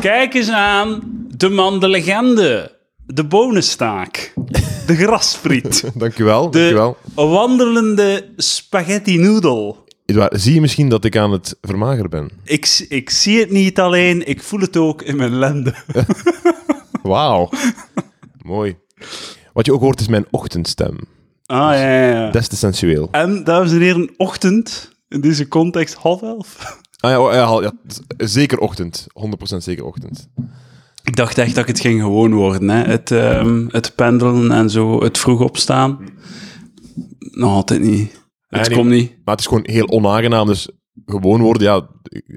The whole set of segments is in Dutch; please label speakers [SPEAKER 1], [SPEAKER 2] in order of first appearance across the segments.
[SPEAKER 1] Kijk eens aan de man, de legende. De bonenstaak. De grasfriet.
[SPEAKER 2] Dankjewel,
[SPEAKER 1] De
[SPEAKER 2] dankjewel.
[SPEAKER 1] wandelende spaghetti noedel.
[SPEAKER 2] Edouard, zie je misschien dat ik aan het vermageren ben?
[SPEAKER 1] Ik, s- ik zie het niet alleen, ik voel het ook in mijn lenden.
[SPEAKER 2] Wauw. Mooi. Wat je ook hoort is mijn ochtendstem.
[SPEAKER 1] Ah, ja, ja, ja.
[SPEAKER 2] Dat is te sensueel.
[SPEAKER 1] En, dames en heren, ochtend. In deze context half elf.
[SPEAKER 2] Ah, ja, oh, ja, hal- ja, t- zeker ochtend. 100% zeker ochtend.
[SPEAKER 1] Ik dacht echt dat ik het ging gewoon worden. Hè. Het, ehm, het pendelen en zo, het vroeg opstaan. Nog altijd niet. Het
[SPEAKER 2] Ah, nee.
[SPEAKER 1] komt niet.
[SPEAKER 2] Maar het is gewoon heel onaangenaam. Dus gewoon worden, ja,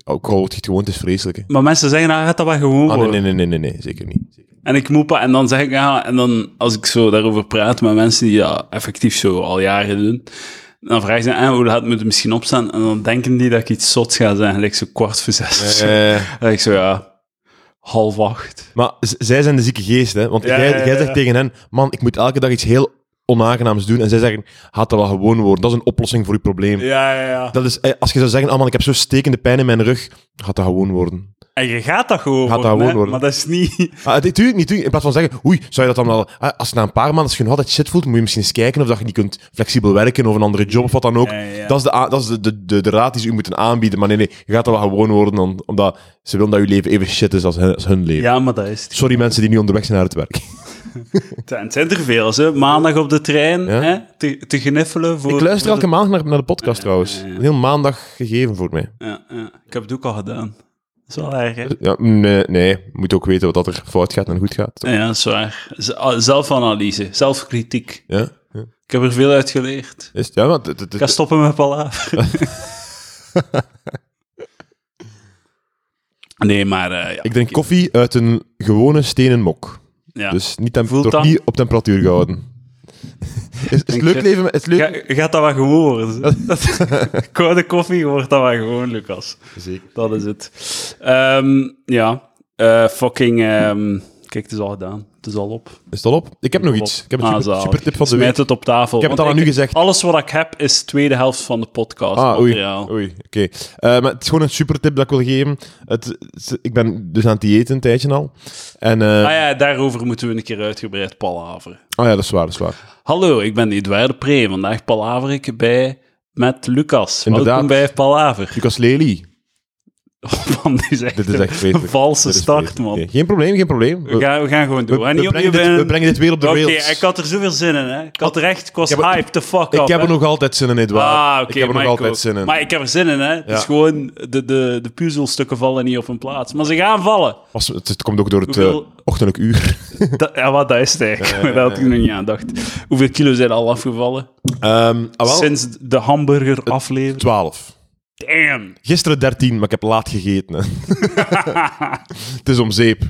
[SPEAKER 2] ook al wordt je het gewoon, het is vreselijk. hè.
[SPEAKER 1] Maar mensen zeggen, nou gaat dat wel gewoon
[SPEAKER 2] Ah,
[SPEAKER 1] worden.
[SPEAKER 2] nee, nee, nee, nee, nee, nee, zeker niet. Zeker niet.
[SPEAKER 1] En ik moet pa- en dan zeg ik, ja, en dan als ik zo daarover praat met mensen die dat effectief zo al jaren doen, dan vragen ze, eh, hoe laat moet het misschien opstaan? En dan denken die dat ik iets zots ga zeggen, gelijk zo kwart voor zes. of zo.
[SPEAKER 2] Eh,
[SPEAKER 1] Dan denk ik zo, ja, half acht.
[SPEAKER 2] maar z- zij zijn de zieke geest, hè? Want
[SPEAKER 1] Ja,
[SPEAKER 2] jij,
[SPEAKER 1] ja, ja,
[SPEAKER 2] jij
[SPEAKER 1] ja.
[SPEAKER 2] zegt tegen hen: man, ik moet elke dag iets heel onaangenaams doen. En zij zeggen: had dat wel gewoon worden. Dat is een oplossing voor je probleem.
[SPEAKER 1] Ja, ja, ja.
[SPEAKER 2] Dat is, eh, als je zou zeggen: ah man, ik heb zo stekende pijn in mijn rug. Gaat dat gewoon worden.
[SPEAKER 1] En je gaat dat gewoon
[SPEAKER 2] Gaat
[SPEAKER 1] worden,
[SPEAKER 2] dat gewoon
[SPEAKER 1] hè,
[SPEAKER 2] worden.
[SPEAKER 1] Maar dat is niet...
[SPEAKER 2] Ah, het- tuurlijk niet. tuurlijk. In plaats van zeggen, oei, zou je dat dan wel... ah, Als je na een paar maanden als je nog altijd shit voelt, moet je misschien eens kijken of dat je niet kunt flexibel werken of een andere job of wat dan ook.
[SPEAKER 1] Ja, ja.
[SPEAKER 2] Dat is, de, a- dat is de, de, de, de raad die ze u moeten aanbieden. Maar nee, nee, je gaat dat wel gewoon worden, om- omdat ze willen dat je leven even shit is als hun, als hun leven.
[SPEAKER 1] Ja, maar dat is het.
[SPEAKER 2] Sorry mensen die nu onderweg zijn naar het werk.
[SPEAKER 1] En het zijn er veel, hè. Maandag op de trein,
[SPEAKER 2] Ja.
[SPEAKER 1] hè, te, te gniffelen voor...
[SPEAKER 2] Ik luister
[SPEAKER 1] voor
[SPEAKER 2] elke
[SPEAKER 1] de-
[SPEAKER 2] maandag naar, naar de podcast trouwens. Een heel maandag gegeven voor mij.
[SPEAKER 1] Ja, ja. Ik heb het ook al gedaan. Dat is wel erg, hè.
[SPEAKER 2] Ja, nee, nee, moet ook weten wat dat er fout gaat en goed gaat.
[SPEAKER 1] Ja, dat is waar. Z- ah, Zelfanalyse, zelfkritiek.
[SPEAKER 2] Ja, ja.
[SPEAKER 1] Ik heb er veel uit geleerd.
[SPEAKER 2] Is het- ja want het, het-
[SPEAKER 1] Ik ga stoppen met palaver. nee, maar eh, ja.
[SPEAKER 2] ik drink koffie uit een gewone stenen mok.
[SPEAKER 1] ja.
[SPEAKER 2] Dus niet, temp-
[SPEAKER 1] Voelt
[SPEAKER 2] toch
[SPEAKER 1] dat?
[SPEAKER 2] niet op temperatuur gehouden. Is, is het leuk
[SPEAKER 1] het-
[SPEAKER 2] leven? met- Is het leuk?
[SPEAKER 1] Ga- gaat dat wel gewoon worden? Dat- Koude koffie wordt dat wel gewoon, Lucas.
[SPEAKER 2] Zeker.
[SPEAKER 1] Dat is het. Ehm, ja, Eh, fucking... ehm, kijk, het is al gedaan. Het is al op.
[SPEAKER 2] Is het al op? Ik heb nog
[SPEAKER 1] Op.
[SPEAKER 2] iets. Ik heb een super,
[SPEAKER 1] Ah, zalig.
[SPEAKER 2] supertip van de
[SPEAKER 1] Smijt
[SPEAKER 2] week.
[SPEAKER 1] het op tafel.
[SPEAKER 2] Ik heb het
[SPEAKER 1] want
[SPEAKER 2] al aan u gezegd.
[SPEAKER 1] Alles wat ik heb is tweede helft van de podcast.
[SPEAKER 2] Ah, oei.
[SPEAKER 1] materiaal.
[SPEAKER 2] oei oké. Eh, maar het is gewoon een supertip dat ik wil geven. Het, het- ik ben dus aan het diëten een tijdje al. En, eh,
[SPEAKER 1] Ah ja, daarover moeten we een keer uitgebreid palaveren.
[SPEAKER 2] ah ja, dat is waar, dat is waar.
[SPEAKER 1] Hallo, ik ben Edouard de Pre. Vandaag palaver ik bij met Lucas. Welkom
[SPEAKER 2] Inderdaad.
[SPEAKER 1] bij Palaver.
[SPEAKER 2] Lucas Lely.
[SPEAKER 1] Man, dit is echt,
[SPEAKER 2] Dit is echt
[SPEAKER 1] een
[SPEAKER 2] vreselijk.
[SPEAKER 1] valse
[SPEAKER 2] Dit is
[SPEAKER 1] start,
[SPEAKER 2] vreselijk.
[SPEAKER 1] man.
[SPEAKER 2] Nee, geen probleem, geen probleem. We,
[SPEAKER 1] We gaan, we gaan gewoon
[SPEAKER 2] we-
[SPEAKER 1] doen. hè?
[SPEAKER 2] we
[SPEAKER 1] Niet
[SPEAKER 2] brengen
[SPEAKER 1] opnieuw
[SPEAKER 2] dit, we
[SPEAKER 1] beginnen.
[SPEAKER 2] brengen dit weer op de
[SPEAKER 1] Oké,
[SPEAKER 2] rails.
[SPEAKER 1] ik had er zoveel zin in, hè. Ik had er echt, ik was
[SPEAKER 2] Ja, maar-
[SPEAKER 1] hyped the fuck
[SPEAKER 2] Ik
[SPEAKER 1] up.
[SPEAKER 2] heb
[SPEAKER 1] hè.
[SPEAKER 2] er nog altijd zin in, Edouard.
[SPEAKER 1] Ah,
[SPEAKER 2] ik
[SPEAKER 1] oké,
[SPEAKER 2] heb er
[SPEAKER 1] maar
[SPEAKER 2] nog altijd
[SPEAKER 1] ook.
[SPEAKER 2] zin in.
[SPEAKER 1] Maar ik heb er zin in, hè. Het is
[SPEAKER 2] Ja.
[SPEAKER 1] gewoon, de, de, de puzzelstukken vallen niet op hun plaats. Maar ze gaan vallen.
[SPEAKER 2] Als- het, het komt ook door het
[SPEAKER 1] Hoeveel-
[SPEAKER 2] eh, ochtendelijk uur.
[SPEAKER 1] Dat, ja, wat, dat is het eigenlijk.
[SPEAKER 2] Eh,
[SPEAKER 1] Daar had ik nog niet aan gedacht. Hoeveel kilo zijn al afgevallen?
[SPEAKER 2] Ehm ah, wel,
[SPEAKER 1] Sinds de hamburger aflevering.
[SPEAKER 2] 12.
[SPEAKER 1] Damn.
[SPEAKER 2] Gisteren 13, maar ik heb laat gegeten. hè. het is om zeep.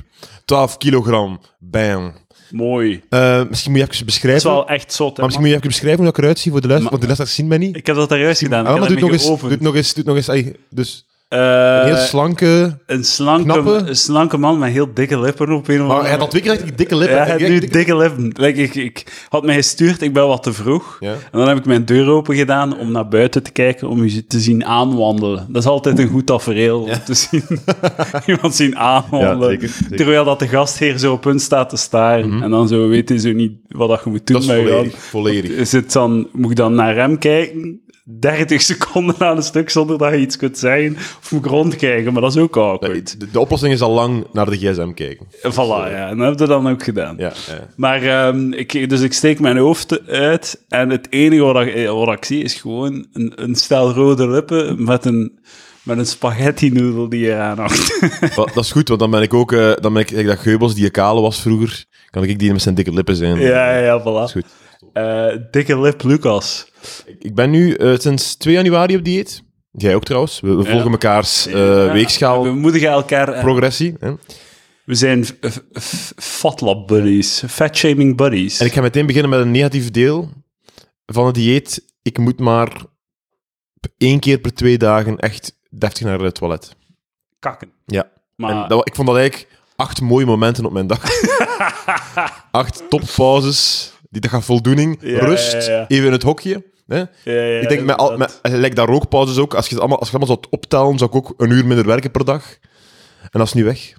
[SPEAKER 2] 12 kilogram. Bam.
[SPEAKER 1] Mooi.
[SPEAKER 2] Eh, misschien moet je even
[SPEAKER 1] Dat is
[SPEAKER 2] beschrijven.
[SPEAKER 1] wel echt zot, hè,
[SPEAKER 2] maar misschien moet je even beschrijven hoe ik eruit zie voor de luisteraars, want de luisteraars zien mij niet.
[SPEAKER 1] man. Ik heb dat daar juist gedaan.
[SPEAKER 2] Ah,
[SPEAKER 1] ik
[SPEAKER 2] maar
[SPEAKER 1] heb
[SPEAKER 2] doe het nog
[SPEAKER 1] daarmee
[SPEAKER 2] eens. Doe het
[SPEAKER 1] geoefend.
[SPEAKER 2] nog eens. Doe het nog eens. Ai, dus
[SPEAKER 1] Eh,
[SPEAKER 2] een heel slanke.
[SPEAKER 1] een, slanke,
[SPEAKER 2] knappe-
[SPEAKER 1] een slanke man met heel dikke lippen op een of
[SPEAKER 2] Maar
[SPEAKER 1] andere
[SPEAKER 2] Ah, hij had twee keer echt die dikke lippen.
[SPEAKER 1] oh, Ja, hij had
[SPEAKER 2] Ik-
[SPEAKER 1] nu
[SPEAKER 2] ik-
[SPEAKER 1] dikke lippen. Like, ik, ik had mij gestuurd, ik ben wat te vroeg.
[SPEAKER 2] Ja.
[SPEAKER 1] En dan heb ik mijn deur open gedaan om naar buiten te kijken, om u te zien aanwandelen. Dat is altijd een goed tafereel, om te zien iemand zien aanwandelen.
[SPEAKER 2] Ja, zeker, zeker. Mhm.
[SPEAKER 1] Terwijl dat de gastheer zo op punt staat te staren. En dan zo weet hij zo niet wat dat je moet doen
[SPEAKER 2] Dat is
[SPEAKER 1] met je
[SPEAKER 2] volledig.
[SPEAKER 1] hand.
[SPEAKER 2] volledig.
[SPEAKER 1] Is het dan, moet ik dan naar hem kijken? 30 seconden aan een stuk zonder dat je iets kunt zeggen. Of moet ik rondkijken, maar dat is ook awkward.
[SPEAKER 2] De, de oplossing is al lang naar de gsm kijken.
[SPEAKER 1] voilà, ja. En dat heb je dan ook gedaan.
[SPEAKER 2] eh, Ja, ja.
[SPEAKER 1] Maar ehm, ik, dus ik steek mijn hoofd uit en het enige wat ik, eh, wat ik zie is gewoon een, een stel rode lippen met een, met een spaghetti noedel die eraan hangt.
[SPEAKER 2] Wel, dat is goed, want dan ben ik ook... eh, dan ben ik, ik dat Geubels, die kale was vroeger, kan ik die met zijn dikke lippen zijn.
[SPEAKER 1] ja, ja, ja, voilà.
[SPEAKER 2] goed.
[SPEAKER 1] Eh, dikke lip Lucas.
[SPEAKER 2] Ik- Ik ben nu eh, sinds 2 januari op dieet. Jij ook trouwens. We, we volgen mekaars eh,
[SPEAKER 1] Ja, We
[SPEAKER 2] weegschaal
[SPEAKER 1] moedigen elkaar. eh,
[SPEAKER 2] progressie. Hè?
[SPEAKER 1] we zijn f- f- f- fatlab buddies, fat shaming buddies.
[SPEAKER 2] En ik ga meteen beginnen met een negatief deel van het dieet. Ik moet maar p- één keer per twee dagen echt deftig naar het toilet.
[SPEAKER 1] kakken.
[SPEAKER 2] Ja.
[SPEAKER 1] Maar
[SPEAKER 2] En dat, wa- ik vond dat eigenlijk acht mooie momenten op mijn dag. acht toppauzes. Die dat gaat voldoening.
[SPEAKER 1] Ja,
[SPEAKER 2] rust.
[SPEAKER 1] ja, ja.
[SPEAKER 2] Even in het hokje. Hè?
[SPEAKER 1] Ja, ja, ja,
[SPEAKER 2] ik denk, met al,
[SPEAKER 1] inderdaad.
[SPEAKER 2] met, lijkt daar rookpauzes ook. Als je, het allemaal, als je het allemaal zou optellen, zou ik ook een uur minder werken per dag. En dat is nu weg.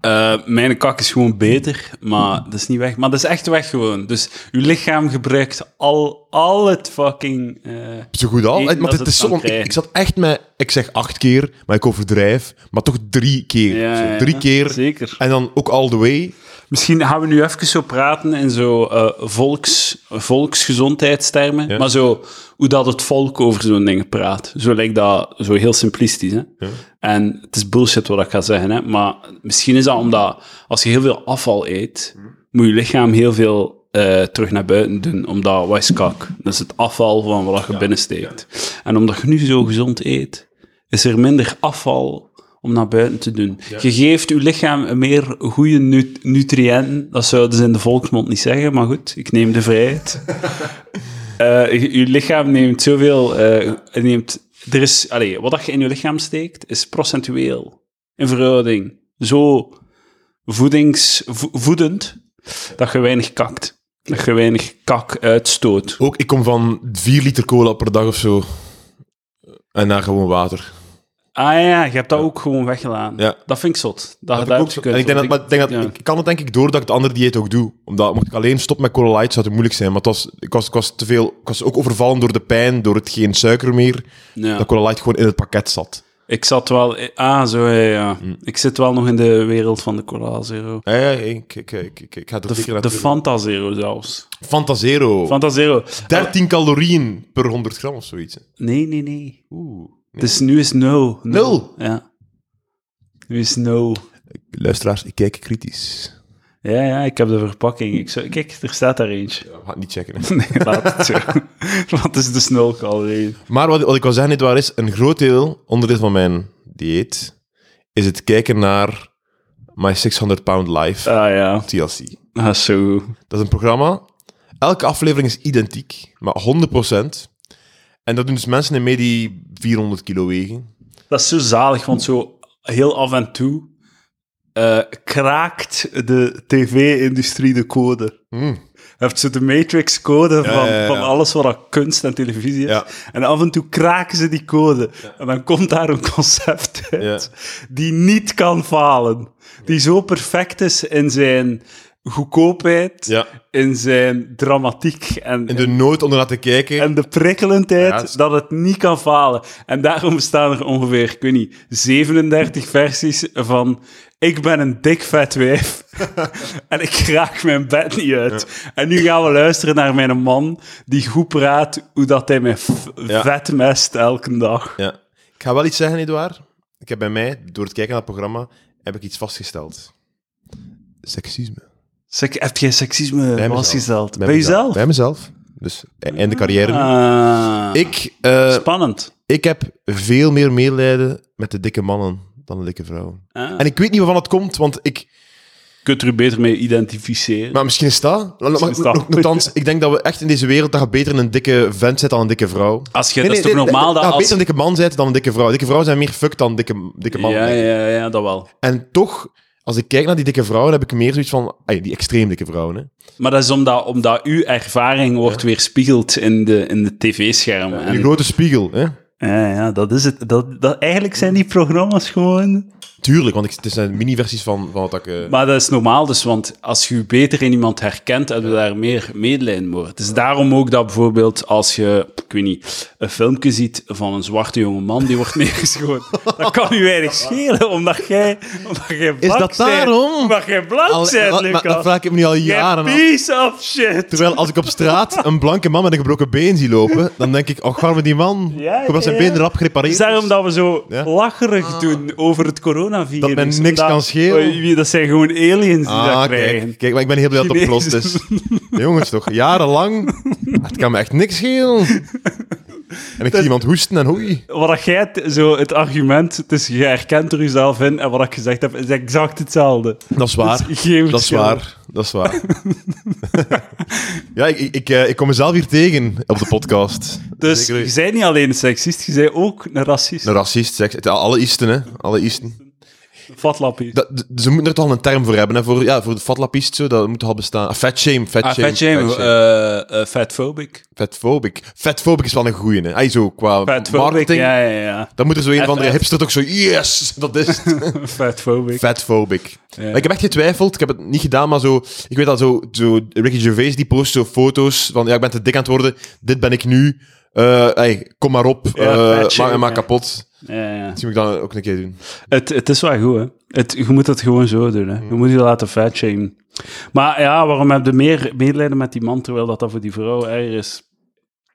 [SPEAKER 1] Eh, mijn kak is gewoon beter, maar dat is niet weg. Maar dat is echt weg gewoon. Dus uw lichaam gebruikt al, al het fucking... eh,
[SPEAKER 2] Zo goed al.
[SPEAKER 1] Eén
[SPEAKER 2] hè,
[SPEAKER 1] dat
[SPEAKER 2] Maar het
[SPEAKER 1] het
[SPEAKER 2] is zo,
[SPEAKER 1] kan
[SPEAKER 2] want ik,
[SPEAKER 1] krijgen.
[SPEAKER 2] ik zat echt met, ik zeg acht keer, maar ik overdrijf, maar toch drie keer.
[SPEAKER 1] ja,
[SPEAKER 2] Zo,
[SPEAKER 1] ja,
[SPEAKER 2] drie keer.
[SPEAKER 1] Zeker.
[SPEAKER 2] En dan ook all the way.
[SPEAKER 1] Misschien gaan we nu even zo praten in zo eh, volks, volksgezondheidstermen. Maar zo hoe dat het volk over zo'n dingen praat. Zo lijkt dat zo heel simplistisch. Hè? En het is bullshit wat ik ga zeggen. Hè? Maar misschien is dat omdat als je heel veel afval eet, moet je lichaam heel veel eh, terug naar buiten doen. Omdat, wat is kak? Dat is het afval van wat je binnensteekt. En omdat je nu zo gezond eet, is er minder afval om naar buiten te doen. Je geeft je lichaam meer goede nu- nutriënten. Dat zouden ze in de volksmond niet zeggen, maar goed, ik neem de vrijheid. Eh, je, je lichaam neemt zoveel... eh, het neemt, er is, allee, wat dat je in je lichaam steekt, is procentueel, in verhouding, zo voedings, vo- voedend, dat je weinig kakt. Dat je weinig kak uitstoot.
[SPEAKER 2] Ook, ik kom van vier liter cola per dag of zo. En daar gewoon water.
[SPEAKER 1] Ah ja, je hebt dat ook gewoon weggelaten.
[SPEAKER 2] Ja.
[SPEAKER 1] Dat vind ik zot. Dat,
[SPEAKER 2] heb
[SPEAKER 1] dat
[SPEAKER 2] ik
[SPEAKER 1] heb
[SPEAKER 2] ook
[SPEAKER 1] je
[SPEAKER 2] zo-
[SPEAKER 1] kunt,
[SPEAKER 2] en ik, denk dat,
[SPEAKER 1] want
[SPEAKER 2] maar ik, denk dat,
[SPEAKER 1] ja.
[SPEAKER 2] ik kan het denk ik doordat ik de andere dieet ook doe. Omdat mocht ik alleen stop met cola light, zou het moeilijk zijn. Maar het was, ik, was, ik was te veel... Ik was ook overvallen door de pijn, door het geen suiker meer.
[SPEAKER 1] Ja.
[SPEAKER 2] Dat cola light gewoon in het pakket zat.
[SPEAKER 1] Ik zat wel... Ah, zo, ja, ja.
[SPEAKER 2] Mm.
[SPEAKER 1] Ik zit wel nog in de wereld van de Cola Zero.
[SPEAKER 2] Ja, ja, ik, ik, ik, ik, ik ga er zeker
[SPEAKER 1] De,
[SPEAKER 2] naar
[SPEAKER 1] de
[SPEAKER 2] terug.
[SPEAKER 1] Fanta Zero zelfs.
[SPEAKER 2] Fanta Zero.
[SPEAKER 1] Fanta Zero.
[SPEAKER 2] 13 calorieën per 100 gram of zoiets. hè.
[SPEAKER 1] Nee, nee, nee.
[SPEAKER 2] Oeh.
[SPEAKER 1] Dus nu is nul.
[SPEAKER 2] Nul?
[SPEAKER 1] Ja. Nu is nul.
[SPEAKER 2] Luisteraars, ik kijk kritisch.
[SPEAKER 1] Ja, ja, ik heb de verpakking. Ik zou- Kijk, er staat daar eentje.
[SPEAKER 2] Ja, we gaan het niet checken. hè.
[SPEAKER 1] Nee, laat het zo. Want het is dus nul calorieën.
[SPEAKER 2] Maar wat, wat ik wil zeggen, dit waar is, een groot deel, onderdeel van mijn dieet, is het kijken naar My 600 Pound Life,
[SPEAKER 1] Ah ja,
[SPEAKER 2] TLC.
[SPEAKER 1] ah, zo goed.
[SPEAKER 2] Dat is een programma. Elke aflevering is identiek, maar 100%. En dat doen dus mensen in mee die 400 kilo wegen.
[SPEAKER 1] Dat is zo zalig, want zo heel af en toe eh, kraakt de tv-industrie de code. Heeft ze de matrix-code van,
[SPEAKER 2] Hmm. ja, ja.
[SPEAKER 1] van alles wat dat kunst en televisie is.
[SPEAKER 2] Ja.
[SPEAKER 1] En af en toe kraken ze die code. En dan komt daar een concept uit die niet kan falen. Die zo perfect is in zijn goedkoopheid,
[SPEAKER 2] Ja.
[SPEAKER 1] in zijn dramatiek en
[SPEAKER 2] In de nood om ernaar te kijken.
[SPEAKER 1] en de prikkelendheid
[SPEAKER 2] Ja, het is-
[SPEAKER 1] dat het niet kan falen. En daarom bestaan er ongeveer, ik weet niet, 37 versies van ik ben een dik vet wijf en ik raak mijn bed niet uit. En nu gaan we luisteren naar mijn man die goed praat hoe dat hij mij f-
[SPEAKER 2] Ja.
[SPEAKER 1] vet mest elke dag.
[SPEAKER 2] Ja. Ik ga wel iets zeggen, Edouard. Ik heb bij mij, door het kijken naar het programma, heb ik iets vastgesteld. Seksisme.
[SPEAKER 1] Sek- heb jij seksisme
[SPEAKER 2] mezelf.
[SPEAKER 1] vastgesteld? Bij,
[SPEAKER 2] mezelf.
[SPEAKER 1] jezelf?
[SPEAKER 2] Bij mezelf. Dus in de carrière. nu.
[SPEAKER 1] Ah,
[SPEAKER 2] Ik, eh,
[SPEAKER 1] spannend.
[SPEAKER 2] ik heb veel meer medelijden met de dikke mannen dan de dikke vrouwen.
[SPEAKER 1] Ah.
[SPEAKER 2] En ik weet niet waarvan het komt, want ik...
[SPEAKER 1] Kunt er beter mee identificeren.
[SPEAKER 2] Maar misschien is dat... Maar,
[SPEAKER 1] Misschien is dat.
[SPEAKER 2] nog- nogthans, ik denk dat we echt in deze wereld dat je beter een dikke vent zit dan een dikke vrouw.
[SPEAKER 1] Als je, dat is toch normaal dat,
[SPEAKER 2] je
[SPEAKER 1] als...
[SPEAKER 2] beter een dikke man zit dan een dikke vrouw. Dikke vrouwen zijn meer fucked dan dikke, dikke mannen.
[SPEAKER 1] ja, ja, ja, dat wel.
[SPEAKER 2] En toch, als ik kijk naar die dikke vrouwen, heb ik meer zoiets van... ah ja, die extreem dikke vrouwen, hè.
[SPEAKER 1] Maar dat is omdat, omdat uw ervaring wordt weerspiegeld in de, in de tv-schermen.
[SPEAKER 2] Die
[SPEAKER 1] En-
[SPEAKER 2] grote spiegel, hè.
[SPEAKER 1] Ja, ja, dat is het. Dat, dat, eigenlijk zijn die programma's gewoon...
[SPEAKER 2] Tuurlijk, want ik, het zijn mini-versies van, van wat ik... eh,
[SPEAKER 1] Maar dat is normaal dus, want als je je beter in iemand herkent, hebben we daar meer medelijden voor. Het is daarom ook dat bijvoorbeeld als je, ik weet niet, een filmpje ziet van een zwarte jonge man die wordt neergeschoten, dat kan u weinig schelen, omdat jij, omdat jij blank
[SPEAKER 2] dat
[SPEAKER 1] bent.
[SPEAKER 2] daarom?
[SPEAKER 1] Omdat jij blank
[SPEAKER 2] al-
[SPEAKER 1] bent,
[SPEAKER 2] maar- maar dat
[SPEAKER 1] Lucas.
[SPEAKER 2] vraag ik me nu al
[SPEAKER 1] Jij
[SPEAKER 2] jaren af.
[SPEAKER 1] piece of shit.
[SPEAKER 2] Terwijl als ik op straat een blanke man met een gebroken been zie lopen, dan denk ik, oh, arme die man.
[SPEAKER 1] Ja,
[SPEAKER 2] ik hoop dat zijn
[SPEAKER 1] ja,
[SPEAKER 2] been
[SPEAKER 1] ja.
[SPEAKER 2] rap
[SPEAKER 1] Het
[SPEAKER 2] gerepareerd
[SPEAKER 1] is daarom
[SPEAKER 2] is.
[SPEAKER 1] dat we zo
[SPEAKER 2] Ja.
[SPEAKER 1] lacherig doen over het coronavirus.
[SPEAKER 2] Dat men niks
[SPEAKER 1] Omdat-
[SPEAKER 2] kan schelen.
[SPEAKER 1] Oei, wie- Dat zijn gewoon aliens die dat
[SPEAKER 2] Ah,
[SPEAKER 1] krijgen.
[SPEAKER 2] kijk, kijk, maar ik ben heel blij dat het opgelost is. Jongens, toch, jarenlang. Het kan me echt niks schelen. En ik zie iemand hoesten en hoei.
[SPEAKER 1] Wat dat jij t- zo het argument, dus je herkent er jezelf in en wat ik gezegd heb, is exact hetzelfde.
[SPEAKER 2] Dat is waar.
[SPEAKER 1] Dus geen
[SPEAKER 2] Dat is
[SPEAKER 1] verschil.
[SPEAKER 2] waar, dat is waar. ja, ik, ik, ik, eh, ik kom mezelf hier tegen op de podcast.
[SPEAKER 1] Dus
[SPEAKER 2] Zeker.
[SPEAKER 1] je bent niet alleen een seksist, je bent ook een racist.
[SPEAKER 2] Een racist, seks, het- alle isten, hè. Alle isten.
[SPEAKER 1] Fatlappies.
[SPEAKER 2] Dat, d- ze moeten er toch al een term voor hebben. Hè? Voor, ja, voor de fatlapist, zo, dat moet al bestaan. Ah, fat shame, fat
[SPEAKER 1] Ah,
[SPEAKER 2] shame.
[SPEAKER 1] fat shame,
[SPEAKER 2] fat shame.
[SPEAKER 1] eh, eh, fatphobic.
[SPEAKER 2] Fatphobic. Fatphobic is wel een goeie, hè. Ay, zo, qua
[SPEAKER 1] Fatphobic,
[SPEAKER 2] marketing.
[SPEAKER 1] ja, ja, ja.
[SPEAKER 2] Dan moet er zo een of
[SPEAKER 1] F-
[SPEAKER 2] andere
[SPEAKER 1] F.
[SPEAKER 2] hipster toch zo, yes, dat is het.
[SPEAKER 1] Fatphobic.
[SPEAKER 2] Fatphobic.
[SPEAKER 1] Ja.
[SPEAKER 2] Maar Ik heb echt getwijfeld, ik heb het niet gedaan, maar zo... Ik weet dat zo, zo Ricky Gervais die post zo foto's van, ja, ik ben te dik aan het worden, dit ben ik nu, Eh, ey, kom maar op,
[SPEAKER 1] Ja,
[SPEAKER 2] eh,
[SPEAKER 1] fat shame,
[SPEAKER 2] maak me maar
[SPEAKER 1] ja.
[SPEAKER 2] kapot.
[SPEAKER 1] ja, ja.
[SPEAKER 2] Misschien moet ik dat ook een keer doen.
[SPEAKER 1] Het, het is wel goed, hè. Het, je moet dat gewoon zo doen,
[SPEAKER 2] Hmm.
[SPEAKER 1] hè. Je moet je laten fatshamen. Maar ja, waarom heb je meer medelijden met die man, terwijl dat, dat voor die vrouw erger is?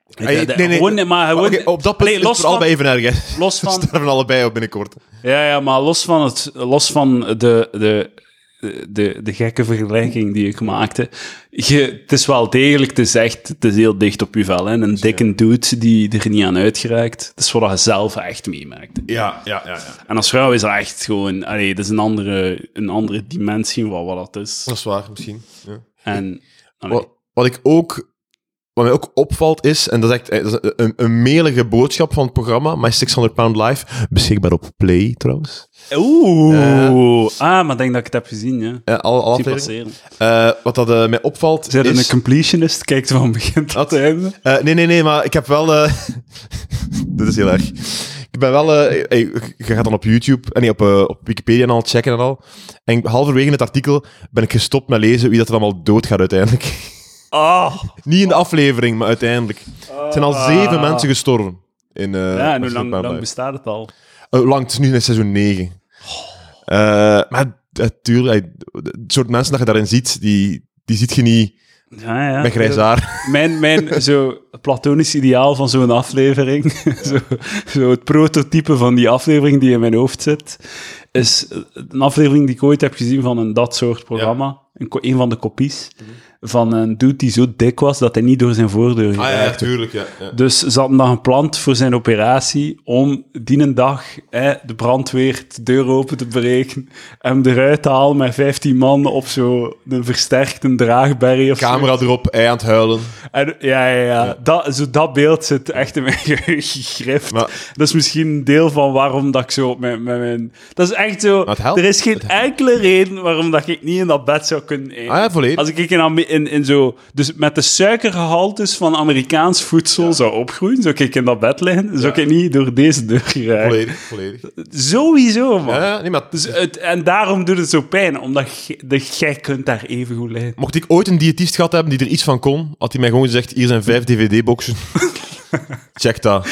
[SPEAKER 1] Ik,
[SPEAKER 2] Hey,
[SPEAKER 1] eh,
[SPEAKER 2] nee, nee.
[SPEAKER 1] Gewoon, maar gewoon...
[SPEAKER 2] Oké, oh. op dat punt
[SPEAKER 1] Allee,
[SPEAKER 2] is
[SPEAKER 1] los
[SPEAKER 2] het voor
[SPEAKER 1] van-
[SPEAKER 2] allebei even erg. hè.
[SPEAKER 1] Los
[SPEAKER 2] We
[SPEAKER 1] van...
[SPEAKER 2] sterven allebei op binnenkort.
[SPEAKER 1] Ja, ja, maar los van, het, los van de, de, de, de gekke vergelijking die ik maakte. Je, het is wel degelijk, het is echt, het is heel dicht op je vel. Hè? Een dikke dude die er niet aan uitgeraakt. Dat is wat je zelf echt meemaakt.
[SPEAKER 2] Ja, ja, ja. ja.
[SPEAKER 1] En als vrouw is dat echt gewoon... Allee, dat is een andere, een andere dimensie van wat dat is.
[SPEAKER 2] Dat is waar, misschien. Ja.
[SPEAKER 1] En... allee,
[SPEAKER 2] Wat, wat ik ook... Wat mij ook opvalt is, en dat is echt eh, dat is een, een melige boodschap van het programma, My 600 Pound Life, beschikbaar op Play trouwens.
[SPEAKER 1] Oeh. ah, maar ik denk dat ik het heb gezien, ja.
[SPEAKER 2] Eh, alle, alle
[SPEAKER 1] Zie
[SPEAKER 2] afleveringen.
[SPEAKER 1] passeren.
[SPEAKER 2] Eh, wat dat eh, mij opvalt
[SPEAKER 1] Zij een
[SPEAKER 2] is...
[SPEAKER 1] completionist, kijkt van begin tot einde.
[SPEAKER 2] Eh, nee, nee, nee, maar ik heb wel... eh, dit is heel erg. Ik ben wel... eh, eh, je gaat dan op YouTube en nee, op, eh, op Wikipedia en al checken en al. En halverwege in het artikel ben ik gestopt met lezen wie dat er allemaal doodgaat uiteindelijk.
[SPEAKER 1] Oh.
[SPEAKER 2] Niet in de aflevering, maar uiteindelijk. Er zijn al zeven mensen gestorven. In, eh,
[SPEAKER 1] Ah. Ja, en hoe
[SPEAKER 2] Absolute
[SPEAKER 1] lang,
[SPEAKER 2] Power
[SPEAKER 1] lang
[SPEAKER 2] Live.
[SPEAKER 1] bestaat het al?
[SPEAKER 2] Eh, lang, het is nu in seizoen 9. maar natuurlijk, het soort mensen dat je daarin ziet, die, die ziet je niet
[SPEAKER 1] Ja, ja.
[SPEAKER 2] met grijs haar.
[SPEAKER 1] Mijn, mijn zo platonisch ideaal van zo'n aflevering, zo, zo het prototype van die aflevering die in mijn hoofd zit, is een aflevering die ik ooit heb gezien van een dat soort programma. Een, ko- een van de kopies. Van een dude die zo dik was dat hij niet door zijn voordeur ging.
[SPEAKER 2] tuurlijk, Mhm. Ah, ja. ja.
[SPEAKER 1] Dus ze hadden dan gepland voor zijn operatie om die een dag hè, de brandweer de deur open te breken en hem eruit te halen met 15 man op zo'n versterkte draagberry of zo.
[SPEAKER 2] Camera erop, hij aan het huilen.
[SPEAKER 1] En, ja, ja, ja. Dat, zo, dat beeld zit echt in mijn geheugen gegrift.
[SPEAKER 2] Maar-
[SPEAKER 1] Dat is misschien een deel van waarom dat ik zo op mijn... Met mijn dat is echt zo...
[SPEAKER 2] Maar het helpt.
[SPEAKER 1] Er is geen enkele reden waarom dat ik niet in dat bed zou kunnen eten.
[SPEAKER 2] Ah ja, volledig.
[SPEAKER 1] Als ik in, Ame- in, in zo... Dus met de suikergehaltes van Amerikaans voedsel zou opgroeien, zou ik in dat bed liggen, zou ik niet door deze deur geraken.
[SPEAKER 2] Volledig, volledig.
[SPEAKER 1] Sowieso, man.
[SPEAKER 2] Ja, nee, maar het
[SPEAKER 1] Dus
[SPEAKER 2] is-
[SPEAKER 1] het, en daarom doet het zo pijn, omdat je- de jij kunt daar even goed liggen.
[SPEAKER 2] mocht ik ooit een diëtist gehad hebben die er iets van kon, had hij mij gewoon gezegd, hier zijn vijf dvd-boxen. Check dat.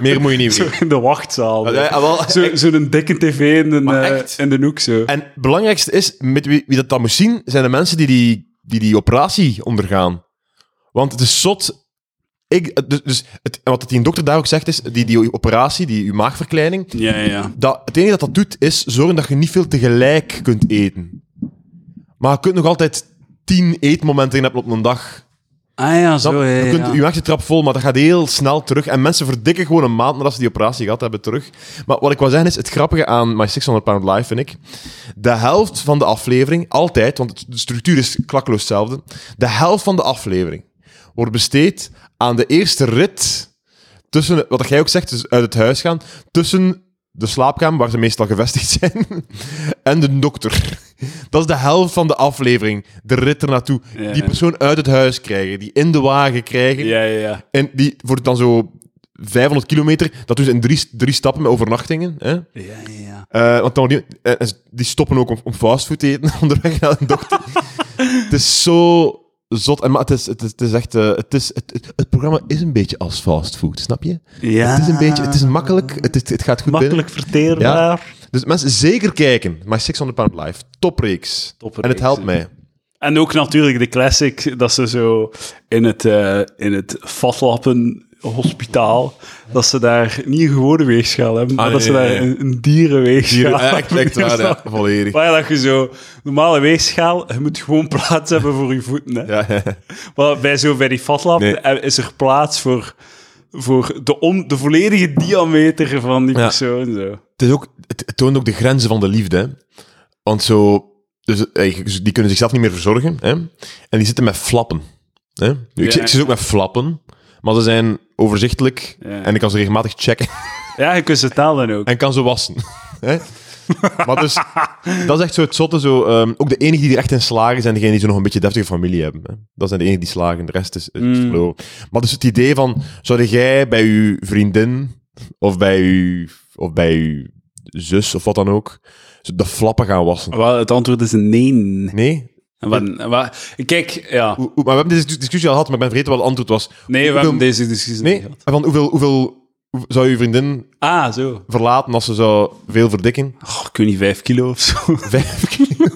[SPEAKER 2] Meer moet je niet
[SPEAKER 1] Zo
[SPEAKER 2] weten.
[SPEAKER 1] in de wachtzaal.
[SPEAKER 2] Ja, ja, wel,
[SPEAKER 1] Zo- Zo'n dikke tv in de,
[SPEAKER 2] Maar
[SPEAKER 1] eh,
[SPEAKER 2] echt?
[SPEAKER 1] in de hoek zo.
[SPEAKER 2] En het belangrijkste is, met wie, wie dat dan moest zien, zijn de mensen die die, die die operatie ondergaan. Want het is zot. Ik, dus, dus het, en wat die dokter daar ook zegt, is die, die operatie, die uw maagverkleining,
[SPEAKER 1] Ja, ja.
[SPEAKER 2] dat, het enige dat dat doet, is zorgen dat je niet veel tegelijk kunt eten. Maar je kunt nog altijd tien eetmomenten in hebben op een dag.
[SPEAKER 1] Ah ja,
[SPEAKER 2] Snap?
[SPEAKER 1] zo. Ja,
[SPEAKER 2] je
[SPEAKER 1] ja,
[SPEAKER 2] kunt
[SPEAKER 1] ja.
[SPEAKER 2] je trap vol, maar dat gaat heel snel terug. En mensen verdikken gewoon een maand nadat ze die operatie gehad hebben terug. Maar wat ik wil zeggen is, het grappige aan My 600 Pound Life vind ik, de helft van de aflevering, altijd, want het- de structuur is klakkeloos hetzelfde, de helft van de aflevering wordt besteed aan de eerste rit tussen, wat jij ook zegt, dus uit het huis gaan, tussen de slaapkamer, waar ze meestal gevestigd zijn, en de dokter. Dat is de helft van de aflevering. De rit ernaartoe.
[SPEAKER 1] Ja,
[SPEAKER 2] die
[SPEAKER 1] ja.
[SPEAKER 2] persoon uit het huis krijgen, die in de wagen krijgen.
[SPEAKER 1] Ja, ja, ja.
[SPEAKER 2] En die wordt dan zo 500 kilometer. Dat doen ze in drie, drie stappen met overnachtingen. Hè?
[SPEAKER 1] Ja, ja, ja.
[SPEAKER 2] Eh, want dan, die, eh, en ze- die stoppen ook om, om fastfood te eten onderweg naar een dokter. het is zo zot. En, maar het is, het is, het is echt... eh, het, is, het, het, het programma is een beetje als fastfood, snap je?
[SPEAKER 1] Ja.
[SPEAKER 2] Het is een beetje... Het is makkelijk. Het, is- het gaat goed binnen.
[SPEAKER 1] Makkelijk verteerbaar.
[SPEAKER 2] Dus mensen, zeker kijken. My 600 Pound Live. Topreeks.
[SPEAKER 1] Topreeks,
[SPEAKER 2] en het helpt
[SPEAKER 1] hè.
[SPEAKER 2] mij.
[SPEAKER 1] En ook natuurlijk de classic, dat ze zo in het, eh, in het vatlappen hospitaal, dat ze daar niet een gewone weegschaal hebben, maar
[SPEAKER 2] nee,
[SPEAKER 1] dat ze
[SPEAKER 2] nee,
[SPEAKER 1] daar
[SPEAKER 2] nee.
[SPEAKER 1] een, een dierenweegschaal
[SPEAKER 2] Hier,
[SPEAKER 1] hebben.
[SPEAKER 2] echt, echt waar, ja, volledig.
[SPEAKER 1] Maar ja, dat je zo... Normale weegschaal, je moet gewoon plaats hebben voor je voeten, hè.
[SPEAKER 2] Ja, ja.
[SPEAKER 1] Maar bij zo bij die fatlap
[SPEAKER 2] Nee.
[SPEAKER 1] eh, is er plaats voor, voor de, on, de volledige diameter van die
[SPEAKER 2] Ja.
[SPEAKER 1] persoon. Zo.
[SPEAKER 2] Het, is ook, het, het toont ook de grenzen van de liefde. hè. Want zo, dus, eh, die kunnen zichzelf niet meer verzorgen. Hè? En die zitten met flappen. Hè? Nu, ik,
[SPEAKER 1] Ja.
[SPEAKER 2] zit- ik zit ook met flappen, maar ze zijn overzichtelijk.
[SPEAKER 1] Ja.
[SPEAKER 2] En ik kan ze regelmatig checken.
[SPEAKER 1] Ja, je kunt ze talen ook.
[SPEAKER 2] En kan ze wassen. Hè? Maar dus, dat is echt zo het zotte. Zo, ehm, ook de enige die er echt in slagen zijn degenen die zo nog een beetje deftige familie hebben. Hè. Dat zijn de enigen die slagen, de rest is, is
[SPEAKER 1] Hmm.
[SPEAKER 2] verloren. Maar dus het idee van, zou jij bij uw vriendin of bij uw, of bij uw zus of wat dan ook zo de flappen gaan wassen?
[SPEAKER 1] Wel, het antwoord is nee.
[SPEAKER 2] Nee?
[SPEAKER 1] Wat- wat- kijk, ja.
[SPEAKER 2] Hoe- hoe- maar we hebben deze discussie al gehad, maar ik ben vergeten wat het antwoord was.
[SPEAKER 1] Nee, we
[SPEAKER 2] Hoeveel-
[SPEAKER 1] hebben deze discussie niet
[SPEAKER 2] Nee?
[SPEAKER 1] gehad.
[SPEAKER 2] Van hoeveel, hoeveel hoe- zou je vriendin
[SPEAKER 1] Ah, zo.
[SPEAKER 2] verlaten als ze zou veel verdikken?
[SPEAKER 1] Oh, ik weet niet, vijf kilo of zo.
[SPEAKER 2] Vijf keer.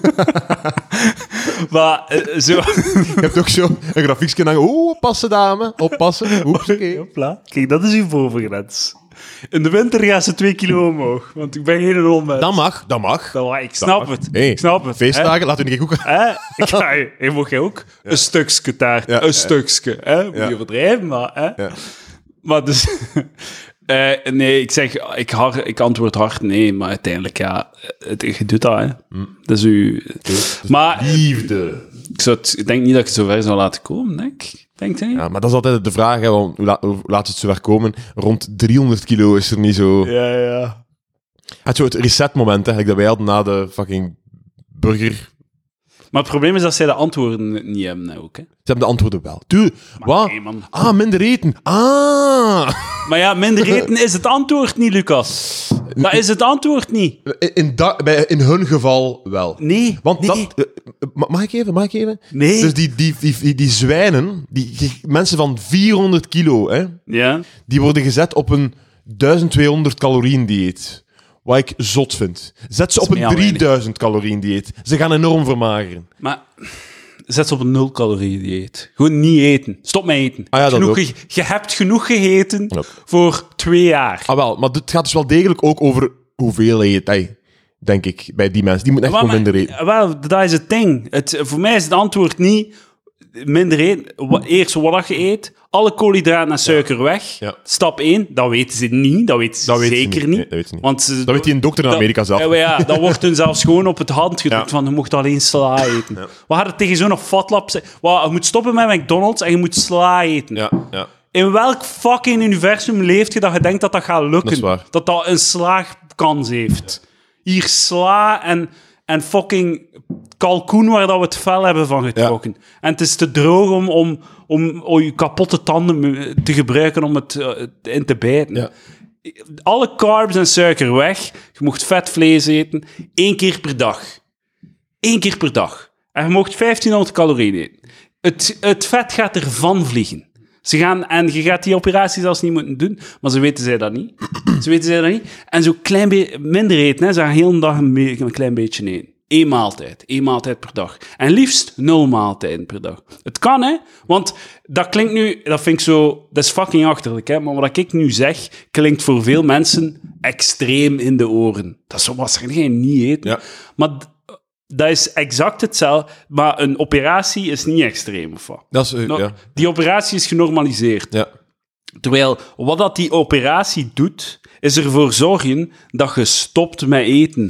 [SPEAKER 1] maar eh, zo...
[SPEAKER 2] Je hebt ook zo een grafiekje hangen. Oeh, oppassen dame, oppassen. Oeps, oké.
[SPEAKER 1] Hopla. Kijk, dat is uw bovengrens. In de winter gaan ze twee kilo omhoog, want ik ben geen rolmens.
[SPEAKER 2] Dat mag, dat mag.
[SPEAKER 1] Dan- Ik snap het.
[SPEAKER 2] Hey,
[SPEAKER 1] ik snap het. hè.
[SPEAKER 2] Feestdagen, laat u niet koeken.
[SPEAKER 1] Hè? Ik ga je, ik mocht jij ook een stukje taart,
[SPEAKER 2] Ja,
[SPEAKER 1] een
[SPEAKER 2] ja.
[SPEAKER 1] stukje. Hè? Moet
[SPEAKER 2] Ja.
[SPEAKER 1] je overdrijven, maar... Hè?
[SPEAKER 2] Ja.
[SPEAKER 1] Maar dus... eh, nee, ik zeg, ik, har, ik antwoord hard nee, maar uiteindelijk, ja, het, je doet dat, hè.
[SPEAKER 2] Hm.
[SPEAKER 1] Dat is uw...
[SPEAKER 2] dus-
[SPEAKER 1] Maar
[SPEAKER 2] Liefde.
[SPEAKER 1] ik, zou het- ik denk niet dat ik het zo ver zou laten komen, denk ik. Denk je niet?
[SPEAKER 2] Ja, maar dat is altijd de vraag, hè, want hoe, la- hoe laat het zover komen? Rond 300 kilo is er niet zo...
[SPEAKER 1] Ja, ja.
[SPEAKER 2] Het, zo het resetmoment, hè, gelijk dat wij hadden na de fucking burger...
[SPEAKER 1] Maar het probleem is dat zij de antwoorden niet hebben, hè, ook, hè.
[SPEAKER 2] Ze hebben de antwoorden wel. Tuur, wat?
[SPEAKER 1] nee, man.
[SPEAKER 2] ah, minder eten. Ah!
[SPEAKER 1] Maar ja, minder eten is het antwoord niet, Lucas. Dat is het antwoord niet.
[SPEAKER 2] In, in, da- bij, in hun geval wel.
[SPEAKER 1] Nee.
[SPEAKER 2] Want
[SPEAKER 1] nee,
[SPEAKER 2] dat... eh, eh, ma- mag ik even? Mag ik even?
[SPEAKER 1] Nee.
[SPEAKER 2] Dus die, die, die, die, die zwijnen, die, die mensen van 400 kilo, hè,
[SPEAKER 1] Ja.
[SPEAKER 2] die worden gezet op een 1200 calorieën dieet. Wat ik zot vind. Zet ze op
[SPEAKER 1] mij
[SPEAKER 2] een
[SPEAKER 1] al
[SPEAKER 2] 3000 calorieën dieet. Ze gaan enorm vermageren.
[SPEAKER 1] Maar zet ze op een nul calorie dieet. Gewoon niet eten. Stop met eten.
[SPEAKER 2] Ah ja, dat
[SPEAKER 1] genoeg,
[SPEAKER 2] ook.
[SPEAKER 1] ge- je hebt genoeg gegeten
[SPEAKER 2] Ja.
[SPEAKER 1] voor twee jaar.
[SPEAKER 2] Ah wel, maar het gaat dus wel degelijk ook over hoeveelheid, hey, denk ik, bij die mensen. Die moeten echt
[SPEAKER 1] Maar-
[SPEAKER 2] gewoon minder eten.
[SPEAKER 1] maar- Wel, dat is het ding. Het, voor mij is het antwoord niet minder eten. Wa- Eerst wat je eet, alle koolhydraten en suiker weg.
[SPEAKER 2] Ja.
[SPEAKER 1] Stap 1, dat weten ze niet. Dat weten ze
[SPEAKER 2] Dat weten ze
[SPEAKER 1] zeker
[SPEAKER 2] niet.
[SPEAKER 1] niet.
[SPEAKER 2] Nee, dat weten ze niet.
[SPEAKER 1] Want ze,
[SPEAKER 2] Dat weet die een dokter in
[SPEAKER 1] Dat-
[SPEAKER 2] Amerika zelf.
[SPEAKER 1] Ja, maar ja, dat wordt hun zelfs gewoon op het hand gedrukt
[SPEAKER 2] Ja.
[SPEAKER 1] van je mocht alleen sla eten. We hadden tegen zo'n fatlap zeggen, "Wa, je moet stoppen met McDonald's en je moet sla eten.
[SPEAKER 2] Ja, ja.
[SPEAKER 1] In welk fucking universum leeft je dat je denkt dat dat gaat lukken?
[SPEAKER 2] Dat is waar.
[SPEAKER 1] Dat dat een slaagkans heeft. Hier sla en, en fucking kalkoen waar dat we het vel hebben van getrokken. En het is te droog om, om, om, om je kapotte tanden te gebruiken om het eh, in te bijten
[SPEAKER 2] Ja.
[SPEAKER 1] alle carbs en suiker weg. Je mocht vet vlees eten. één keer per dag. Eén keer per dag. En je mocht 1500 calorieën eten. Het, het vet gaat ervan vliegen. Ze gaan, en je gaat die operatie zelfs niet moeten doen, maar ze weten zij dat niet. Ze weten zij dat niet. En zo klein beetje minder eten, hè. ze gaan heel de dag een, be- een klein beetje eten. Eén maaltijd. Eén maaltijd per dag. En liefst nul maaltijden per dag. Het kan, hè? Want dat klinkt nu, dat vind ik zo, dat is fucking achterlijk, hè? Maar wat ik nu zeg, klinkt voor veel mensen extreem in de oren. Dat is zo wat zeg je niet eten.
[SPEAKER 2] Ja.
[SPEAKER 1] Maar d- dat is exact hetzelfde, maar een operatie is niet extreem of wat.
[SPEAKER 2] Dat is, eh,
[SPEAKER 1] Nou,
[SPEAKER 2] ja.
[SPEAKER 1] Die operatie is genormaliseerd.
[SPEAKER 2] Ja.
[SPEAKER 1] Terwijl wat dat die operatie doet, is ervoor zorgen dat je stopt met eten.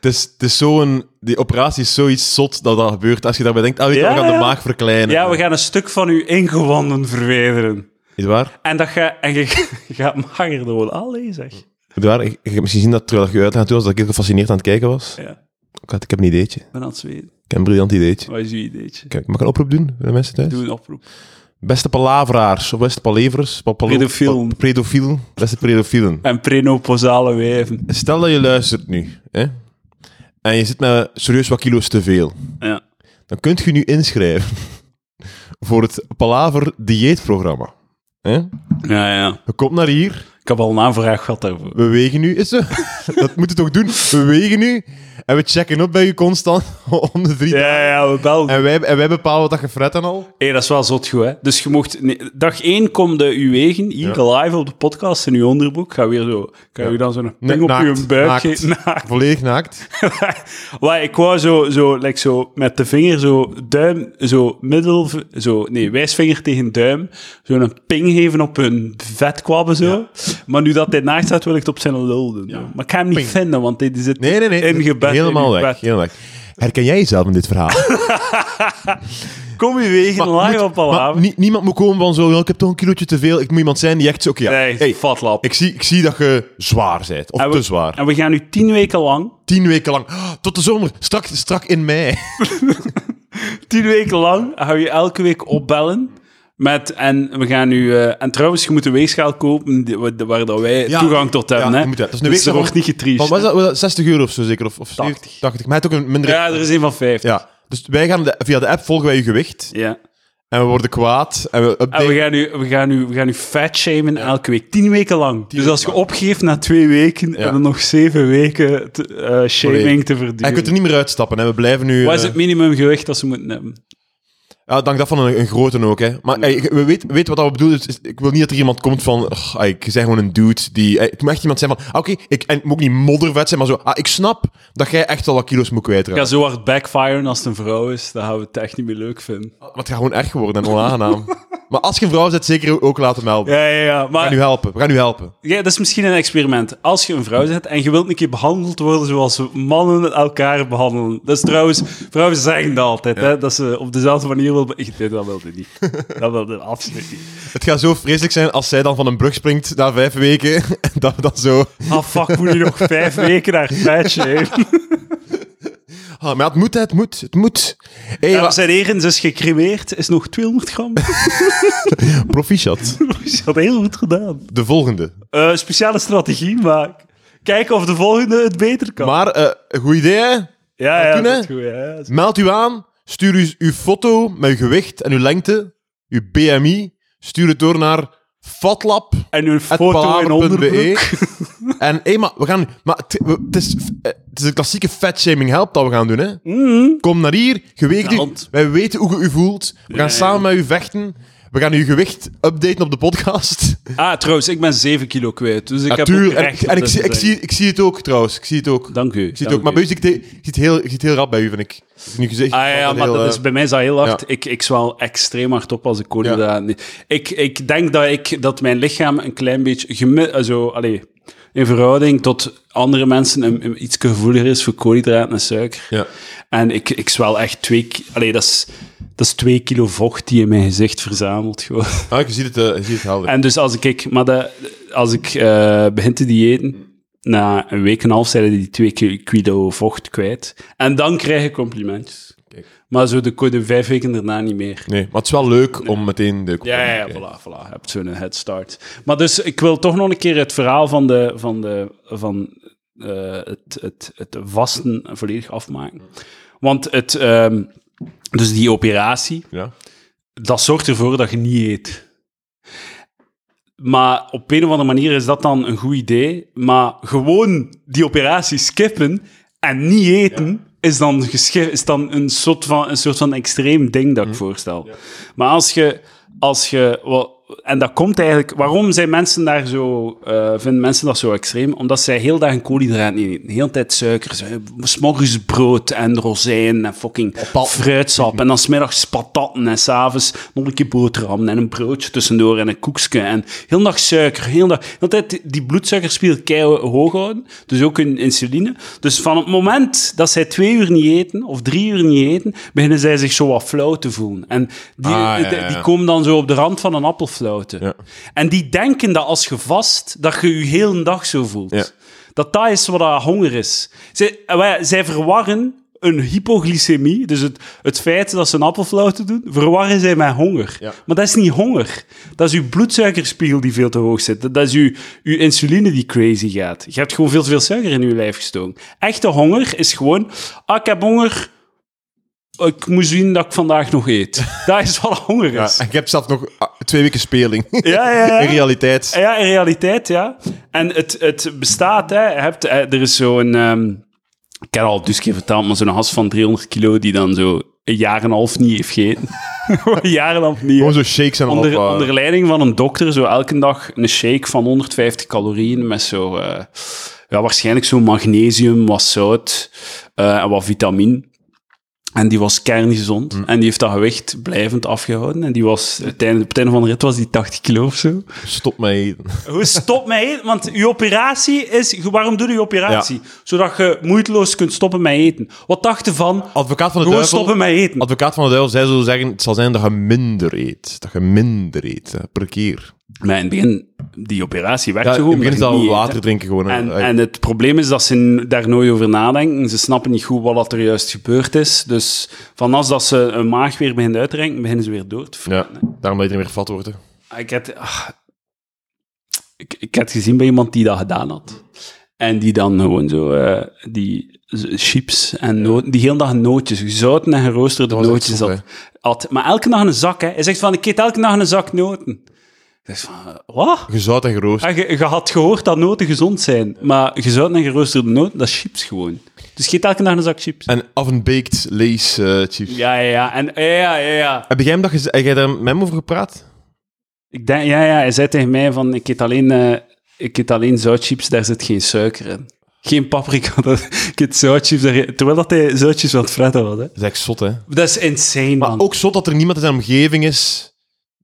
[SPEAKER 2] Het is, het is zo'n... Die operatie is zoiets zot dat dat gebeurt. Als je daarbij denkt, ah, weet je,
[SPEAKER 1] Ja,
[SPEAKER 2] we gaan
[SPEAKER 1] ja.
[SPEAKER 2] de maag verkleinen.
[SPEAKER 1] Ja, we gaan een stuk van je ingewanden verwijderen.
[SPEAKER 2] Is het waar?
[SPEAKER 1] En, dat ga, en je, je gaat magerder worden. Allee, zeg.
[SPEAKER 2] Is het waar? Ik, ik heb misschien zien dat terwijl je uit gaat doen, was dat ik heel gefascineerd aan het kijken was.
[SPEAKER 1] Ja,
[SPEAKER 2] Ik, had- ik heb een ideetje.
[SPEAKER 1] ik
[SPEAKER 2] Ik
[SPEAKER 1] ben aan het zweten.
[SPEAKER 2] heb een briljant ideetje.
[SPEAKER 1] Wat is je ideetje?
[SPEAKER 2] Kijk, mag ik een oproep doen voor de mensen thuis?
[SPEAKER 1] Doe een oproep.
[SPEAKER 2] Beste palaveraars, of beste palevers, pa- palo-
[SPEAKER 1] Pedofielen.
[SPEAKER 2] pa- Pedofielen, beste pedofielen.
[SPEAKER 1] En prenopausale wijven.
[SPEAKER 2] Stel dat je luistert nu, hè, en je zit met serieus wat kilo's te veel.
[SPEAKER 1] Ja.
[SPEAKER 2] Dan kunt je nu inschrijven voor het Palaver dieetprogramma. Hè?
[SPEAKER 1] ja, ja.
[SPEAKER 2] Je komt naar hier,
[SPEAKER 1] Ik heb al een aanvraag gehad daarvoor.
[SPEAKER 2] we wegen u, is zo. dat moet je toch doen? We wegen u en we checken op bij u constant om de drie
[SPEAKER 1] Ja, ja, we belden.
[SPEAKER 2] En wij, en wij bepalen wat dat je fret en al.
[SPEAKER 1] Hé, dat is wel zot goed, hè? Dus je mocht... nee, dag 1 komt de uw wegen, hier live op de podcast in uw onderbroek. Ga weer zo... Kan je dan zo'n
[SPEAKER 2] Nee,
[SPEAKER 1] ping op
[SPEAKER 2] naakt,
[SPEAKER 1] uw buik
[SPEAKER 2] naakt.
[SPEAKER 1] geven? Naakt.
[SPEAKER 2] Volledig naakt.
[SPEAKER 1] Maar ik wou zo, zo, like zo met de vinger, zo duim, zo middel... Zo, nee, wijsvinger tegen duim. Zo een ping geven op hun vetkwabben, zo. Maar nu dat hij naakt staat, wil ik het op zijn lul doen. zo. Maar ik ga hem niet
[SPEAKER 2] Ping.
[SPEAKER 1] vinden, want hij die zit
[SPEAKER 2] Nee, nee, nee.
[SPEAKER 1] in gebed.
[SPEAKER 2] helemaal
[SPEAKER 1] in gebed.
[SPEAKER 2] weg. Helemaal weg. Herken jij jezelf in dit verhaal?
[SPEAKER 1] Kom je wegen,
[SPEAKER 2] moet-
[SPEAKER 1] laag op al
[SPEAKER 2] maar nie- niemand moet komen van zo, "Ja, ik heb toch een kilootje te veel. Ik moet iemand zijn die echt zo, oké, ja,
[SPEAKER 1] Nee,
[SPEAKER 2] hey,
[SPEAKER 1] fatlap.
[SPEAKER 2] ik, zie, ik zie dat je zwaar bent. Of
[SPEAKER 1] En we-
[SPEAKER 2] te zwaar.
[SPEAKER 1] En we gaan nu tien weken lang,
[SPEAKER 2] Tien weken lang. Ah, Tot de zomer. Strak, strak in mei.
[SPEAKER 1] tien weken lang, hou je elke week opbellen. Met, en we gaan nu... eh, en trouwens, je moet een weegschaal kopen die- waar, waar dat wij
[SPEAKER 2] Ja.
[SPEAKER 1] toegang tot hebben.
[SPEAKER 2] Ja,
[SPEAKER 1] hè.
[SPEAKER 2] je moet dat. Dat is een
[SPEAKER 1] dus
[SPEAKER 2] weegschaal
[SPEAKER 1] er wordt
[SPEAKER 2] van-
[SPEAKER 1] niet getriest.
[SPEAKER 2] Wat was dat? Was dat 60 euro of zo zeker? Of, of
[SPEAKER 1] 80.
[SPEAKER 2] 70? 80. Maar het ook een minder...
[SPEAKER 1] Ja, er is een van vijftig.
[SPEAKER 2] Ja. Dus wij gaan de- via de app volgen wij je gewicht.
[SPEAKER 1] Ja.
[SPEAKER 2] En we worden kwaad. En we
[SPEAKER 1] En we
[SPEAKER 2] updaten.
[SPEAKER 1] gaan nu, we gaan nu, we gaan nu fat shamen elke week. Tien weken lang. dus als je opgeeft na twee weken, hebben we nog zeven weken te- eh, shaming te
[SPEAKER 2] En je
[SPEAKER 1] verduren.
[SPEAKER 2] kunt er niet meer uitstappen. Hè. We blijven nu...
[SPEAKER 1] Wat is
[SPEAKER 2] eh,
[SPEAKER 1] het minimumgewicht dat ze moeten hebben?
[SPEAKER 2] Ja, dank dat van een, een grote ook, hè. Maar ey, we weet, weet wat dat we bedoelen. Het is- Ik wil niet dat er iemand komt van... "Ugh, ey, ik zeg gewoon een dude die... ey, Het moet echt iemand zijn van... ah, Oké, ik en het moet ook niet moddervet zijn, maar zo... Ah, ik snap dat jij echt al wat kilo's moet
[SPEAKER 1] Ik ga
[SPEAKER 2] kwijtraken.
[SPEAKER 1] zo hard backfiren als het een vrouw is. Dan gaan we het echt niet meer leuk vinden.
[SPEAKER 2] Want het gaat gewoon erg worden en onaangenaam. maar als je een vrouw bent, zeker ook laten melden.
[SPEAKER 1] Ja, ja, ja.
[SPEAKER 2] We gaan
[SPEAKER 1] Maar
[SPEAKER 2] u helpen. We gaan u helpen.
[SPEAKER 1] ja, dat is misschien een experiment. Als je een vrouw bent en je wilt een keer behandeld worden zoals mannen elkaar behandelen. Dat is trouwens... Vrouwen zeggen dat altijd, hè. Dat ze op dezelfde manier wil... be- Nee, dat wilde niet. dat wilde absoluut niet.
[SPEAKER 2] Het gaat zo vreselijk zijn als zij dan van een brug springt na vijf weken. en dat we dan zo...
[SPEAKER 1] Ah, fuck, moet je nog vijf weken naar feitje heen?
[SPEAKER 2] Ah, maar het moet, hè, het moet. Het moet. Hey, wa-
[SPEAKER 1] zijn erens is gecremeerd, is nog 200 gram.
[SPEAKER 2] Proficiat.
[SPEAKER 1] Ze had heel goed gedaan.
[SPEAKER 2] De volgende.
[SPEAKER 1] Eh, speciale strategie, maar kijken of de volgende het beter kan.
[SPEAKER 2] Maar, eh een goed idee, hè?
[SPEAKER 1] ja, ja,
[SPEAKER 2] Toen, hè?
[SPEAKER 1] dat is goed. Ja.
[SPEAKER 2] Meld u aan, stuur u uw foto met uw gewicht en uw lengte, uw BMI, stuur het door naar fatlab.
[SPEAKER 1] En een foto in
[SPEAKER 2] E.
[SPEAKER 1] onderbroek.
[SPEAKER 2] en hé, maar we gaan. Maar het, we- het is, eh, het is een klassieke fatshaming help dat we gaan doen, hè?
[SPEAKER 1] Mhm.
[SPEAKER 2] Kom naar hier, gewicht. u.
[SPEAKER 1] Want-
[SPEAKER 2] Wij weten hoe je u voelt. We gaan
[SPEAKER 1] ja.
[SPEAKER 2] samen met u vechten. We gaan uw gewicht updaten op de podcast.
[SPEAKER 1] Ah, trouwens, ik ben 7 kilo kwijt, dus ik heb ook
[SPEAKER 2] Natuurlijk. En,
[SPEAKER 1] recht
[SPEAKER 2] ik-
[SPEAKER 1] op
[SPEAKER 2] en ik,
[SPEAKER 1] dit
[SPEAKER 2] zie,
[SPEAKER 1] te
[SPEAKER 2] ik,
[SPEAKER 1] zeggen.
[SPEAKER 2] zie, ik zie het ook trouwens. Ik zie het ook.
[SPEAKER 1] Dank u.
[SPEAKER 2] Ik zie het
[SPEAKER 1] dank
[SPEAKER 2] ook. Maar
[SPEAKER 1] u.
[SPEAKER 2] bij u zie ik, het- ik zie het heel, ik zie het heel rap bij u, vind ik. Nu gezicht.
[SPEAKER 1] Ah ja, ja,
[SPEAKER 2] altijd
[SPEAKER 1] maar
[SPEAKER 2] heel,
[SPEAKER 1] dat
[SPEAKER 2] eh,
[SPEAKER 1] is, bij mij is dat heel hard. Ik, ik zwaal extreem hard op als ik koolhydraten niet... Ik, ik denk dat, ik, dat mijn lichaam een klein beetje... Gemi- eh, zo, allee, in verhouding tot andere mensen een, een- iets gevoeliger is voor koolhydraten en suiker.
[SPEAKER 2] Ja.
[SPEAKER 1] En ik, ik zwaal echt twee... ki- Allee, dat is, dat is twee kilo vocht die in mijn gezicht verzamelt. Gewoon.
[SPEAKER 2] Ah, je ziet het, eh, je ziet het helder.
[SPEAKER 1] En dus als ik- ik, maar dat- als ik eh, begin te diëten, na een week en een half zijn die twee ki- kilo vocht kwijt. En dan krijg ik complimentjes.
[SPEAKER 2] Kijk.
[SPEAKER 1] Maar zo de, ko- de vijf weken daarna niet meer.
[SPEAKER 2] Nee, maar het is wel leuk om meteen de...
[SPEAKER 1] Ja, ja, ja, voilà, voilà. Je hebt zo'n head start. Maar dus, ik wil toch nog een keer het verhaal van, de, van, de, van eh, het, het, het vasten volledig afmaken. Want het, ehm, dus die operatie,
[SPEAKER 2] Ja.
[SPEAKER 1] dat zorgt ervoor dat je niet eet. Maar op een of andere manier is dat dan een goed idee. Maar gewoon die operatie skippen en niet eten. Is dan, geschi- is dan een, soort van, een soort van extreem ding dat ik voorstel. Maar als je, als je. wa- En dat komt eigenlijk. Waarom zijn mensen daar zo. eh, vinden mensen dat zo extreem? Omdat zij heel dagen koolhydraten eten. De hele tijd suikers. eh, S'morgens brood en rozijnen en fucking
[SPEAKER 2] Pal-
[SPEAKER 1] fruitsap. En dan smiddags patatten en s'avonds nog een keer boterhammen en een broodje tussendoor en een koekje. En heel dag suiker, heel dag... Heel de tijd die bloedsuikerspiegel keihard hoog houden, dus ook hun insuline. Dus van het moment dat zij twee uur niet eten, of drie uur niet eten, beginnen zij zich zo wat flauw te voelen. En die,
[SPEAKER 2] Ah, ja, ja,
[SPEAKER 1] die-
[SPEAKER 2] ja.
[SPEAKER 1] die komen dan zo op de rand van een appelflauwte.
[SPEAKER 2] Ja.
[SPEAKER 1] En die denken dat als je vast, dat je je heel een dag zo voelt.
[SPEAKER 2] Ja.
[SPEAKER 1] Dat dat is wat dat honger is. Zij, eh, wij- zij verwarren een hypoglycemie, dus het, het feit dat ze een appelflauwte doen, verwarren zij met honger.
[SPEAKER 2] Ja.
[SPEAKER 1] Maar dat is niet honger. Dat is uw bloedsuikerspiegel die veel te hoog zit. Dat is uw, uw insuline die crazy gaat. Je hebt gewoon veel te veel suiker in je lijf gestoken. Echte honger is gewoon, ah, ik heb honger, ik moet zien dat ik vandaag nog eet. Dat is wat honger
[SPEAKER 2] Ja,
[SPEAKER 1] is.
[SPEAKER 2] en ik heb zelf nog ah, twee weken speling.
[SPEAKER 1] Ja, ja, ja.
[SPEAKER 2] In realiteit.
[SPEAKER 1] Ja, in realiteit, ja. En het, het bestaat, hè. Je hebt, eh, er is zo'n... ehm, ik ken al dus keer verteld, maar zo'n has van 300 kilo die dan zo een jaar en een half niet heeft gegeten. een jaar en een half niet.
[SPEAKER 2] Gewoon zo shakes en
[SPEAKER 1] Onder,
[SPEAKER 2] al.
[SPEAKER 1] onder leiding van een dokter, zo elke dag een shake van 150 calorieën met zo, eh, ja, waarschijnlijk zo magnesium, wat zout eh, en wat vitamine. En die was kerngezond.
[SPEAKER 2] Mm.
[SPEAKER 1] En die heeft dat gewicht blijvend afgehouden. En die was, uiteindelijk, op het einde van de rit was die 80 kilo of zo.
[SPEAKER 2] Stop mij eten.
[SPEAKER 1] Hoe stop met eten? Want je operatie is... ge- Waarom doe je operatie? Zodat je moeiteloos kunt stoppen met eten. Wat dacht je van...
[SPEAKER 2] Advocaat van de
[SPEAKER 1] Gewoon
[SPEAKER 2] duivel.
[SPEAKER 1] stoppen met eten.
[SPEAKER 2] Advocaat van de duivel, zij zou zeggen, het zal zijn dat je minder eet. Dat je minder eet, hè, per keer.
[SPEAKER 1] Maar in het begin, die operatie werkt
[SPEAKER 2] Ja,
[SPEAKER 1] zo
[SPEAKER 2] in
[SPEAKER 1] goed.
[SPEAKER 2] het begin is
[SPEAKER 1] omdat
[SPEAKER 2] dat
[SPEAKER 1] je niet eet,
[SPEAKER 2] water
[SPEAKER 1] hè.
[SPEAKER 2] drinken gewoon. hè.
[SPEAKER 1] En, en het probleem is dat ze n- daar nooit over nadenken. Ze snappen niet goed wat dat er juist gebeurd is. Dus van als dat ze een maag weer begint uit te renken, beginnen ze weer door te
[SPEAKER 2] ja,
[SPEAKER 1] vreten.
[SPEAKER 2] daarom dat iedereen weer vat wordt. hè.
[SPEAKER 1] Ah, Ik had, ah, ik, ik had gezien bij iemand die dat gedaan had. En die dan gewoon zo, eh, die z- chips en noten, die hele dag nootjes, gezouten en geroosterde
[SPEAKER 2] was echt
[SPEAKER 1] nootjes
[SPEAKER 2] zot,
[SPEAKER 1] had, had. Maar elke dag een zak, hè. Hij zegt van, ik eet elke dag een zak noten. Ik zeg van, eh, wat?
[SPEAKER 2] Gezout en geroost.
[SPEAKER 1] Ah, je, je had gehoord dat noten gezond zijn, maar gezouten en geroosterde noten, dat is chips gewoon. Dus je eet elke dag een zak chips.
[SPEAKER 2] En oven-baked Lay's eh, chips.
[SPEAKER 1] Ja, ja, ja. En, ja, ja, ja, ja.
[SPEAKER 2] Heb jij hem dat gez- heb jij daar met hem over gepraat?
[SPEAKER 1] Ik denk, ja, ja, hij zei tegen mij van, ik eet alleen, eh, ik eet alleen zoutchips, daar zit geen suiker in. Geen paprika, dat- ik eet zoutchips, daar- terwijl dat hij zoutchips aan het fretten was. Hè.
[SPEAKER 2] Dat is echt zot, hè?
[SPEAKER 1] Dat is insane,
[SPEAKER 2] Maar
[SPEAKER 1] man.
[SPEAKER 2] ook zot dat er niemand in zijn omgeving is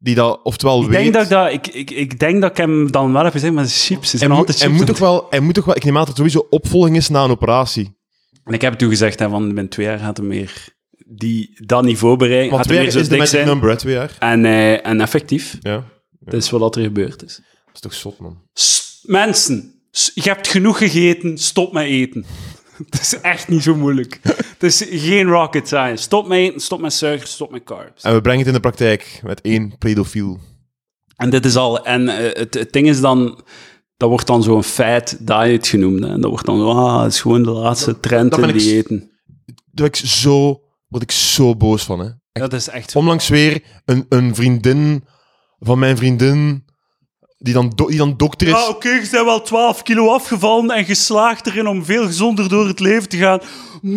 [SPEAKER 2] die dat oftewel
[SPEAKER 1] ik,
[SPEAKER 2] weet...
[SPEAKER 1] denk dat ik, dat, ik, ik, ik denk dat ik hem dan wel heb gezegd, maar het is chips, het
[SPEAKER 2] Hij
[SPEAKER 1] zijn
[SPEAKER 2] moet,
[SPEAKER 1] altijd
[SPEAKER 2] hij
[SPEAKER 1] chips.
[SPEAKER 2] moet toch wel, hij moet toch wel... Ik neem aan dat er sowieso opvolging is na een operatie.
[SPEAKER 1] En ik heb toen gezegd, hè, van, binnen twee jaar gaat hij meer die, dat niveau bereiken,
[SPEAKER 2] Want
[SPEAKER 1] gaat hij meer
[SPEAKER 2] twee jaar
[SPEAKER 1] zo
[SPEAKER 2] is de
[SPEAKER 1] dik
[SPEAKER 2] magic
[SPEAKER 1] zijn.
[SPEAKER 2] number, hè, twee jaar.
[SPEAKER 1] En, eh, en effectief,
[SPEAKER 2] Ja,
[SPEAKER 1] dat is wat er gebeurd is.
[SPEAKER 2] dat is toch zot, man.
[SPEAKER 1] S- mensen, s- je hebt genoeg gegeten, stop met eten. Het is echt niet zo moeilijk. Het is geen rocket science. Stop met eten, stop met suiker, stop met carbs.
[SPEAKER 2] En we brengen het in de praktijk met één pedofiel.
[SPEAKER 1] En dit is al... En eh, het, het ding is dan... Dat wordt dan zo'n fat diet genoemd. hè. En dat wordt dan zo... Ah, het is gewoon de laatste trend
[SPEAKER 2] dat
[SPEAKER 1] in
[SPEAKER 2] ben ik s-
[SPEAKER 1] diëten.
[SPEAKER 2] Daar word ik zo, word ik zo boos van, hè.
[SPEAKER 1] Dat is echt...
[SPEAKER 2] Onlangs weer een, een vriendin van mijn vriendin, die dan, do- die dan dokter is.
[SPEAKER 1] Ah, oké, je bent wel 12 kilo afgevallen en geslaagd erin om veel gezonder door het leven te gaan.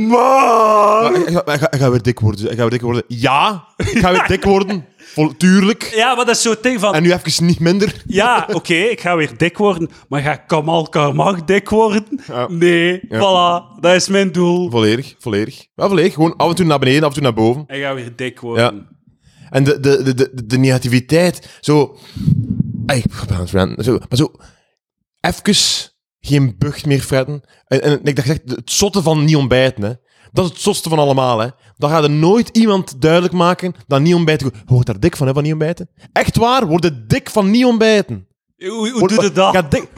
[SPEAKER 1] Maar...
[SPEAKER 2] Ah, Ik ga, ik ga, ik ga weer dik worden. dus Ik ga weer dik worden. Ja, ik ga weer dik worden. Vol, tuurlijk.
[SPEAKER 1] Ja, maar dat is zo'n ding van...
[SPEAKER 2] En nu even niet minder.
[SPEAKER 1] Ja, oké, ik ga weer dik worden, maar ga Kamal Karmach dik worden?
[SPEAKER 2] Ja.
[SPEAKER 1] Nee, voilà, dat is mijn doel.
[SPEAKER 2] Volledig, volledig. Ja, volledig. Gewoon af en toe naar beneden, af en toe naar boven.
[SPEAKER 1] En ga weer dik worden.
[SPEAKER 2] En de, de, de, de, de negativiteit, zo... Ey, ik ben aan het ranten. Zo, maar zo, even geen bucht meer fretten. En, en ik dacht echt, het zotte van niet ontbijten, hè. Dat is het zotste van allemaal, hè. Dan gaat er nooit iemand duidelijk maken dat niet ontbijten... goed- Je wordt daar dik van, hè, van niet ontbijten. Echt waar, word je dik van niet ontbijten.
[SPEAKER 1] Hoe, hoe
[SPEAKER 2] Word-
[SPEAKER 1] doe je dat?
[SPEAKER 2] Ja, dik.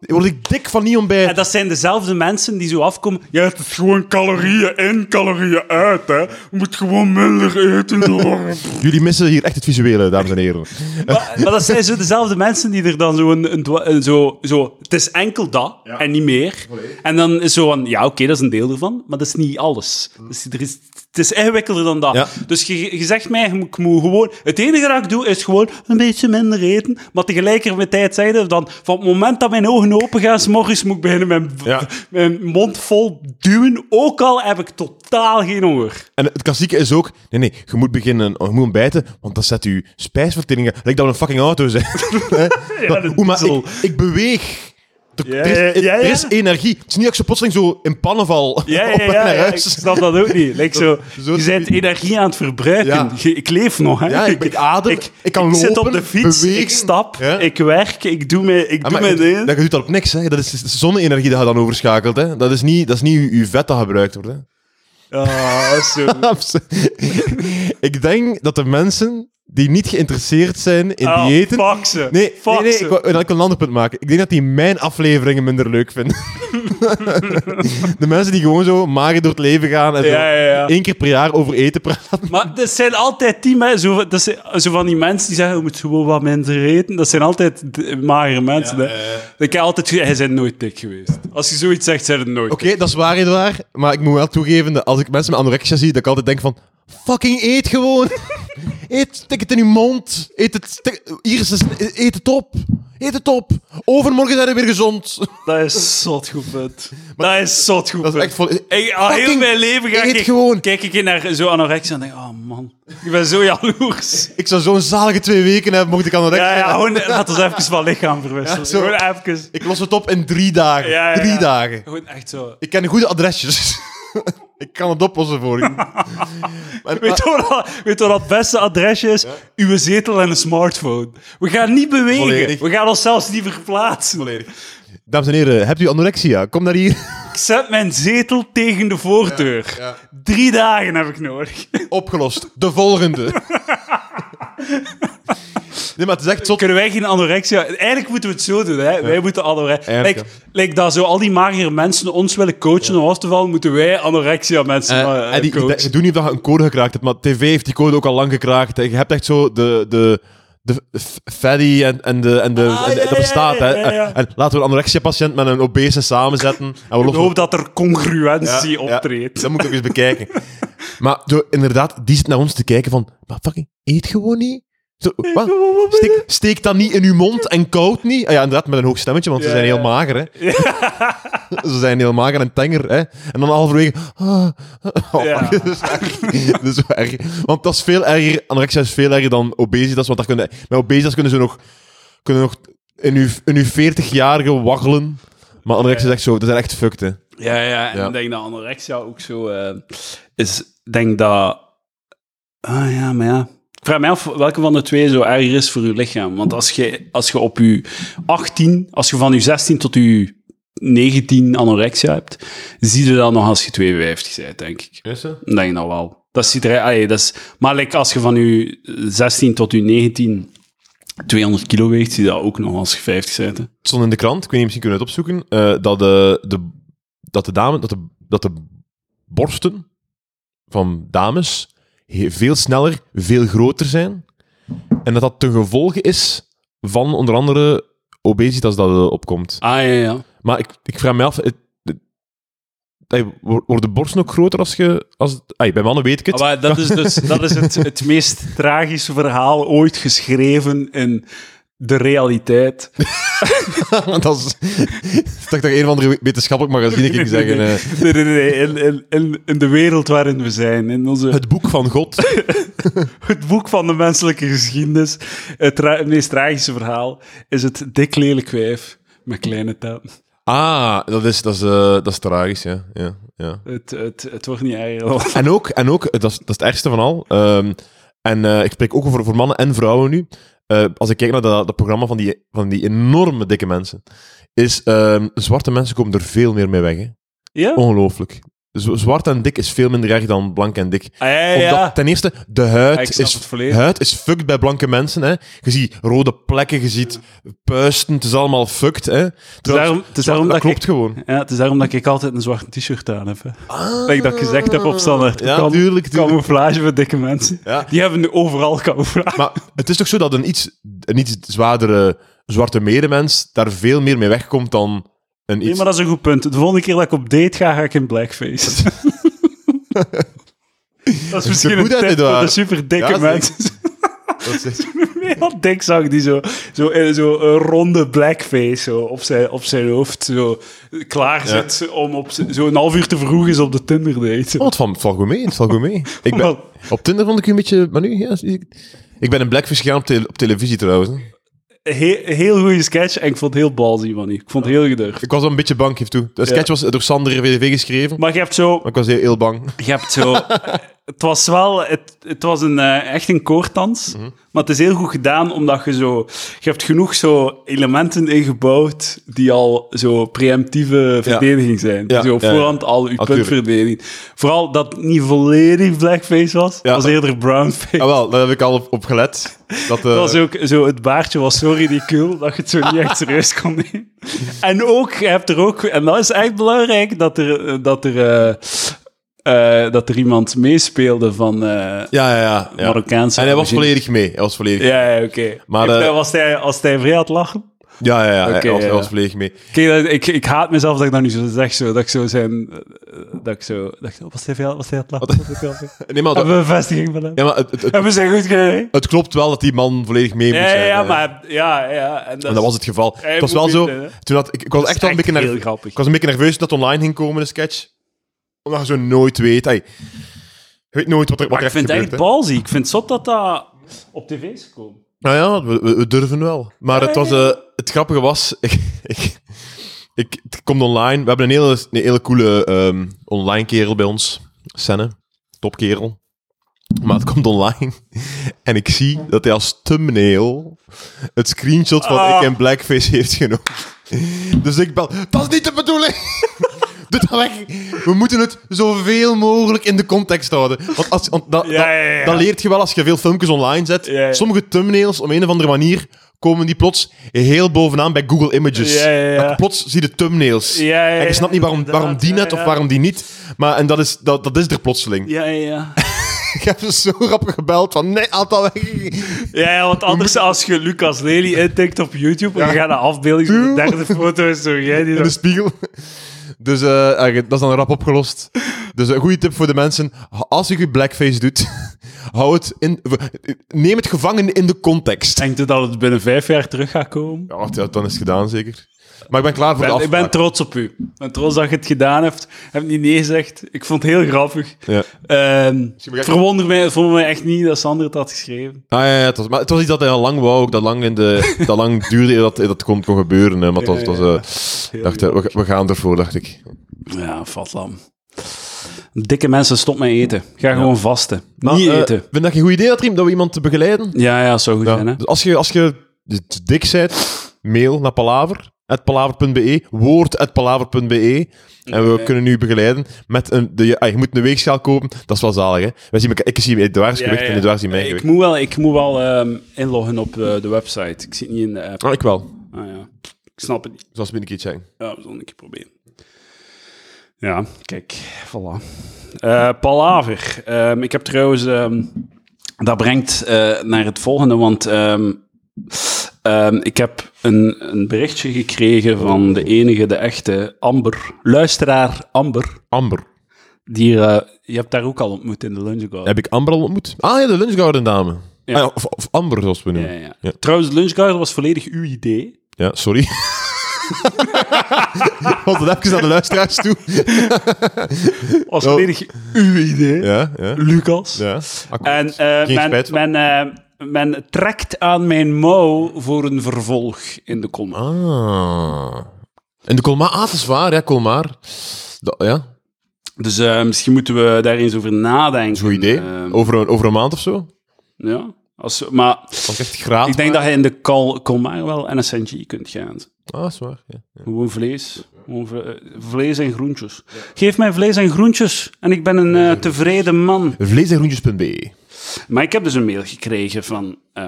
[SPEAKER 2] Word ik dik van niet
[SPEAKER 1] En
[SPEAKER 2] ontbijten.
[SPEAKER 1] dat zijn dezelfde mensen die zo afkomen. Ja, het is gewoon calorieën in, calorieën uit, hè. Je moet gewoon minder eten door.
[SPEAKER 2] Jullie missen hier echt het visuele, dames en heren.
[SPEAKER 1] maar, maar dat zijn zo dezelfde mensen die er dan zo een... een, dwa- een zo, zo, het is enkel dat en niet meer. En dan is zo van, ja, oké, dat is een deel ervan, maar dat is niet alles. Dus er is, het is ingewikkelder dan dat.
[SPEAKER 2] Ja.
[SPEAKER 1] Dus je, je zegt mij, ik moet- ik moet gewoon... Het enige dat ik doe, is gewoon een beetje minder eten. Maar tegelijkertijd zeg je dan, van het moment dat mijn ogen open gaan, 's morgens moet ik beginnen mijn,
[SPEAKER 2] Ja.
[SPEAKER 1] mijn mond vol duwen. Ook al heb ik totaal geen honger.
[SPEAKER 2] En het klassieke is ook... Nee, nee, je moet beginnen... Je moet ontbijten, want dat zet je spijsverteringen... Lijkt dat we een fucking auto zijn. Hè? Dat-
[SPEAKER 1] dat
[SPEAKER 2] Oeh, maar
[SPEAKER 1] diesel.
[SPEAKER 2] ik, ik beweeg. Er,
[SPEAKER 1] Ja,
[SPEAKER 2] er is,
[SPEAKER 1] ja, ja,
[SPEAKER 2] er
[SPEAKER 1] ja.
[SPEAKER 2] is energie. Het is niet dat ik zo plotseling zo in pannen val
[SPEAKER 1] Ja,
[SPEAKER 2] op
[SPEAKER 1] ja,
[SPEAKER 2] weg
[SPEAKER 1] ja,
[SPEAKER 2] naar
[SPEAKER 1] ja, ik
[SPEAKER 2] huis.
[SPEAKER 1] snap dat ook niet. Like zo,
[SPEAKER 2] zo
[SPEAKER 1] je bent energie aan het verbruiken.
[SPEAKER 2] Ja.
[SPEAKER 1] Je- ik leef nog. Hè.
[SPEAKER 2] Ja, ik ben- ik adem, ik kan
[SPEAKER 1] ik zit op
[SPEAKER 2] lopen,
[SPEAKER 1] de fiets,
[SPEAKER 2] bewegen.
[SPEAKER 1] ik stap,
[SPEAKER 2] Ja.
[SPEAKER 1] ik werk, ik doe mijn, ik
[SPEAKER 2] Ja,
[SPEAKER 1] doe
[SPEAKER 2] Ah, maar
[SPEAKER 1] mijn
[SPEAKER 2] je,
[SPEAKER 1] ding.
[SPEAKER 2] dat, je doet dat op niks. Hè. Dat is is zonne-energie dat je dan overschakelt. Hè. Dat is niet, dat is niet je, je vet dat gebruikt wordt. Hè.
[SPEAKER 1] Ah, zo.
[SPEAKER 2] Abs- ik denk dat de mensen die niet geïnteresseerd zijn in
[SPEAKER 1] Ah,
[SPEAKER 2] diëten...
[SPEAKER 1] fuck ze.
[SPEAKER 2] Nee,
[SPEAKER 1] Fuck
[SPEAKER 2] nee, nee
[SPEAKER 1] ze.
[SPEAKER 2] ik, wou- ik wil een ander punt maken. Ik denk dat die mijn afleveringen minder leuk vinden. de mensen die gewoon zo mager door het leven gaan en zo
[SPEAKER 1] Ja, ja, ja.
[SPEAKER 2] één keer per jaar over eten praten.
[SPEAKER 1] Maar dat zijn altijd die mensen, zo, dat zijn, zo van die mensen die zeggen, je moet gewoon wat minder eten. Dat zijn altijd d- magere mensen. hè.
[SPEAKER 2] eh.
[SPEAKER 1] Ik heb altijd gezegd, hij zijn nooit dik geweest. Als je zoiets zegt, zijn het nooit
[SPEAKER 2] Oké, dat is waar, Edouard. Maar ik moet wel toegeven dat als ik mensen met anorexia zie, dat ik altijd denk van... Fucking eet gewoon. eet, stik het in je mond. Eet het, stik- hier is het, eet het op. Eet het op. Overmorgen zijn we weer gezond.
[SPEAKER 1] Dat is zot goed punt. dat is zot goed
[SPEAKER 2] Dat is
[SPEAKER 1] punt.
[SPEAKER 2] echt vol...
[SPEAKER 1] Ik, al heel
[SPEAKER 2] Fucking
[SPEAKER 1] mijn leven ga
[SPEAKER 2] eet
[SPEAKER 1] ik,
[SPEAKER 2] gewoon.
[SPEAKER 1] kijk ik naar zo'n anorexia en denk oh man, ik ben zo jaloers.
[SPEAKER 2] Ik zou zo'n zalige twee weken hebben, mocht ik anorexia
[SPEAKER 1] Ja, ja,
[SPEAKER 2] hebben.
[SPEAKER 1] gewoon, laat ons even van lichaam verwisselen.
[SPEAKER 2] Ja, zo.
[SPEAKER 1] Gewoon even.
[SPEAKER 2] Ik los het op in drie dagen.
[SPEAKER 1] Ja, ja,
[SPEAKER 2] drie
[SPEAKER 1] ja.
[SPEAKER 2] dagen.
[SPEAKER 1] Gewoon echt zo.
[SPEAKER 2] Ik ken goede adresjes. Ik kan het oplossen voor u. En-
[SPEAKER 1] Weet je wat, dat- weet je wat het beste adresje is? Uw zetel en een smartphone. We gaan niet bewegen.
[SPEAKER 2] Volledig.
[SPEAKER 1] We gaan ons zelfs niet verplaatsen.
[SPEAKER 2] Dames en heren, hebt u anorexia? Kom naar hier.
[SPEAKER 1] Ik zet mijn zetel tegen de voordeur.
[SPEAKER 2] Ja, ja.
[SPEAKER 1] Drie dagen heb ik nodig.
[SPEAKER 2] Opgelost. De volgende. nee, maar het is echt zot.
[SPEAKER 1] Kunnen wij geen anorexia... Eigenlijk moeten we het zo doen, hè. Wij moeten anorexia...
[SPEAKER 2] Eigenlijk,
[SPEAKER 1] Like, like dat zo al die magere mensen ons willen coachen om af te vallen, moeten wij anorexia mensen
[SPEAKER 2] Eh,
[SPEAKER 1] eh,
[SPEAKER 2] en die,
[SPEAKER 1] coachen.
[SPEAKER 2] ik doe niet of dat je een code gekraakt hebt, maar tv heeft die code ook al lang gekraakt. Je hebt echt zo de, de, de f- fatty en, en de... En de
[SPEAKER 1] Ah,
[SPEAKER 2] en de-
[SPEAKER 1] ja,
[SPEAKER 2] dat bestaat,
[SPEAKER 1] ja, ja, ja,
[SPEAKER 2] hè.
[SPEAKER 1] ja.
[SPEAKER 2] En laten we een anorexia-patiënt met een obese samenzetten. En we
[SPEAKER 1] ik hoop dat er congruentie
[SPEAKER 2] Ja, ja.
[SPEAKER 1] optreedt.
[SPEAKER 2] Dat moet ik ook eens bekijken. Maar zo, inderdaad, die zit naar ons te kijken van... Maar fucking, eet gewoon niet. Zo, wat? Steek, steek dat niet in uw mond en koud niet. Ah ja, inderdaad, met een hoog stemmetje, want ze
[SPEAKER 1] Ja,
[SPEAKER 2] zijn heel
[SPEAKER 1] ja.
[SPEAKER 2] mager, hè. ze zijn heel mager en tenger, hè. En dan halverwege... ah, oh,
[SPEAKER 1] Ja.
[SPEAKER 2] dat is erg. dat is wel erg. Want dat is veel erger... Anorexia is veel erger dan obesitas, want daar kunnen... Met obesitas kunnen ze nog... Kunnen nog in uw, in uw 40-jarige waggelen. Maar anorexia is echt zo... Dat zijn echt fucked, hè.
[SPEAKER 1] Ja, ja. En
[SPEAKER 2] Ja.
[SPEAKER 1] ik denk dat anorexia ook zo eh, is. Ik denk dat. Ah ja, maar ja. Ik vraag mij af welke van de twee zo erger is voor je lichaam. Want als je, als je op je 18, als je van je 16 tot je 19 anorexia hebt, zie je dat nog als je 52 bent, denk ik.
[SPEAKER 2] Is
[SPEAKER 1] Ik Denk dat wel. Dat ziet er, allee, dat is, maar like, als je van je 16 tot je 19 200 kilo weegt, zie je dat ook nog als je 50 bent. hè.
[SPEAKER 2] het stond in de krant, ik weet niet, misschien kunnen we het opzoeken, eh, dat, de, de, dat de dame, dat de, dat de borsten van dames he- veel sneller, veel groter zijn. En dat dat ten gevolge is van onder andere obesitas dat eh, opkomt.
[SPEAKER 1] Ah ja, ja.
[SPEAKER 2] Maar ik, ik vraag me af, het, het- hey, wor- worden borsten ook groter als je... Als, hey, bij mannen weet ik het.
[SPEAKER 1] Maar dat is dus dat is het, het meest tragische verhaal ooit geschreven in de realiteit.
[SPEAKER 2] dat is... ik dacht dat een of andere wetenschappelijk magazine ging zeggen. eh,
[SPEAKER 1] Nee, nee, nee. In, in, in, in de wereld waarin we zijn. In onze, het,
[SPEAKER 2] het boek van God.
[SPEAKER 1] boek van de menselijke geschiedenis. Het, tra- het meest tragische verhaal is het dik lelijk wijf met kleine taan.
[SPEAKER 2] Ah, dat is, dat is, eh, dat is tragisch, ja. ja, ja.
[SPEAKER 1] Het, het, het wordt niet erger.
[SPEAKER 2] En ook, en ook dat, is, dat is het ergste van al. ehm, en eh, ik spreek ook over voor mannen en vrouwen nu. Eh, als ik kijk naar dat, dat programma van die, van die enorme dikke mensen, is ehm, zwarte mensen komen er veel meer mee weg. Hè?
[SPEAKER 1] Ja?
[SPEAKER 2] Ongelooflijk. Z- zwart en dik is veel minder erg dan blank en dik.
[SPEAKER 1] Ah, ja,
[SPEAKER 2] Omdat
[SPEAKER 1] ja.
[SPEAKER 2] ten eerste, de
[SPEAKER 1] Ja, ik
[SPEAKER 2] huid
[SPEAKER 1] snap
[SPEAKER 2] is
[SPEAKER 1] het volledig.
[SPEAKER 2] huid is fucked bij blanke mensen. Hè? Je ziet rode plekken, je ziet puisten, het is allemaal fucked. Hè? Terwijl- Ah,
[SPEAKER 1] daarom- het is daarom
[SPEAKER 2] dat,
[SPEAKER 1] dat ik-
[SPEAKER 2] klopt gewoon.
[SPEAKER 1] Ja, het is daarom dat ik altijd een zwart t-shirt aan heb. Hè.
[SPEAKER 2] Ah.
[SPEAKER 1] Like dat ik gezegd heb op standaard.
[SPEAKER 2] Ja,
[SPEAKER 1] Cam-
[SPEAKER 2] tuurlijk, tuurlijk.
[SPEAKER 1] Camouflage voor dikke mensen.
[SPEAKER 2] Ja.
[SPEAKER 1] Die hebben nu overal camouflage.
[SPEAKER 2] Maar het is toch zo dat een iets, een iets zwaardere zwarte medemens daar veel meer mee wegkomt dan een
[SPEAKER 1] Nee,
[SPEAKER 2] iets...
[SPEAKER 1] maar dat is een goed punt. De volgende keer dat ik op date ga, ga ik in blackface. dat is misschien een
[SPEAKER 2] goed, hè,
[SPEAKER 1] tip voor
[SPEAKER 2] Edouard?
[SPEAKER 1] de super dikke
[SPEAKER 2] Ja,
[SPEAKER 1] mensen.
[SPEAKER 2] Dat "Oh, is-
[SPEAKER 1] Heel dik zag die zo, zo, in zo een ronde blackface zo, op, zijn, op zijn hoofd zo, klaar zit om op z- zo'n half uur te vroeg is op de Tinder date.
[SPEAKER 2] Oh, het valt het valt goed mee, het valt goed mee. Ik ben,
[SPEAKER 1] Wel,
[SPEAKER 2] op Tinder vond ik u een beetje... Maar nu, ja, zie ik, ik ben een blackfish gegaan op, tele- op televisie trouwens. hè.
[SPEAKER 1] he- heel goede sketch en ik vond het heel balzy van u. Ik vond het heel gedurfd.
[SPEAKER 2] Ik was wel een beetje bang, geef toe. De sketch was door Sander VDV geschreven, maar
[SPEAKER 1] Maar je hebt zo
[SPEAKER 2] ik was heel, heel bang.
[SPEAKER 1] Je hebt zo... het was wel... Het, het was een, eh, echt een koortdans.
[SPEAKER 2] Mhm.
[SPEAKER 1] Maar het is heel goed gedaan, omdat je zo... Je hebt genoeg zo elementen ingebouwd die al zo preemptieve verdediging zijn.
[SPEAKER 2] Ja,
[SPEAKER 1] Zo
[SPEAKER 2] ja,
[SPEAKER 1] op voorhand al je
[SPEAKER 2] Natuurlijk.
[SPEAKER 1] puntverdedigen. Vooral dat het niet volledig blackface was.
[SPEAKER 2] Ja.
[SPEAKER 1] was eerder brownface.
[SPEAKER 2] Ah wel, daar heb ik al op, op gelet. Dat, eh,
[SPEAKER 1] Dat was ook zo, het baardje was zo ridicuul dat je het zo niet echt serieus kon nemen. En ook, je hebt er ook, en dat is echt belangrijk, dat er, eh, dat er, eh, eh, dat er iemand meespeelde van eh,
[SPEAKER 2] Ja, ja, ja. ja.
[SPEAKER 1] Marokkaanse.
[SPEAKER 2] En hij was
[SPEAKER 1] origine.
[SPEAKER 2] volledig mee. Hij was volledig... Ja,
[SPEAKER 1] Ja, ja oké.
[SPEAKER 2] Maar,
[SPEAKER 1] Ik-
[SPEAKER 2] eh,
[SPEAKER 1] was hij, als hij vrij had lachen.
[SPEAKER 2] ja, ja. hij,
[SPEAKER 1] Oké,
[SPEAKER 2] was,
[SPEAKER 1] ja,
[SPEAKER 2] hij was
[SPEAKER 1] ja.
[SPEAKER 2] volledig mee.
[SPEAKER 1] Kijk, dat- ik, ik haat mezelf dat ik dat nu zo zeg, zo, dat ik zo zijn, eh, dat ik zo, dat ik, zo, was hij vrij was hij aan het lachen? Was hij vrij aan het lachen?
[SPEAKER 2] Nee, maar, dat-
[SPEAKER 1] Hebben Ah, we een bevestiging van hem?
[SPEAKER 2] ja, maar het, het, het,
[SPEAKER 1] Hebben ze goed gereden?
[SPEAKER 2] het klopt wel dat die man volledig mee moest
[SPEAKER 1] Ja, ja,
[SPEAKER 2] zijn.
[SPEAKER 1] ja,
[SPEAKER 2] hè.
[SPEAKER 1] maar ja, ja. En
[SPEAKER 2] En dat was het geval.
[SPEAKER 1] Hij
[SPEAKER 2] het was
[SPEAKER 1] moet
[SPEAKER 2] wel zo.
[SPEAKER 1] winnen, hè?
[SPEAKER 2] Toen had, ik, ik was
[SPEAKER 1] is
[SPEAKER 2] echt wel een
[SPEAKER 1] echt
[SPEAKER 2] beetje, nerv-
[SPEAKER 1] heel grappig.
[SPEAKER 2] ik was een beetje nerveus dat het online ging komen, de sketch. Omdat je zo nooit weet. Hey, je weet nooit wat er, wat
[SPEAKER 1] Maar
[SPEAKER 2] er
[SPEAKER 1] ik
[SPEAKER 2] echt
[SPEAKER 1] vind het
[SPEAKER 2] gebeurt.
[SPEAKER 1] echt
[SPEAKER 2] hè.
[SPEAKER 1] balzie. Ik vind het zot dat dat op tv is gekomen.
[SPEAKER 2] Nou ja, we, we- we durven wel. Maar het, was, eh, het grappige was... Ik, ik, ik, het komt online. We hebben een hele, een hele coole ehm, online kerel bij ons. Senne, topkerel. Maar het komt online. En ik zie dat hij als thumbnail het screenshot van
[SPEAKER 1] Ah.
[SPEAKER 2] ik in blackface heeft genomen. Dus ik bel, dat is niet de bedoeling! Doe dat weg! We moeten het zoveel mogelijk in de context houden. Want, als, want dat,
[SPEAKER 1] Ja, ja, ja.
[SPEAKER 2] dat leert je wel als je veel filmpjes online zet.
[SPEAKER 1] Ja, ja.
[SPEAKER 2] Sommige thumbnails, om een of andere manier, komen die plots heel bovenaan bij Google Images.
[SPEAKER 1] Ja, ja, ja.
[SPEAKER 2] Dat plots zie je de thumbnails.
[SPEAKER 1] Ja, ja,
[SPEAKER 2] en
[SPEAKER 1] ja,
[SPEAKER 2] je snapt niet waarom, waarom die
[SPEAKER 1] inderdaad,
[SPEAKER 2] net
[SPEAKER 1] ja,
[SPEAKER 2] of
[SPEAKER 1] ja.
[SPEAKER 2] waarom die niet. Maar en dat, is, dat, dat is er plotseling.
[SPEAKER 1] Ja, ja, ja.
[SPEAKER 2] Ik heb ze zo rap gebeld van nee, aantal weg.
[SPEAKER 1] Ja, ja, want anders als je Lucas Lely intikt op YouTube en je gaat naar afbeelding van de derde foto is zo jij die
[SPEAKER 2] in de
[SPEAKER 1] dan...
[SPEAKER 2] spiegel. Dus eh, eh, dat is dan rap opgelost. Dus een goede tip voor de mensen. Als je je blackface doet, hou het in, neem het gevangen in de context.
[SPEAKER 1] Denkt u dat het binnen vijf jaar terug gaat komen?
[SPEAKER 2] Ja, wacht, ja, dan is het gedaan zeker. Maar ik ben klaar voor
[SPEAKER 1] Ik
[SPEAKER 2] de
[SPEAKER 1] ben, ik ben
[SPEAKER 2] afspraak.
[SPEAKER 1] trots op u. Ik ben trots dat je het gedaan hebt. Ik heb niet nee gezegd. Ik vond het heel grappig.
[SPEAKER 2] Ja.
[SPEAKER 1] Ehm,
[SPEAKER 2] moet ik-
[SPEAKER 1] verwonder mij, het verwondert mij echt niet dat Sander het had geschreven.
[SPEAKER 2] Ah, ja, ja, het was, maar het was iets dat hij al lang wou, ook dat lang, in de, dat lang duurde eer dat dat het kon, kon gebeuren. Hè, maar het was, het was, eh,
[SPEAKER 1] Heel
[SPEAKER 2] dacht, eh, we, we gaan ervoor, dacht ik.
[SPEAKER 1] Ja, fatlam. Dikke mensen, stop met eten. Ga gewoon vasten. niet
[SPEAKER 2] eh,
[SPEAKER 1] eten.
[SPEAKER 2] vind dat geen goed idee, dat, Riem, dat we iemand te begeleiden?
[SPEAKER 1] Ja, ja, zou goed
[SPEAKER 2] Ja.
[SPEAKER 1] zijn, hè?
[SPEAKER 2] Dus als je, als je te dik bent, mail naar palaver. palaver.be, woord palaver.be. En we kunnen u begeleiden met een... De, ah, je moet een weegschaal kopen, dat is wel zalig, hè? Wij zien elkaar, ik zie Edouard's
[SPEAKER 1] Ja,
[SPEAKER 2] gewicht
[SPEAKER 1] ja.
[SPEAKER 2] en Edouard ziet mijn
[SPEAKER 1] Ik
[SPEAKER 2] gewicht.
[SPEAKER 1] moet wel, ik moet wel ehm, inloggen op eh, de website. Ik zit niet in de app.
[SPEAKER 2] Ah, ik wel.
[SPEAKER 1] Ah, ja. Ik snap het niet.
[SPEAKER 2] Zoals we een keer checken.
[SPEAKER 1] Ja, we zullen een keer proberen. Ja, kijk, voilà. Eh, Palaver. Ehm, ik heb trouwens... ehm, dat brengt eh, naar het volgende, want ehm, ehm, ik heb een, een berichtje gekregen van de enige, de echte Amber. Luisteraar Amber.
[SPEAKER 2] Amber.
[SPEAKER 1] Die, eh, je hebt daar ook al ontmoet in de lunch Garden.
[SPEAKER 2] Heb ik Amber al ontmoet? Ah ja, de Lunchgarden dame.
[SPEAKER 1] Ja.
[SPEAKER 2] Ah, ja, of, of Amber, zoals we
[SPEAKER 1] Ja,
[SPEAKER 2] noemen.
[SPEAKER 1] ja,
[SPEAKER 2] Ja,
[SPEAKER 1] ja. Trouwens, de lunch Garden was volledig uw idee.
[SPEAKER 2] sorry. Want dat even naar de luisteraars toe.
[SPEAKER 1] was
[SPEAKER 2] Oh.
[SPEAKER 1] volledig uw idee,
[SPEAKER 2] Ja, ja.
[SPEAKER 1] Lucas.
[SPEAKER 2] ja. akkoord.
[SPEAKER 1] En eh,
[SPEAKER 2] Geen
[SPEAKER 1] men,
[SPEAKER 2] spijt van.
[SPEAKER 1] men, eh, men trekt aan mijn mouw voor een vervolg in de column.
[SPEAKER 2] Ah. En de Colmar, ah, dat is waar, ja, Colmar. Da- ja,
[SPEAKER 1] Dus eh, misschien moeten we daar eens over nadenken.
[SPEAKER 2] goed idee.
[SPEAKER 1] Eh,
[SPEAKER 2] over, een, over een maand of zo.
[SPEAKER 1] ja. Als, maar
[SPEAKER 2] Als echt graad.
[SPEAKER 1] ik denk dat je in de Col- Colmar wel NSNG kunt gaan.
[SPEAKER 2] Ah, dat is waar. Ja. ja.
[SPEAKER 1] Gewoon vlees. Gewoon vle- eh, vlees en groentjes. Geef mij vlees en groentjes en ik ben een eh, tevreden man.
[SPEAKER 2] Vleesengroentjes.be.
[SPEAKER 1] Maar ik heb dus een mail gekregen van eh,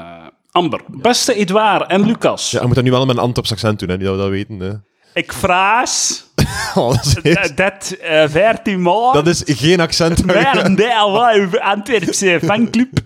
[SPEAKER 1] Amber. Beste Edouard en Lucas.
[SPEAKER 2] Ja, je moet dat nu wel met een Antops accent doen, hè, die dat we dat weten. Hè.
[SPEAKER 1] Ik vraag...
[SPEAKER 2] Oh, dat, is
[SPEAKER 1] Eh, dat eh 14
[SPEAKER 2] dat
[SPEAKER 1] maart
[SPEAKER 2] is geen accent.
[SPEAKER 1] waren deel van uw Antwerpse fanclub,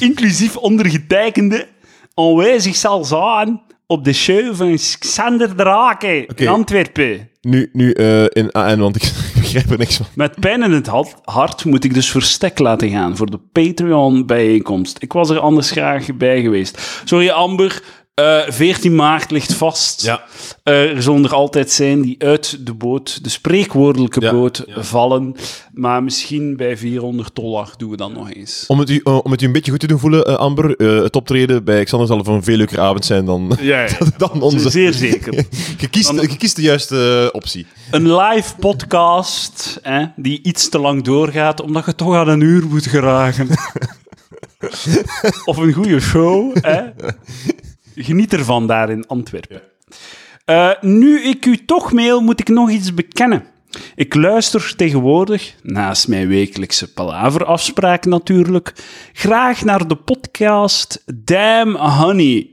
[SPEAKER 1] inclusief ondergetekende, aanwezig zal zijn op de show van Xander Drake in Antwerpen.
[SPEAKER 2] Nu, nu eh, in AN, want ik begrijp er niks van.
[SPEAKER 1] Met pijn in het hart- hart moet ik dus verstek laten gaan voor de Patreon-bijeenkomst. Ik was er anders graag bij geweest. Sorry Amber, eh, 14 maart ligt vast.
[SPEAKER 2] Ja.
[SPEAKER 1] Eh, er zullen er altijd zijn die uit de boot, de spreekwoordelijke
[SPEAKER 2] Ja,
[SPEAKER 1] boot, vallen. Maar misschien bij 400 dollar doen we dat nog eens.
[SPEAKER 2] Om het, u, eh, om het u een beetje goed te doen voelen, eh, Amber, eh, het optreden bij Xander zal een veel leukere avond zijn dan,
[SPEAKER 1] Ja, ja.
[SPEAKER 2] dan onze.
[SPEAKER 1] Zeer zeker.
[SPEAKER 2] Je kiest,
[SPEAKER 1] Dan-
[SPEAKER 2] je kiest de juiste eh, optie.
[SPEAKER 1] Een live podcast hè, die iets te lang doorgaat, omdat je toch aan een uur moet geraken. of een goede show. Hè. Geniet ervan daar in Antwerpen. Eh, nu ik u toch mail, moet ik nog iets bekennen. Ik luister tegenwoordig, naast mijn wekelijkse palaverafspraak natuurlijk, graag naar de podcast Damn Honey.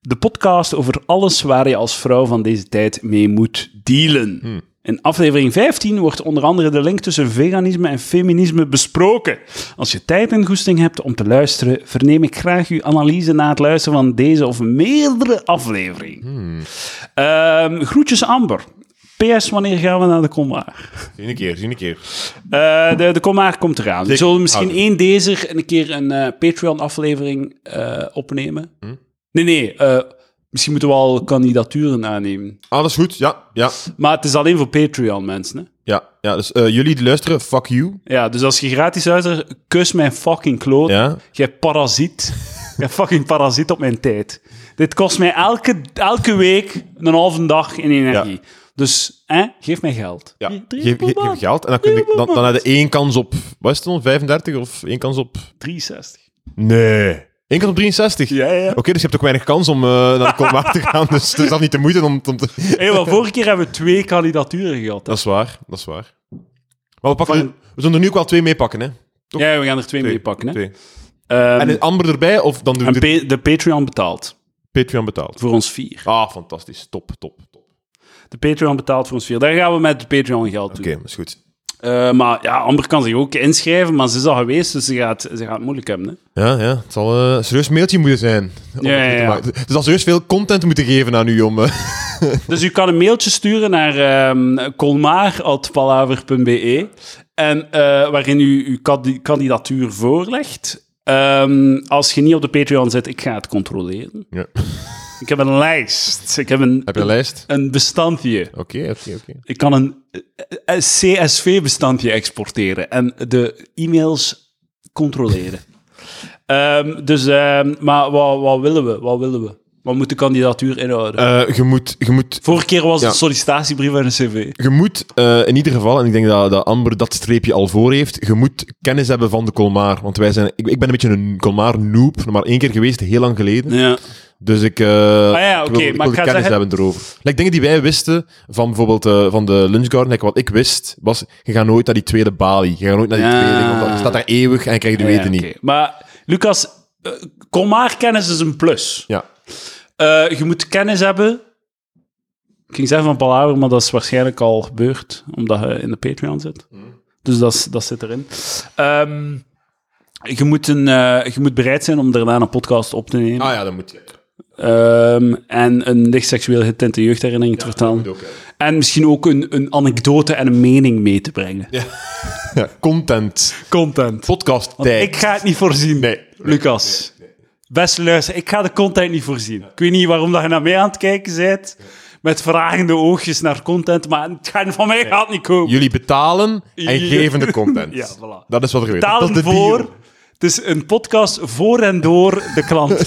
[SPEAKER 1] De podcast over alles waar je als vrouw van deze tijd mee moet dealen. In aflevering 15 wordt onder andere de link tussen veganisme en feminisme besproken. Als je tijd en goesting hebt om te luisteren, verneem ik graag uw analyse na het luisteren van deze of meerdere afleveringen. Ehm, groetjes Amber. PS, wanneer gaan we naar de Colmar?
[SPEAKER 2] Zie een keer, zie een keer.
[SPEAKER 1] Eh, de, de Colmar komt eraan. We
[SPEAKER 2] Zeker.
[SPEAKER 1] zullen misschien
[SPEAKER 2] Houden.
[SPEAKER 1] één deze een keer een eh, Patreon-aflevering eh, opnemen.
[SPEAKER 2] Hm?
[SPEAKER 1] Nee, nee. eh, misschien moeten we al kandidaturen aannemen.
[SPEAKER 2] Ah, dat is goed. Ja, ja,
[SPEAKER 1] Maar het is alleen voor Patreon, mensen. Hè?
[SPEAKER 2] ja. ja dus eh, jullie die luisteren, fuck you.
[SPEAKER 1] Ja, dus als je gratis luistert, kus mijn fucking kloot.
[SPEAKER 2] Ja.
[SPEAKER 1] Jij parasiet. Jij fucking parasiet op mijn tijd. Dit kost mij elke, elke week een halve dag in energie. Dus, hè, geef mij geld.
[SPEAKER 2] Ja.
[SPEAKER 1] Hier,
[SPEAKER 2] Geef, geef- geef geld en dan, kun je, dan, dan heb je één kans op, wat is het dan, 35 of één kans op...
[SPEAKER 1] 63.
[SPEAKER 2] Nee. Eén kans op 63?
[SPEAKER 1] Ja, ja.
[SPEAKER 2] Oké, dus je hebt ook weinig kans om eh, naar de Colmar te gaan, dus het is dan niet de moeite om, om te...
[SPEAKER 1] Hé, maar vorige keer hebben we twee kandidaturen gehad. hè.
[SPEAKER 2] Dat is waar, dat is waar. Maar we, pakken
[SPEAKER 1] Van-
[SPEAKER 2] er- we zullen er nu ook wel twee meepakken, hè? toch?
[SPEAKER 1] Ja, we gaan er twee, mee pakken. Hè.
[SPEAKER 2] Twee.
[SPEAKER 1] Ehm,
[SPEAKER 2] En een Amber erbij, of dan doen
[SPEAKER 1] en
[SPEAKER 2] we er
[SPEAKER 1] pa- de Patreon betaalt
[SPEAKER 2] Patreon betaald.
[SPEAKER 1] voor ons vier.
[SPEAKER 2] Ah, fantastisch. Top, top, top. Oké,
[SPEAKER 1] De Patreon betaalt voor ons vier. Daar gaan we met de Patreon geld doen.
[SPEAKER 2] dat is goed.
[SPEAKER 1] Eh, maar ja, Amber kan zich ook inschrijven, maar ze is al geweest, dus ze gaat, ze gaat het moeilijk hebben. Hè.
[SPEAKER 2] Ja, ja. Het zal eh, een serieus mailtje moeten zijn. om
[SPEAKER 1] Ja, ja,
[SPEAKER 2] het te
[SPEAKER 1] ja.
[SPEAKER 2] maken. Dus zal serieus veel content moeten geven aan u om... eh,
[SPEAKER 1] Dus u kan een mailtje sturen naar ehm colmaar.palaver.be en eh, waarin u uw kadi- kandidatuur voorlegt. Ehm, als je niet op de Patreon zit, ik ga het controleren.
[SPEAKER 2] ja.
[SPEAKER 1] Ik heb een lijst. Ik heb een,
[SPEAKER 2] Heb je een lijst?
[SPEAKER 1] een bestandje.
[SPEAKER 2] Oké, oké, oké.
[SPEAKER 1] Ik kan een eh, eh, CSV-bestandje exporteren en de e-mails controleren. Ehm, dus, ehm, maar wat, wat willen we? Wat willen we? Wat moet de kandidatuur inhouden?
[SPEAKER 2] Eh, je moet... Je moet
[SPEAKER 1] Vorige keer was het
[SPEAKER 2] ja.
[SPEAKER 1] een sollicitatiebrief en een cv.
[SPEAKER 2] je moet eh, in ieder geval, en ik denk dat, dat Amber dat streepje al voor heeft, je moet kennis hebben van de Colmar. Want wij zijn, ik, ik ben een beetje een Colmar-noob, maar één keer geweest, heel lang geleden.
[SPEAKER 1] Ja.
[SPEAKER 2] Dus ik, eh
[SPEAKER 1] Ah ja,
[SPEAKER 2] ik
[SPEAKER 1] oké,
[SPEAKER 2] wil, ik
[SPEAKER 1] maar ik
[SPEAKER 2] wil
[SPEAKER 1] ga
[SPEAKER 2] kennis
[SPEAKER 1] zeggen-
[SPEAKER 2] hebben erover. Like, dingen die wij wisten van bijvoorbeeld eh, van de Lunch Garden, like, wat ik wist, was je gaat nooit naar die tweede balie. Je gaat nooit naar die
[SPEAKER 1] Ja.
[SPEAKER 2] tweede, want dat staat daar eeuwig en je krijgt de
[SPEAKER 1] Ah. Ja,
[SPEAKER 2] weten niet.
[SPEAKER 1] oké. Maar Lucas, eh, kom maar kennis is een plus.
[SPEAKER 2] Ja.
[SPEAKER 1] Eh, je moet kennis hebben. Ik ging zeggen van Palaver, maar dat is waarschijnlijk al gebeurd, omdat je in de Patreon zit.
[SPEAKER 2] Hmm.
[SPEAKER 1] Dus dat, is- dat zit erin. Ehm, je, moet een, eh, je moet bereid zijn om daarna een podcast op te nemen.
[SPEAKER 2] Ah ja, dat moet je.
[SPEAKER 1] Ehm, en een licht seksueel getinte jeugdherinnering te vertellen.
[SPEAKER 2] ook, hè.
[SPEAKER 1] En misschien ook een, een anekdote en een mening mee te brengen.
[SPEAKER 2] Ja, content.
[SPEAKER 1] Content.
[SPEAKER 2] Podcast
[SPEAKER 1] Want
[SPEAKER 2] tijd.
[SPEAKER 1] ik ga het niet voorzien, Lucas. Beste luister, ik ga de content niet voorzien. Ik weet niet waarom dat je naar mij aan het kijken bent. Met vragende oogjes naar content, maar het gaat van mij gaat niet komen.
[SPEAKER 2] Jullie betalen en
[SPEAKER 1] Ja.
[SPEAKER 2] geven de content.
[SPEAKER 1] Ja, voilà.
[SPEAKER 2] Dat is wat er gebeurt.
[SPEAKER 1] Taal
[SPEAKER 2] Dat is de deal.
[SPEAKER 1] voor. Het is een podcast voor en door de klant.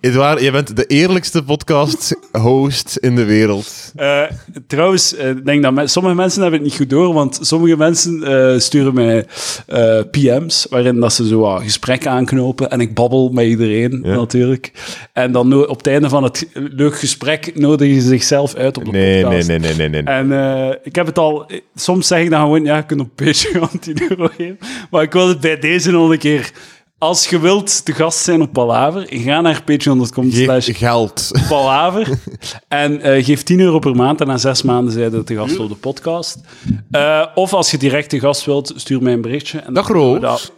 [SPEAKER 2] Edouard, jij bent de eerlijkste podcast-host in de wereld.
[SPEAKER 1] Eh, trouwens, eh, ik denk dat me- sommige mensen hebben het niet goed door, want sommige mensen eh, sturen mij eh, PM's, waarin dat ze zo wat gesprekken aanknopen en ik babbel met iedereen natuurlijk. En dan no- op het einde van het leuk gesprek nodigen ze zichzelf uit op de
[SPEAKER 2] Nee, nee,
[SPEAKER 1] podcast.
[SPEAKER 2] nee, nee, nee. nee.
[SPEAKER 1] En eh, ik heb het al... Soms zeg ik dan gewoon, ja, je kunt op Patreon 10 euro geven. Maar ik wil het bij deze nog een keer... Als je wilt te gast zijn op Palaver, ga naar patreon.com slash
[SPEAKER 2] Geef geld.
[SPEAKER 1] palaver. En eh, geef 10 euro per maand en na zes maanden zijn we te gast op de podcast. Eh, of als je direct te gast wilt, stuur mij een berichtje. En
[SPEAKER 2] Dag,
[SPEAKER 1] dan doen we
[SPEAKER 2] Roos.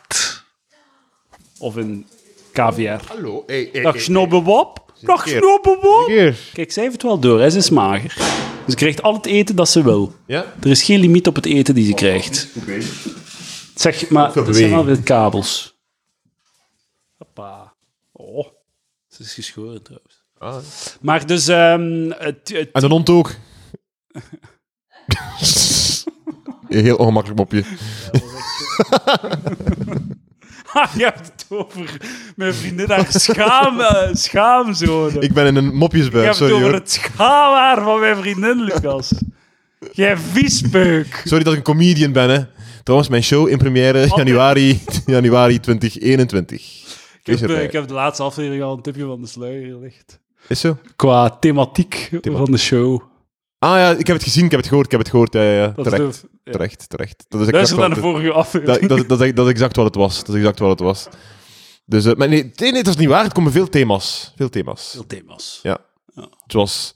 [SPEAKER 1] dat. Of in KVR.
[SPEAKER 2] Hallo, hey, hey,
[SPEAKER 1] Dag Snobbewop. Dag
[SPEAKER 2] keer.
[SPEAKER 1] Snobbewop. Kijk, zij heeft het wel door. Hè. Ze is mager. Ze krijgt al het eten dat ze wil.
[SPEAKER 2] Ja?
[SPEAKER 1] Er is geen limiet op het eten die ze krijgt. Zeg, maar er zijn
[SPEAKER 2] beweging.
[SPEAKER 1] alweer kabels. Hoppa. Oh, ze is geschoren trouwens.
[SPEAKER 2] Ah.
[SPEAKER 1] Maar dus, ehm, het, het-
[SPEAKER 2] En de hond ook. Heel ongemakkelijk mopje.
[SPEAKER 1] je hebt het over mijn vriendin haar schaam, eh, schaamzone.
[SPEAKER 2] Ik ben in een
[SPEAKER 1] je
[SPEAKER 2] mopjesbui,
[SPEAKER 1] hebt het
[SPEAKER 2] sorry
[SPEAKER 1] over
[SPEAKER 2] hoor.
[SPEAKER 1] het schaamhaar van mijn vriendin, Lucas. Jij viespeuk.
[SPEAKER 2] Sorry dat ik een comedian ben, hè. Trouwens, mijn show in première januari, januari 2021.
[SPEAKER 1] Ik heb,
[SPEAKER 2] Is erbij.
[SPEAKER 1] eh, ik heb de laatste aflevering al een tipje van de sluier gelegd.
[SPEAKER 2] Is zo?
[SPEAKER 1] Qua thematiek van de show.
[SPEAKER 2] Ah ja, ik heb het gezien, ik heb het gehoord, ik heb het gehoord. Ja, ja, ja.
[SPEAKER 1] Dat is
[SPEAKER 2] Terecht,
[SPEAKER 1] de- ja.
[SPEAKER 2] terecht, terecht. Dat is exact
[SPEAKER 1] Luister
[SPEAKER 2] wat
[SPEAKER 1] naar de
[SPEAKER 2] het-
[SPEAKER 1] vorige aflevering.
[SPEAKER 2] dat, dat, dat, is- dat is exact wat het was. Dat is exact wat het was. Dus, eh, maar nee, nee, nee, dat is niet waar. Er komen veel thema's. Veel thema's.
[SPEAKER 1] Veel thema's.
[SPEAKER 2] Ja. Zoals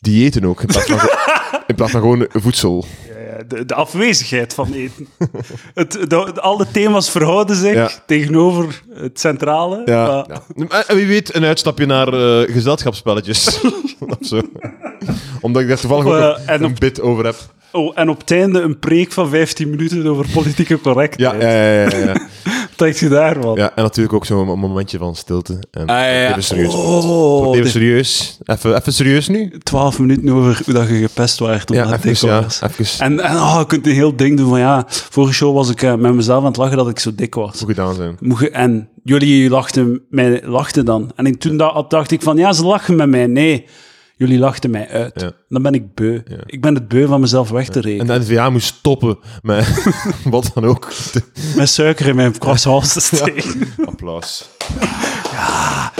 [SPEAKER 2] diëten ook, in plaats van, ge- in plaats van gewoon voedsel.
[SPEAKER 1] Eh, De, de afwezigheid van eten. het, de, de- al de thema's verhouden zich
[SPEAKER 2] Ja.
[SPEAKER 1] tegenover het centrale.
[SPEAKER 2] Ja.
[SPEAKER 1] maar-
[SPEAKER 2] En, en wie weet, een uitstapje naar eh, gezelschapsspelletjes. of zo. Omdat ik daar toevallig
[SPEAKER 1] Of, eh,
[SPEAKER 2] ook een,
[SPEAKER 1] en
[SPEAKER 2] een bit over heb.
[SPEAKER 1] Oh, en op het einde een preek van 15 minuten over politieke correctheid.
[SPEAKER 2] Ja, ja, ja. ja, ja.
[SPEAKER 1] Dat trekt je daarvan?
[SPEAKER 2] Ja, en natuurlijk ook zo'n momentje van stilte. En
[SPEAKER 1] Ah, ja, ja.
[SPEAKER 2] Even serieus.
[SPEAKER 1] Oh,
[SPEAKER 2] even
[SPEAKER 1] dit-
[SPEAKER 2] serieus. Even, even serieus nu.
[SPEAKER 1] 12 minuten over hoe dat je gepest werd. Omdat
[SPEAKER 2] Ja,
[SPEAKER 1] het dik
[SPEAKER 2] even. Ja,
[SPEAKER 1] was.
[SPEAKER 2] even
[SPEAKER 1] En, en oh, je kunt een heel ding doen van ja, vorige show was ik eh, met mezelf aan het lachen dat ik zo dik was.
[SPEAKER 2] goed gedaan zijn.
[SPEAKER 1] Moet je- en jullie lachten, mij lachten dan. En ik- toen da- dacht ik van ja, ze lachen met mij. Nee, jullie lachten mij uit.
[SPEAKER 2] Ja.
[SPEAKER 1] Dan ben ik beu. Ik ben het beu van mezelf weg te rekenen.
[SPEAKER 2] En de NVA moest stoppen met wat dan ook.
[SPEAKER 1] Met suiker in mijn croissants te steken.
[SPEAKER 2] Applaus. Ja, ja.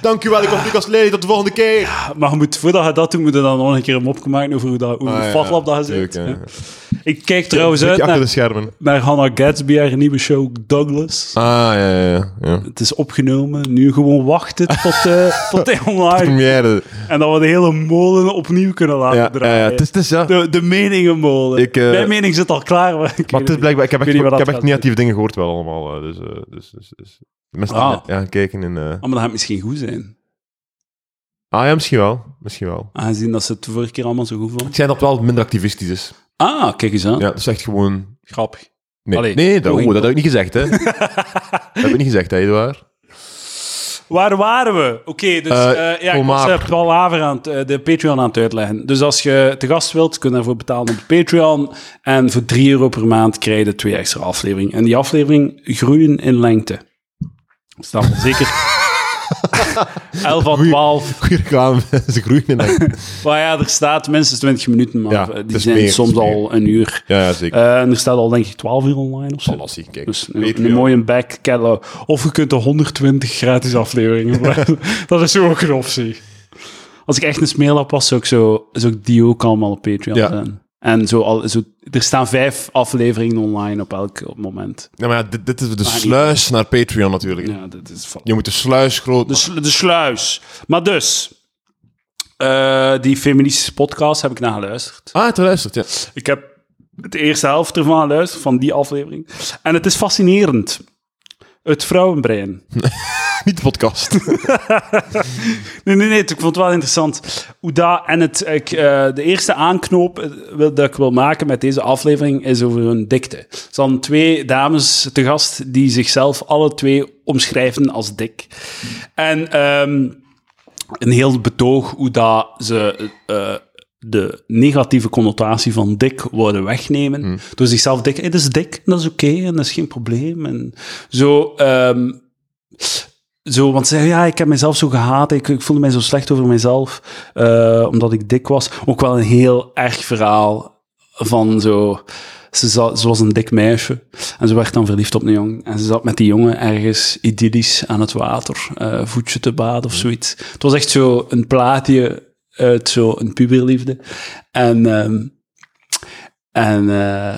[SPEAKER 2] Dankjewel, ik kom Lucas Lely. Tot de volgende keer.
[SPEAKER 1] Ah, Maar je moet, voordat je dat doet, moet je dan nog een keer een mopje maken over hoe, dat, hoe
[SPEAKER 2] Ah, ja,
[SPEAKER 1] fatlap dat je
[SPEAKER 2] tuurlijk,
[SPEAKER 1] zit.
[SPEAKER 2] ja.
[SPEAKER 1] Ja. Ik kijk trouwens
[SPEAKER 2] Zit
[SPEAKER 1] uit
[SPEAKER 2] je achter de
[SPEAKER 1] naar,
[SPEAKER 2] schermen.
[SPEAKER 1] naar Hannah Gadsby, haar nieuwe show Douglas.
[SPEAKER 2] Ah, ja, ja, ja, ja.
[SPEAKER 1] Het is opgenomen, nu gewoon wachten tot, eh, tot hij online.
[SPEAKER 2] Première.
[SPEAKER 1] En dat we de hele molen opnieuw kunnen laten
[SPEAKER 2] Ja, ja,
[SPEAKER 1] draaien.
[SPEAKER 2] ja. Het is, het is, ja.
[SPEAKER 1] de, de meningenmolen.
[SPEAKER 2] Ik, eh,
[SPEAKER 1] Mijn mening zit al klaar. Maar, ik weet
[SPEAKER 2] Maar het is
[SPEAKER 1] niet.
[SPEAKER 2] blijkbaar... Ik heb echt,
[SPEAKER 1] weet niet
[SPEAKER 2] ik
[SPEAKER 1] wat dat
[SPEAKER 2] heb echt
[SPEAKER 1] gaat
[SPEAKER 2] negatieve dingen gehoord wel allemaal. eh, Dus, eh, dus, dus, dus. De Mensen
[SPEAKER 1] Ah.
[SPEAKER 2] die- ja, kijken in... eh,
[SPEAKER 1] Ah, maar dat gaat misschien goed zijn.
[SPEAKER 2] Ah ja, misschien wel. Misschien wel.
[SPEAKER 1] Aangezien dat ze het de vorige keer allemaal zo goed vonden.
[SPEAKER 2] Het zijn dat wel minder activistisch is.
[SPEAKER 1] Ah, kijk eens aan.
[SPEAKER 2] Ja, dat is echt gewoon...
[SPEAKER 1] Grappig.
[SPEAKER 2] Nee,
[SPEAKER 1] Allee,
[SPEAKER 2] nee dat,
[SPEAKER 1] poging
[SPEAKER 2] oh, dat heb ik niet gezegd, hè. dat heb ik niet gezegd, hè, Eduard.
[SPEAKER 1] Waar waren we? Oké, dus
[SPEAKER 2] Eh,
[SPEAKER 1] eh, ja, ik was
[SPEAKER 2] Colmar.
[SPEAKER 1] eh, Paul Haver aan het, eh, de Patreon aan het uitleggen. Dus als je te gast wilt, kun je daarvoor betalen op Patreon. En voor 3 euro per maand krijg je twee extra afleveringen. En die aflevering groeien in lengte. Staan we zeker 11 à 12.
[SPEAKER 2] Goeie reclame, ze groeien in dat-
[SPEAKER 1] Maar ja, er staat minstens 20 minuten, maar
[SPEAKER 2] Ja,
[SPEAKER 1] eh,
[SPEAKER 2] het
[SPEAKER 1] die
[SPEAKER 2] is
[SPEAKER 1] zijn
[SPEAKER 2] meer, het is
[SPEAKER 1] soms
[SPEAKER 2] meer.
[SPEAKER 1] al een uur.
[SPEAKER 2] Ja, ja, zeker.
[SPEAKER 1] Eh, en er staat al denk ik 12 uur online of zo.
[SPEAKER 2] Lassie, kijk.
[SPEAKER 1] Dus
[SPEAKER 2] Weet
[SPEAKER 1] een,
[SPEAKER 2] je
[SPEAKER 1] een
[SPEAKER 2] wel.
[SPEAKER 1] mooie back catalog. Of je kunt de 120 gratis afleveringen. maken. dat is ook een optie. Als ik echt een smeerlap was, zou ik, zo, zou ik die ook allemaal op Patreon
[SPEAKER 2] Ja.
[SPEAKER 1] zijn. En zo al, zo, er staan vijf afleveringen online op elk moment.
[SPEAKER 2] Ja, maar ja, dit, dit is de
[SPEAKER 1] niet.
[SPEAKER 2] sluis naar Patreon natuurlijk.
[SPEAKER 1] Ja, Dus- dat is van.
[SPEAKER 2] Je moet de sluis groot...
[SPEAKER 1] De, slu- de sluis. Maar dus, eh, die feministische podcast heb ik naar geluisterd.
[SPEAKER 2] Ah, het luistert, ja.
[SPEAKER 1] Ik heb de eerste helft ervan geluisterd, van die aflevering. En het is fascinerend. Het vrouwenbrein.
[SPEAKER 2] Niet de podcast.
[SPEAKER 1] Nee, nee, nee. Ik vond het wel interessant. Hoe dat en het, ik, eh, de eerste aanknoop eh, wil- dat ik wil maken met deze aflevering is over hun dikte. Er zijn twee dames te gast die zichzelf alle twee omschrijven als dik. En ehm, een heel betoog hoe dat ze eh, de negatieve connotatie van dik worden wegnemen. Door zichzelf dik, het is dik, en dat is oké en dat is geen probleem. En zo... ehm, zo, want ze zeggen, ja, ik heb mezelf zo gehaat, ik, ik voelde mij zo slecht over mezelf, eh, omdat ik dik was. Ook wel een heel erg verhaal van zo... Ze, za- ze was een dik meisje en ze werd dan verliefd op een jongen. En ze zat met die jongen ergens idyllisch aan het water, eh, voetje te baden of zoiets. Het was echt zo een plaatje uit zo'n puberliefde. En... ehm, en eh,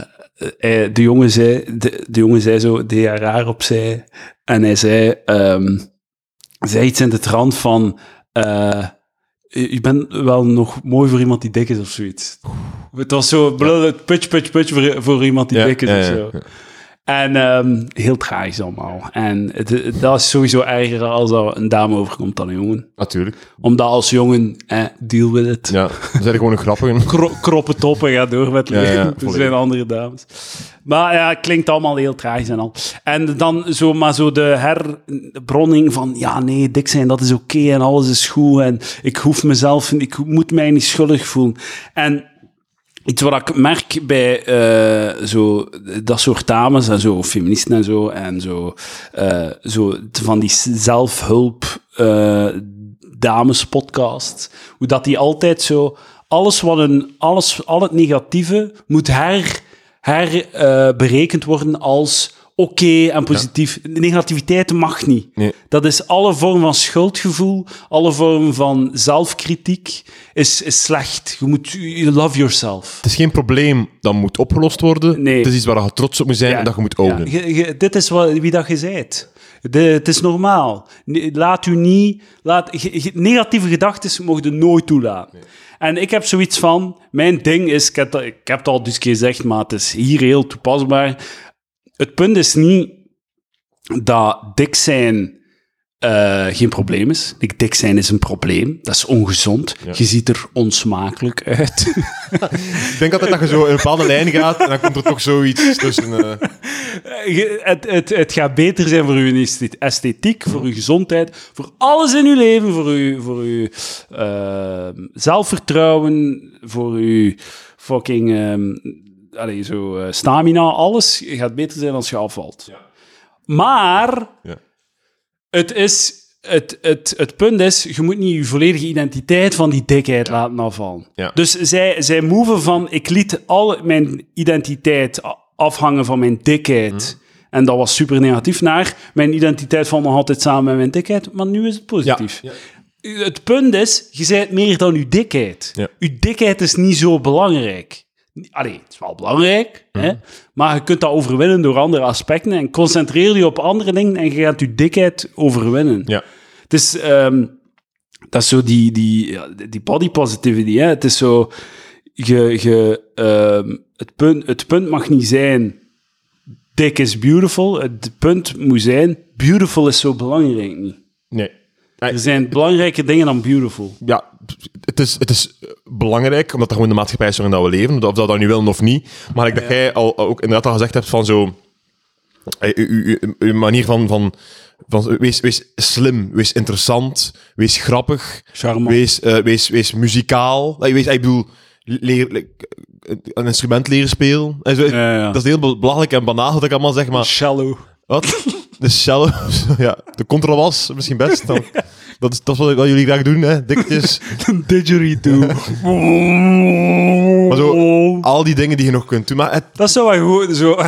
[SPEAKER 1] eh, de, jongen zei, de, de jongen zei zo, deed haar raar opzij. En hij zei, ehm, zei iets in de trant van... eh, je je bent wel nog mooi voor iemand die dik is of zoiets. Het was zo blul, putje, putje, putje voor, voor iemand die
[SPEAKER 2] Ja,
[SPEAKER 1] dik is
[SPEAKER 2] ja,
[SPEAKER 1] of
[SPEAKER 2] ja,
[SPEAKER 1] zo. En ehm, heel tragisch allemaal. En het, het- dat is sowieso erger als er een dame overkomt dan een jongen.
[SPEAKER 2] Natuurlijk.
[SPEAKER 1] Omdat als jongen, eh, deal with it
[SPEAKER 2] Ja, we zijn gewoon een grappige.
[SPEAKER 1] kro kroppen toppen gaat door met
[SPEAKER 2] Ja,
[SPEAKER 1] leven.
[SPEAKER 2] ja,
[SPEAKER 1] er
[SPEAKER 2] volledig.
[SPEAKER 1] zijn andere dames. Maar ja, het klinkt allemaal heel tragisch en al. En dan zo, maar zo de herbronning van... Ja, nee, dik zijn, dat is oké en alles is goed. En ik hoef mezelf... Ik moet mij niet schuldig voelen. En... Iets wat ik merk bij eh, zo, dat soort dames en zo, feministen en zo, en zo, eh, zo t- van die s- zelfhulp eh, damespodcast, hoe dat die altijd zo, alles wat een, alles, al het negatieve moet her, her eh, berekend worden als oké en positief. Negativiteit mag niet.
[SPEAKER 2] Nee.
[SPEAKER 1] Dat is alle vorm van schuldgevoel, alle vorm van zelfkritiek is, is slecht. Je moet you love yourself.
[SPEAKER 2] Het is geen probleem dat moet opgelost worden.
[SPEAKER 1] Nee.
[SPEAKER 2] Het is iets waar je trots op moet zijn en dat je moet ownen.
[SPEAKER 1] Ja, je- je- dit is wat, wie dat je zijt. De- het is normaal. Ne- Laat u niet... Laat, ge- ge- negatieve gedachten mogen nooit toelaten. En ik heb zoiets van... Mijn ding is... Ik heb, dat- ik heb het al dus gezegd, maar het is hier heel toepasbaar. Het punt is niet dat dik zijn eh, geen probleem is. Dik- Dik zijn is een probleem. Dat is ongezond. Je ziet er onsmakelijk uit.
[SPEAKER 2] Ik denk altijd dat je zo in een bepaalde lijn gaat en dan komt er toch zoiets tussen. eh,
[SPEAKER 1] Je- Het, het, het gaat beter zijn voor uw esth- esthetiek, voor uw gezondheid, voor alles in uw leven, voor uw, voor uw eh, zelfvertrouwen, voor uw fucking ehm, allee, zo, eh, stamina, alles gaat beter zijn als je afvalt. Maar
[SPEAKER 2] Ja.
[SPEAKER 1] het, is, het, het, het punt is, je moet niet je volledige identiteit van die dikheid laten afvallen.
[SPEAKER 2] Ja.
[SPEAKER 1] Dus zij, zij moven van, ik liet al mijn identiteit a- afhangen van mijn dikheid.
[SPEAKER 2] Mhm.
[SPEAKER 1] En dat was super negatief naar. Mijn identiteit valt nog altijd samen met mijn dikheid, maar nu is het positief. Het punt is, je bent meer dan je dikheid.
[SPEAKER 2] Ja.
[SPEAKER 1] Je dikheid is niet zo belangrijk. Allee, het is wel belangrijk,
[SPEAKER 2] Mhm.
[SPEAKER 1] hè? maar je kunt dat overwinnen door andere aspecten. En concentreer je op andere dingen en je gaat je dikheid overwinnen.
[SPEAKER 2] Ja.
[SPEAKER 1] Het is, ehm, dat is zo die, die, ja, die body positivity. Hè? Het is zo, je, je, ehm, het, punt, het punt mag niet zijn, dik is beautiful. Het punt moet zijn, beautiful is zo belangrijk niet.
[SPEAKER 2] Nee.
[SPEAKER 1] Er zijn belangrijke dingen dan beautiful.
[SPEAKER 2] ja, het is, het is belangrijk, omdat dat gewoon de maatschappij is waarin dat we leven, of dat we dat nu willen of niet. Maar ik dat jij al ook inderdaad al gezegd hebt van zo... eh, Uw, uw- uw- uw manier van... van, van wees, wees slim, wees interessant, wees grappig,
[SPEAKER 1] Charmant.
[SPEAKER 2] wees, eh, wees, wees muzikaal. Eh, Wees, ik bedoel, leer, le- een instrument leren spelen. En zo.
[SPEAKER 1] Ja, ja.
[SPEAKER 2] Dat is heel be- belachelijk en banaal wat ik allemaal zeg, maar...
[SPEAKER 1] Shallow.
[SPEAKER 2] Wat? De cello, ja, de contrabas misschien best. Dan. Dat, is, dat is wat, wat jullie graag doen, hè? Dikjes.
[SPEAKER 1] Didgeridoo.
[SPEAKER 2] Maar zo, al die dingen die je nog kunt doen. Maar het,
[SPEAKER 1] Dat zou wel goed zo.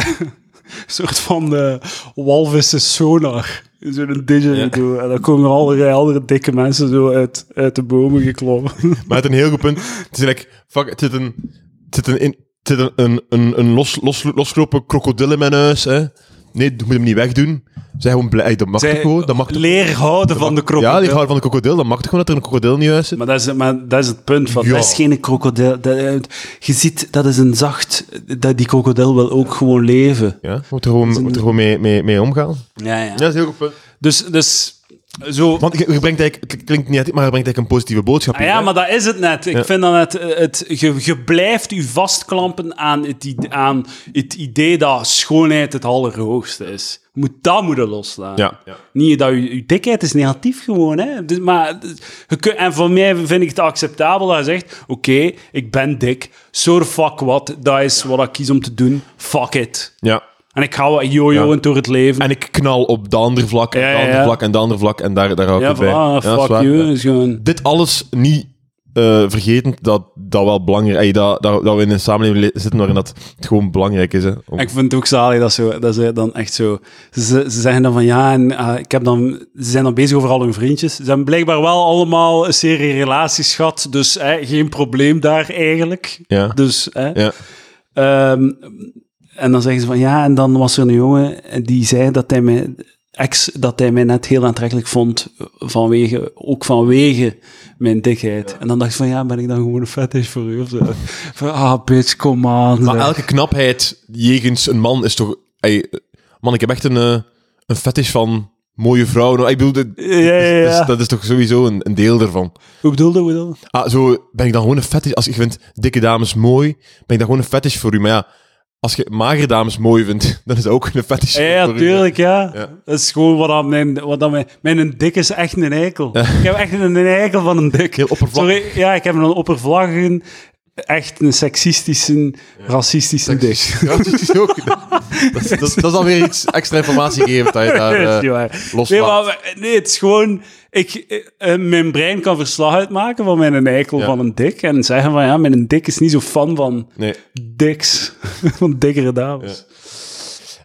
[SPEAKER 1] Een soort van eh walvissen sonar. Zo'n didgeridoo. En dan komen er allerlei andere dikke mensen zo uit, uit de bomen geklommen.
[SPEAKER 2] maar het is een heel goed punt. Het is like, fuck, het zit een, het zit een, in- het zit een, een, een, een los, los, losgelopen krokodil in mijn huis, hè? Nee, je moet hem niet wegdoen. Zij gewoon blij. Dat mag toch gewoon? Oh, Dat mag toch-
[SPEAKER 1] leer houden van de krokodil.
[SPEAKER 2] ja, die houden van de krokodil. Dat mag toch gewoon dat er een krokodil in je huis zit?
[SPEAKER 1] Maar dat, is, maar dat is het punt van.
[SPEAKER 2] Ja.
[SPEAKER 1] Dat is geen krokodil. Dat, eh, je ziet, dat is een zacht. Dat die krokodil wil ook gewoon leven.
[SPEAKER 2] Ja, je moet er gewoon, moet er gewoon mee, mee, mee omgaan.
[SPEAKER 1] Ja, ja.
[SPEAKER 2] Ja, dat is een heel goed punt.
[SPEAKER 1] Dus, dus zo.
[SPEAKER 2] Want je, je brengt eigenlijk, het klinkt niet, uit, maar je brengt eigenlijk een positieve boodschap
[SPEAKER 1] Ah
[SPEAKER 2] in,
[SPEAKER 1] ja,
[SPEAKER 2] hè?
[SPEAKER 1] maar dat is het net. Ik vind dan net, eh, het, je, je blijft je vastklampen aan het, ide- aan het idee dat schoonheid het allerhoogste is. Je moet dat moeten loslaten.
[SPEAKER 2] Ja. Ja.
[SPEAKER 1] Niet dat je, je dikheid is negatief gewoon. Hè? Dus, maar, je kun- en voor mij vind ik het acceptabel dat je zegt, oké, ik ben dik, so the fuck what, dat is wat ik kies om te doen, fuck it.
[SPEAKER 2] ja.
[SPEAKER 1] En ik ga wat jojoen door het leven.
[SPEAKER 2] En ik knal op de andere vlak, en
[SPEAKER 1] Ja,
[SPEAKER 2] de
[SPEAKER 1] ja,
[SPEAKER 2] andere
[SPEAKER 1] ja.
[SPEAKER 2] vlak en de andere vlak. En daar, daar hou ik
[SPEAKER 1] ja,
[SPEAKER 2] het bij.
[SPEAKER 1] voilà,
[SPEAKER 2] dat is
[SPEAKER 1] fuck
[SPEAKER 2] waar,
[SPEAKER 1] you.
[SPEAKER 2] ja.
[SPEAKER 1] is gewoon...
[SPEAKER 2] Dit alles niet eh vergetend dat dat wel belangrijk ey, dat, dat, dat we in een samenleving le- zitten waarin dat het gewoon belangrijk is. Hè, om-
[SPEAKER 1] Ik vind het ook zalig dat, zo, dat ze dan echt zo... Ze, ze zeggen dan van ja, en eh, ik heb dan, ze zijn dan bezig over al hun vriendjes. Ze hebben blijkbaar wel allemaal een serie relaties gehad, dus eh, geen probleem daar eigenlijk.
[SPEAKER 2] Ja.
[SPEAKER 1] Dus, eh,
[SPEAKER 2] ja.
[SPEAKER 1] ehm, en dan zeggen ze van ja, en dan was er een jongen die zei dat hij mij... Ex, dat hij mij net heel aantrekkelijk vond, vanwege, ook vanwege mijn dikheid. En dan dacht ik van, ja, ben ik dan gewoon een fetish voor u of zo? Van, ah, bitch, kom aan.
[SPEAKER 2] Maar elke knapheid jegens een man is toch... ey, eh, man, ik heb echt een, eh, een fetish van mooie vrouwen. Ik bedoel, dit-
[SPEAKER 1] Ja, ja, ja.
[SPEAKER 2] dat is- dat is toch sowieso een, een deel ervan.
[SPEAKER 1] Hoe bedoelde we dat?
[SPEAKER 2] Ah, zo ben ik dan gewoon een fetish. Als je vindt dikke dames mooi, ben ik dan gewoon een fetish voor u. Maar ja, als je magere dames mooi vindt, dan is dat ook een fetish
[SPEAKER 1] Ja, ja
[SPEAKER 2] voor u.
[SPEAKER 1] tuurlijk, ja.
[SPEAKER 2] Ja.
[SPEAKER 1] Dat is gewoon wat aan mijn... Wat aan mijn, mijn dik is echt een eikel. Ik heb echt een, een eikel van een dik.
[SPEAKER 2] Heel oppervlakkig.
[SPEAKER 1] Sorry, ja, ik heb een oppervlakkige, echt een seksistische, racistische dik.
[SPEAKER 2] Ja, dat is ook. Dat, dat, dat, dat is dan weer iets extra informatie gegeven dat je daar
[SPEAKER 1] Dat is niet
[SPEAKER 2] eh,
[SPEAKER 1] waar.
[SPEAKER 2] loslaat.
[SPEAKER 1] Nee, maar, nee, het is gewoon... Ik, eh, eh, mijn brein kan verslag uitmaken van mijn eikel
[SPEAKER 2] Ja.
[SPEAKER 1] van een dik. En zeggen van, ja, mijn dik is niet zo fan van
[SPEAKER 2] Nee.
[SPEAKER 1] diks. van dikkere dames.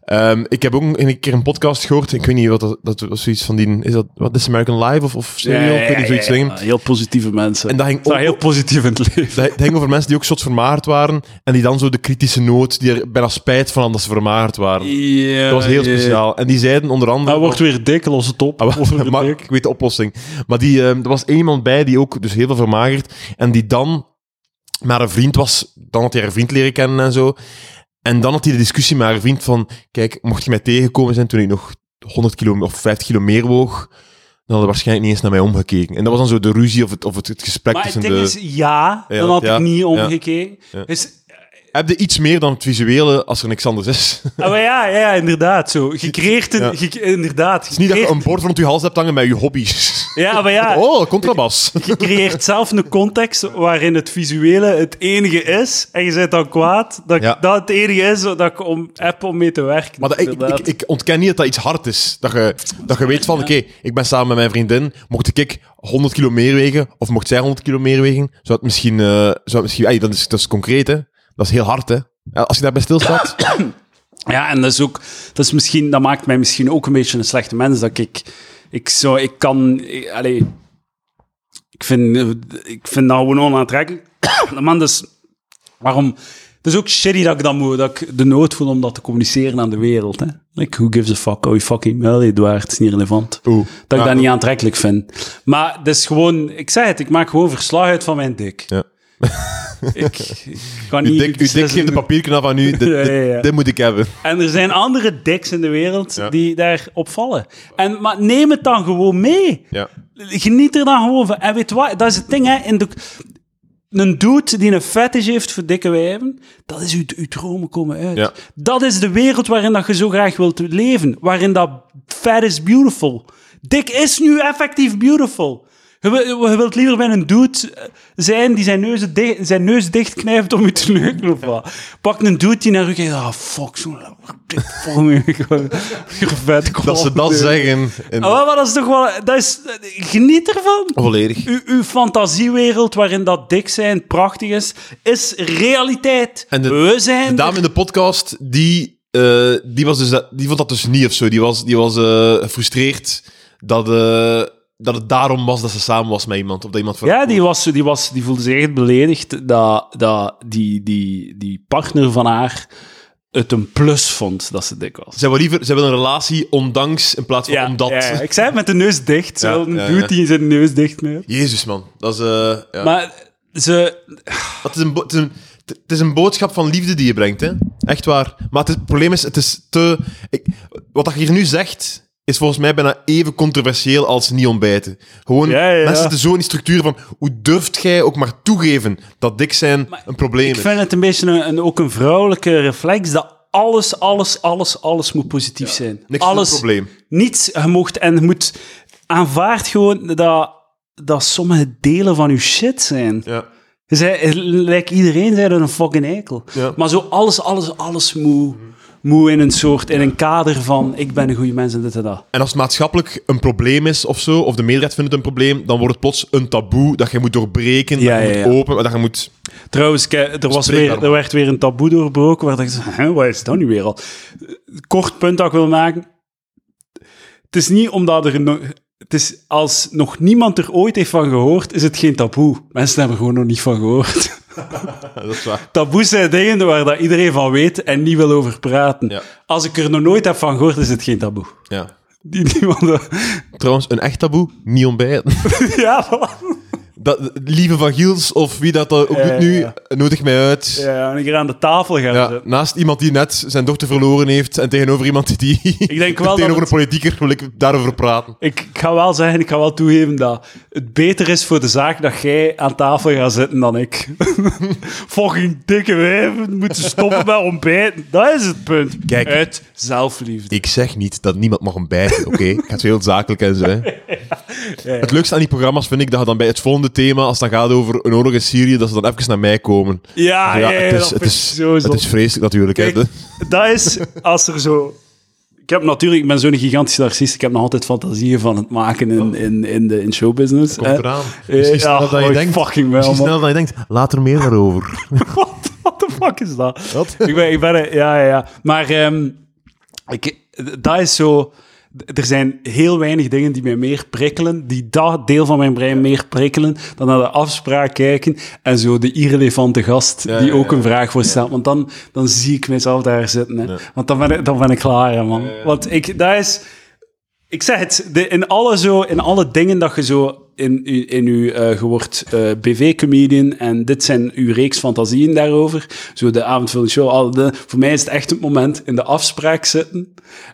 [SPEAKER 2] Ehm, ik heb ook een keer een podcast gehoord. Ik weet niet wat dat, dat was zoiets van die. Is dat wat This American Live of, of Serial? ik weet niet zoiets dingen.
[SPEAKER 1] heel positieve mensen.
[SPEAKER 2] En dat ging
[SPEAKER 1] Ik sta
[SPEAKER 2] ook-
[SPEAKER 1] heel positief in het leven.
[SPEAKER 2] Dat, dat ging over mensen die ook soort vermaard waren. En die dan zo de kritische noot, die er bijna spijt van hadden dat ze vermaard waren.
[SPEAKER 1] Ja,
[SPEAKER 2] dat was heel
[SPEAKER 1] ja.
[SPEAKER 2] speciaal. En die zeiden onder andere.
[SPEAKER 1] Hij wordt weer dik, los het op.
[SPEAKER 2] Ah, wel,
[SPEAKER 1] Of weer
[SPEAKER 2] maar
[SPEAKER 1] dik.
[SPEAKER 2] ik weet de oplossing. Maar die, ehm, er was één iemand bij die ook dus heel veel vermagerd. En die dan maar een vriend was. Dan had hij haar vriend leren kennen en zo. En dan had hij de discussie met haar vriend van... Kijk, mocht je mij tegenkomen zijn toen ik nog 100 kilo of 50 kilo meer woog... Dan hadden waarschijnlijk niet eens naar mij omgekeken. En dat was dan zo de ruzie of het, of het, het gesprek
[SPEAKER 1] Maar het
[SPEAKER 2] tussen
[SPEAKER 1] ding
[SPEAKER 2] de...
[SPEAKER 1] is, ja,
[SPEAKER 2] Ja,
[SPEAKER 1] dan had
[SPEAKER 2] ja,
[SPEAKER 1] ik niet
[SPEAKER 2] ja.
[SPEAKER 1] omgekeken. Dus, Is,
[SPEAKER 2] heb je iets meer dan het visuele als er niks anders is. Het
[SPEAKER 1] Ah, maar ja, ja, ja, inderdaad. Zo. Je creëert een...
[SPEAKER 2] Ja.
[SPEAKER 1] je- inderdaad. Je
[SPEAKER 2] is niet dat je
[SPEAKER 1] creëert-
[SPEAKER 2] een bord rond je hals hebt hangen met je hobby's.
[SPEAKER 1] Ja, maar ja.
[SPEAKER 2] Oh, contrabas.
[SPEAKER 1] Je creëert zelf een context waarin het visuele het enige is. En je bent dan kwaad dat
[SPEAKER 2] Ja.
[SPEAKER 1] dat het enige is dat ik om, heb om mee te werken.
[SPEAKER 2] Maar dat, ik, ik,
[SPEAKER 1] inderdaad.
[SPEAKER 2] ik ontken niet dat dat iets hard is. Dat je, dat je weet van, oké, ik ben samen met mijn vriendin. Mocht ik 100 kilo meer wegen, of mocht zij 100 kilo meer wegen, zou het misschien... eh, zou het misschien ey, dat, is, dat is concreet, hè. Dat is heel hard, hè. Ja, Als je daarbij stilstaat.
[SPEAKER 1] Ja, en dat is ook, dat is misschien, dat maakt mij misschien ook een beetje een slechte mens. Dat ik, ik zo, ik kan, ik, allee, ik vind, eh, ik vind dat gewoon onaantrekkelijk. De man, dus, waarom? Het is ook shitty dat ik dan moet, dat ik de nood voel om dat te communiceren aan de wereld. Hè? Like, who gives a fuck? Oh, je fucking mail, Eduard, het is niet relevant.
[SPEAKER 2] Oeh.
[SPEAKER 1] Dat ik
[SPEAKER 2] Ja,
[SPEAKER 1] dat niet aantrekkelijk vind. Maar dat is gewoon, ik zei het, ik maak gewoon verslag uit van mijn dik.
[SPEAKER 2] Ja.
[SPEAKER 1] ik, ik kan
[SPEAKER 2] Je
[SPEAKER 1] niet...
[SPEAKER 2] dik, je dik
[SPEAKER 1] beslissen
[SPEAKER 2] geeft de
[SPEAKER 1] hoe-
[SPEAKER 2] papierknap aan u. Dit, dit,
[SPEAKER 1] Ja, ja, ja.
[SPEAKER 2] dit moet ik hebben.
[SPEAKER 1] en er zijn andere diks in de wereld
[SPEAKER 2] Ja.
[SPEAKER 1] die daar opvallen. En, maar neem het dan gewoon mee.
[SPEAKER 2] Ja.
[SPEAKER 1] Geniet er dan gewoon van. En weet wat, dat is het ding, hè. In de, een dude die een fetish heeft voor dikke wijven, dat is uw, uw dromen komen uit.
[SPEAKER 2] Ja.
[SPEAKER 1] Dat is de wereld waarin dat je zo graag wilt leven. Waarin dat fat is beautiful. Dik is nu effectief beautiful. Je, wil- je wilt liever bij een dude eh, zijn die zijn neus, di- zijn neus dichtknijpt om je te neuken of wat. Pak een dude die naar u kijkt, ah fuck, zo'n dik voor me. vet
[SPEAKER 2] Dat ze dat zeggen. in-
[SPEAKER 1] Ah, wel, maar dat is toch wel... Dat is, geniet ervan.
[SPEAKER 2] Volledig.
[SPEAKER 1] U, uw fantasiewereld waarin dat dik zijn prachtig is, is realiteit.
[SPEAKER 2] En de-
[SPEAKER 1] We zijn...
[SPEAKER 2] De dame in de podcast, die, eh, die, was dus, dat- die vond dat dus niet of zo. Die was, die was eh, gefrustreerd dat, eh, dat het daarom was dat ze samen was met iemand. Of dat iemand voor
[SPEAKER 1] ja, die, was, die, was, die voelde zich echt beledigd dat, dat die, die, die partner van haar het een plus vond dat ze dik was.
[SPEAKER 2] Zij wil liever zij wil een relatie ondanks in plaats van omdat.
[SPEAKER 1] ja, ja. ik zei het met de neus dicht.
[SPEAKER 2] Ja,
[SPEAKER 1] zo een
[SPEAKER 2] ja, ja.
[SPEAKER 1] dude die zijn neus dicht neemt.
[SPEAKER 2] Jezus, man. Dat is, eh, ja.
[SPEAKER 1] Maar ze...
[SPEAKER 2] Dat is een bo- het, is een, het is een boodschap van liefde die je brengt, hè. Echt waar. Maar het, is- het probleem is, het is te... Ik, wat dat je hier nu zegt, is volgens mij bijna even controversieel als niet ontbijten. Gewoon,
[SPEAKER 1] Ja, ja, ja.
[SPEAKER 2] mensen zitten zo in die structuur van... Hoe durft jij ook maar toegeven dat dik zijn een probleem
[SPEAKER 1] Ik
[SPEAKER 2] is?
[SPEAKER 1] vind het een beetje een, een- ook een vrouwelijke reflex dat alles, alles, alles, alles moet positief zijn.
[SPEAKER 2] Niks is
[SPEAKER 1] alles,
[SPEAKER 2] een probleem.
[SPEAKER 1] Niets, je mocht en je moet aanvaard gewoon dat, dat sommige delen van je shit zijn.
[SPEAKER 2] Ja.
[SPEAKER 1] Zij, lijkt iedereen zijn er een fucking eikel.
[SPEAKER 2] Ja.
[SPEAKER 1] Maar zo alles, alles, alles moet, moet in een soort, in een kader van ik ben een goede mens en dit en dat.
[SPEAKER 2] En als het maatschappelijk een probleem is of zo, of de meerderheid vindt het een probleem, dan wordt het plots een taboe dat je moet doorbreken,
[SPEAKER 1] Ja,
[SPEAKER 2] dat je
[SPEAKER 1] ja,
[SPEAKER 2] moet
[SPEAKER 1] ja.
[SPEAKER 2] openen, dat je moet...
[SPEAKER 1] Trouwens, ke- er, was
[SPEAKER 2] Spreek
[SPEAKER 1] weer,
[SPEAKER 2] daarom.
[SPEAKER 1] er werd weer een taboe doorbroken. Waar ik dacht, hè, wat is dat nu weer al? Kort punt dat ik wil maken. Het is niet omdat er... no- het is als nog niemand er ooit heeft van gehoord, is het geen taboe. Mensen hebben er gewoon nog niet van gehoord.
[SPEAKER 2] Dat is waar.
[SPEAKER 1] Taboes zijn dingen waar dat iedereen van weet en niet wil over praten.
[SPEAKER 2] Ja.
[SPEAKER 1] Als ik er nog nooit heb van gehoord, is het geen taboe.
[SPEAKER 2] Ja.
[SPEAKER 1] Die, niemand...
[SPEAKER 2] Trouwens, een echt taboe, niet ontbijten.
[SPEAKER 1] ja, voilà.
[SPEAKER 2] Dat, lieve van Giels of wie dat ook
[SPEAKER 1] Ja,
[SPEAKER 2] doet nu,
[SPEAKER 1] ja,
[SPEAKER 2] nodig mij uit. Ja.
[SPEAKER 1] ja, en ik er aan de tafel gaan zitten.
[SPEAKER 2] naast iemand die net zijn dochter verloren heeft en tegenover iemand die... Ik
[SPEAKER 1] denk wel dat
[SPEAKER 2] Tegenover
[SPEAKER 1] het-
[SPEAKER 2] een politieker wil ik daarover praten.
[SPEAKER 1] Ik, ik ga wel zeggen, ik ga wel toegeven dat het beter is voor de zaak dat jij aan tafel gaat zitten dan ik. Fucking dikke wijven moeten stoppen met ontbijten. Dat is het punt.
[SPEAKER 2] Kijk.
[SPEAKER 1] Uit zelfliefde.
[SPEAKER 2] Ik zeg niet dat niemand mag ontbijten, oké? Ik ga het heel zakelijk en zo, hè. Het leukste aan die programma's vind ik dat je dan bij het volgende thema, als het dan gaat over een oorlog in Syrië, dat ze dan even naar mij komen.
[SPEAKER 1] Ja, ja,
[SPEAKER 2] het
[SPEAKER 1] dat
[SPEAKER 2] is,
[SPEAKER 1] vind
[SPEAKER 2] het
[SPEAKER 1] ik
[SPEAKER 2] is,
[SPEAKER 1] zo
[SPEAKER 2] het
[SPEAKER 1] zot.
[SPEAKER 2] is vreselijk natuurlijk, hè.
[SPEAKER 1] Kijk, dat is als er zo... Ik heb natuurlijk, ik ben zo'n gigantische narcist, ik heb nog altijd fantasieën van het maken in, in, in, de, in showbusiness.
[SPEAKER 2] Komt
[SPEAKER 1] hè.
[SPEAKER 2] eraan.
[SPEAKER 1] Eh,
[SPEAKER 2] Misschien
[SPEAKER 1] ja,
[SPEAKER 2] sneller dan je
[SPEAKER 1] oh,
[SPEAKER 2] denkt.
[SPEAKER 1] fucking wel,
[SPEAKER 2] Misschien
[SPEAKER 1] man.
[SPEAKER 2] sneller dan je denkt, later meer daarover.
[SPEAKER 1] Wat what the fuck is dat?
[SPEAKER 2] Wat?
[SPEAKER 1] Ik ben, ik ben, een- ja, ja, ja. Maar ehm, ik, dat is zo... Er zijn heel weinig dingen die mij meer prikkelen, die dat deel van mijn brein meer prikkelen, dan naar de afspraak kijken en zo de irrelevante gast
[SPEAKER 2] Ja,
[SPEAKER 1] die
[SPEAKER 2] ja,
[SPEAKER 1] ook
[SPEAKER 2] ja.
[SPEAKER 1] een vraag voor stelt. Want dan, dan zie ik mezelf daar zitten. Hè. Want dan ben, ik, dan ben ik klaar, hè, man. Want ik, dat is... Ik zeg het, de- in, alle zo, in alle dingen dat je zo in, u- in uw, eh, je wordt eh, BV-comedian en dit zijn uw reeks fantasieën daarover. Zo de avondvullende show. al de- voor mij is het echt het moment in de afspraak zitten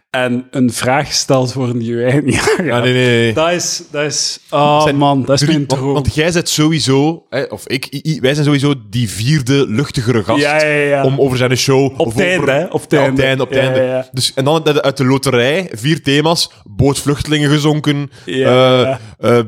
[SPEAKER 1] en een vraag gesteld worden die wij niet aangaan.
[SPEAKER 2] Ja, nee, nee, nee.
[SPEAKER 1] Dat is, dat is, oh
[SPEAKER 2] zijn
[SPEAKER 1] man, dat is
[SPEAKER 2] Drie-
[SPEAKER 1] mijn
[SPEAKER 2] want,
[SPEAKER 1] droom.
[SPEAKER 2] want jij bent sowieso, hè, of ik, i- i- wij zijn sowieso die vierde luchtigere gast.
[SPEAKER 1] Ja, ja, ja.
[SPEAKER 2] Om over zijn show.
[SPEAKER 1] Op
[SPEAKER 2] of
[SPEAKER 1] het einde,
[SPEAKER 2] over-
[SPEAKER 1] hè? Op het
[SPEAKER 2] Ja,
[SPEAKER 1] einde.
[SPEAKER 2] op het
[SPEAKER 1] Ja,
[SPEAKER 2] einde.
[SPEAKER 1] ja, ja.
[SPEAKER 2] Dus, en dan uit de loterij, vier thema's: bootvluchtelingen gezonken,
[SPEAKER 1] Ja.
[SPEAKER 2] eh, eh,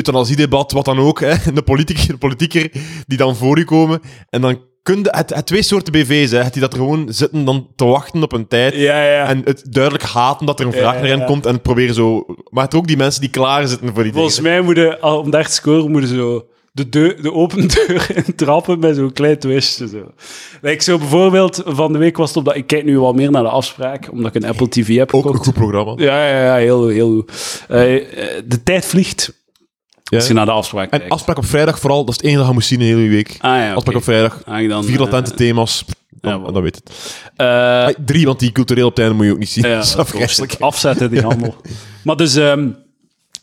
[SPEAKER 2] euthanasiedebat, wat dan ook. Hè? De politieker, de politieker die dan voor u komen. En dan kun je, het, het twee soorten BV's, hè? Het die dat er gewoon zitten dan te wachten op een tijd.
[SPEAKER 1] ja, ja.
[SPEAKER 2] En het duidelijk haten dat er een vraag
[SPEAKER 1] ja,
[SPEAKER 2] naar hen
[SPEAKER 1] ja.
[SPEAKER 2] komt en het proberen zo. Maar het ook die mensen die klaar zitten voor die
[SPEAKER 1] Volgens
[SPEAKER 2] dingen.
[SPEAKER 1] mij moeten, al om daar te scoren, moeten zo de, deur, de open deur in trappen met zo'n klein twistje. Zo. Like zo bijvoorbeeld, van de week was het op dat... Ik kijk nu wel meer naar de afspraak, omdat ik een Apple TV heb
[SPEAKER 2] Ook een
[SPEAKER 1] gekocht.
[SPEAKER 2] goed programma.
[SPEAKER 1] Ja, ja, ja, heel goed, heel goed. Eh, eh, de tijd vliegt als je naar de afspraak
[SPEAKER 2] En
[SPEAKER 1] kijkt.
[SPEAKER 2] afspraak op vrijdag vooral, dat is het enige dat je moet zien in de hele week.
[SPEAKER 1] ah ja,
[SPEAKER 2] Afspraak
[SPEAKER 1] oké.
[SPEAKER 2] op vrijdag,
[SPEAKER 1] Ah, ik dan,
[SPEAKER 2] vier
[SPEAKER 1] eh,
[SPEAKER 2] latente thema's, pff, dan,
[SPEAKER 1] ja, wel.
[SPEAKER 2] dan weet het.
[SPEAKER 1] eh,
[SPEAKER 2] Ah, drie, want die cultureel op het einde moet je ook niet zien.
[SPEAKER 1] Ja,
[SPEAKER 2] dat is
[SPEAKER 1] dat klopt.
[SPEAKER 2] afgrijzelijk.
[SPEAKER 1] Afzetten, die handel. Maar dus, ehm,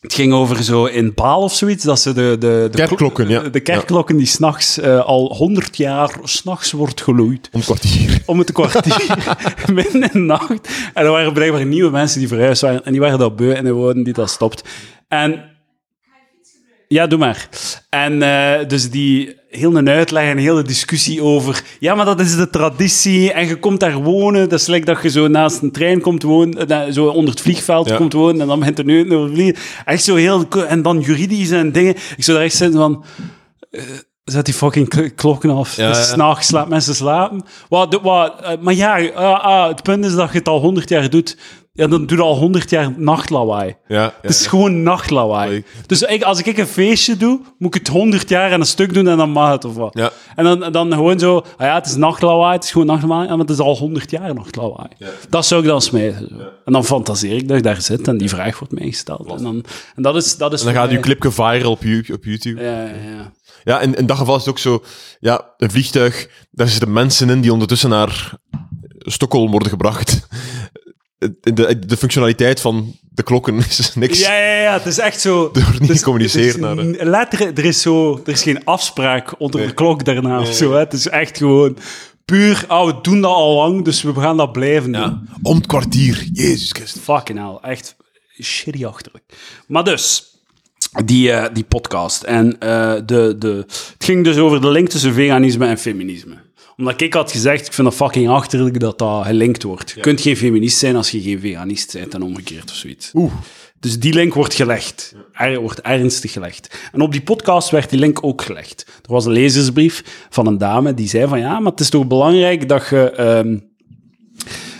[SPEAKER 1] het ging over zo in Baal of zoiets, dat ze de... de, de
[SPEAKER 2] Kerkklokken, ja.
[SPEAKER 1] De, de kerkklokken die s'nachts eh al honderd jaar s'nachts wordt geloeid.
[SPEAKER 2] Om het kwartier.
[SPEAKER 1] Om het kwartier, midden in de nacht. En er waren blijkbaar nieuwe mensen die verhuisd waren. En die waren dat beu en er woorden die dat stopt. En... Ja, doe maar. En eh, dus die heel een uitleg en heel de discussie over... Ja, maar dat is de traditie en je komt daar wonen. Dat is like dat je zo naast een trein komt wonen, eh, zo onder het vliegveld
[SPEAKER 2] Ja.
[SPEAKER 1] komt wonen en dan begint er nu een vliegen. Echt zo heel... ko- En dan juridisch en dingen. Ik zou daar echt zitten van... eh, Zet die fucking kl- klokken af.
[SPEAKER 2] Ja,
[SPEAKER 1] Het is
[SPEAKER 2] ja.
[SPEAKER 1] s'nachts, laat mensen slapen. Wat, de- wat, eh, maar ja, ah, ah, het punt is dat je het al honderd jaar doet. Ja, dan doe je al honderd jaar nachtlawaai.
[SPEAKER 2] Ja, ja.
[SPEAKER 1] Het is gewoon nachtlawaai.
[SPEAKER 2] Leuk.
[SPEAKER 1] Dus ik, als ik een feestje doe, moet ik het 100 jaar aan een stuk doen en dan mag het of wat.
[SPEAKER 2] Ja.
[SPEAKER 1] En dan, dan gewoon zo, ah ja, het is nachtlawaai, het is gewoon nachtlawaai, en het is al 100 jaar nachtlawaai. Dat zou ik dan smijten. zo. En dan fantaseer ik dat ik daar zit en die vraag wordt mij gesteld. En, dan, en dat is. Dat is
[SPEAKER 2] En dan gaat
[SPEAKER 1] voor
[SPEAKER 2] uw clipje viral op You- op YouTube.
[SPEAKER 1] mij- Ja, ja, ja.
[SPEAKER 2] Ja, en in dat geval is het ook zo... Ja, een vliegtuig, daar zitten mensen in die ondertussen naar Stockholm worden gebracht. De, de functionaliteit van de klokken is dus niks.
[SPEAKER 1] Ja, ja, ja, het is echt zo.
[SPEAKER 2] Er wordt niet
[SPEAKER 1] Dus-
[SPEAKER 2] gecommuniceerd
[SPEAKER 1] er
[SPEAKER 2] naar
[SPEAKER 1] is
[SPEAKER 2] de-
[SPEAKER 1] n- Later, er is zo, er is geen afspraak onder de klok daarna of zo. Hè. Het is echt gewoon puur, oh, we doen dat al lang, dus we gaan dat blijven doen.
[SPEAKER 2] Ja. Om het kwartier. Jezus Christus.
[SPEAKER 1] Fucking hell, echt shitty achterlijk. Maar dus, die, eh, die podcast. En eh, de, de, het ging dus over de link tussen veganisme en feminisme. Omdat ik had gezegd, ik vind dat fucking achterlijk dat dat gelinkt wordt. Je kunt geen feminist zijn als je geen veganist bent en omgekeerd of zoiets.
[SPEAKER 2] Oeh.
[SPEAKER 1] Dus die link wordt gelegd. Er, wordt ernstig gelegd. En op die podcast werd die link ook gelegd. Er was een lezersbrief van een dame die zei van ja, maar het is toch belangrijk dat je... ehm,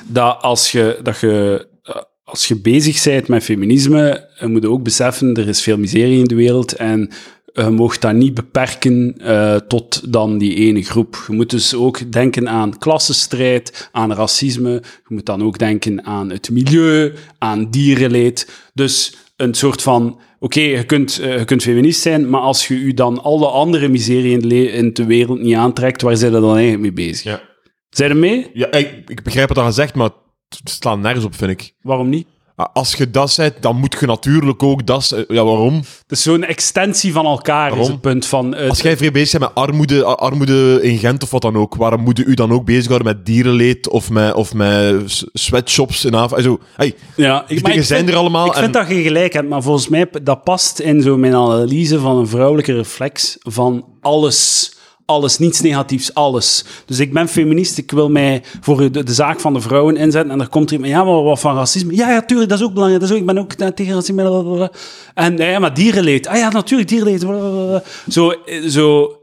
[SPEAKER 1] dat als je, dat je, eh, als je bezig bent met feminisme, eh, moet je ook beseffen, er is veel miserie in de wereld en je mag dat niet beperken eh, tot dan die ene groep. Je moet dus ook denken aan klassenstrijd, aan racisme. Je moet dan ook denken aan het milieu, aan dierenleed. Dus een soort van... Oké, je, kunt, eh, je kunt feminist zijn, maar als je je dan alle andere miserie in, het le- in de wereld niet aantrekt, waar zijn we dan eigenlijk mee bezig?
[SPEAKER 2] Ja.
[SPEAKER 1] Zijn er mee?
[SPEAKER 2] Ja, ik, ik begrijp wat je zegt, maar het slaat nergens op, vind ik.
[SPEAKER 1] Waarom niet?
[SPEAKER 2] Als je dat zegt, dan moet je natuurlijk ook dat... ze- Ja, waarom?
[SPEAKER 1] Dus zo'n extensie van elkaar is
[SPEAKER 2] Waarom?
[SPEAKER 1] het punt van... eh,
[SPEAKER 2] Als jij vrij bezig bent met armoede, a- armoede in Gent of wat dan ook, waarom moet je u dan ook bezighouden met dierenleed of met, of met s- sweatshops in Afrika? Zo, hey,
[SPEAKER 1] ja, ik, maar
[SPEAKER 2] dingen
[SPEAKER 1] ik
[SPEAKER 2] zijn
[SPEAKER 1] vind-
[SPEAKER 2] er allemaal
[SPEAKER 1] Ik
[SPEAKER 2] en-
[SPEAKER 1] vind dat je gelijk hebt, maar volgens mij p- dat past in zo mijn analyse van een vrouwelijke reflex van alles. Alles, niets negatiefs, alles. Dus ik ben feminist, ik wil mij voor de, de zaak van de vrouwen inzetten. En er komt er iemand, ja, maar wat van racisme? Ja, ja, tuurlijk, dat is ook belangrijk. Dat is ook, ik ben ook eh, tegen racisme. blablabla. En ja, ja, maar dierenleed. Ah ja, natuurlijk, dierenleed. blablabla. Zo, eh, zo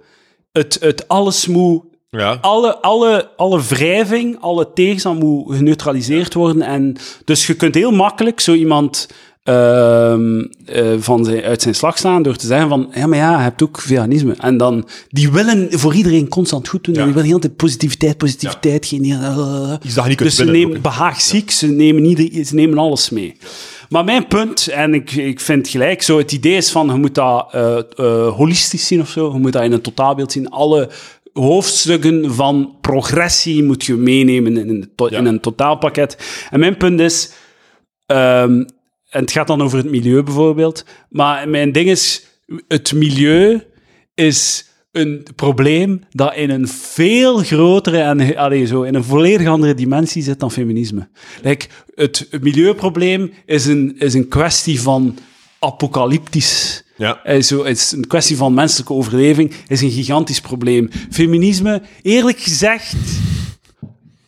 [SPEAKER 1] het, het alles moet
[SPEAKER 2] ja.
[SPEAKER 1] alle, alle, alle wrijving, alle tegenstand moet geneutraliseerd worden. En dus je kunt heel makkelijk zo iemand ehm, eh, van zijn, uit zijn slag slaan door te zeggen van, ja, maar ja, je hebt ook veganisme. En dan, die willen voor iedereen constant goed doen. En die willen heel de hele tijd positiviteit, positiviteit, geen...
[SPEAKER 2] Iets dat je niet kunt
[SPEAKER 1] Dus ze
[SPEAKER 2] winnen,
[SPEAKER 1] nemen
[SPEAKER 2] ook.
[SPEAKER 1] behaag ziek, ze nemen, ieder, ze nemen alles mee. Maar mijn punt, en ik, ik vind gelijk zo, het idee is van, je moet dat eh, eh, holistisch zien of zo, je moet dat in een totaalbeeld zien. Alle hoofdstukken van progressie moet je meenemen in, een to- in een totaalpakket. En mijn punt is, ehm, en het gaat dan over het milieu bijvoorbeeld, maar mijn ding is, het milieu is een probleem dat in een veel grotere en allee, zo, in een volledig andere dimensie zit dan feminisme. Like, het milieuprobleem is een, is een kwestie van apocalyptisch.
[SPEAKER 2] Ja.
[SPEAKER 1] Eh, zo, het is een kwestie van menselijke overleving, is een gigantisch probleem. Feminisme, eerlijk gezegd,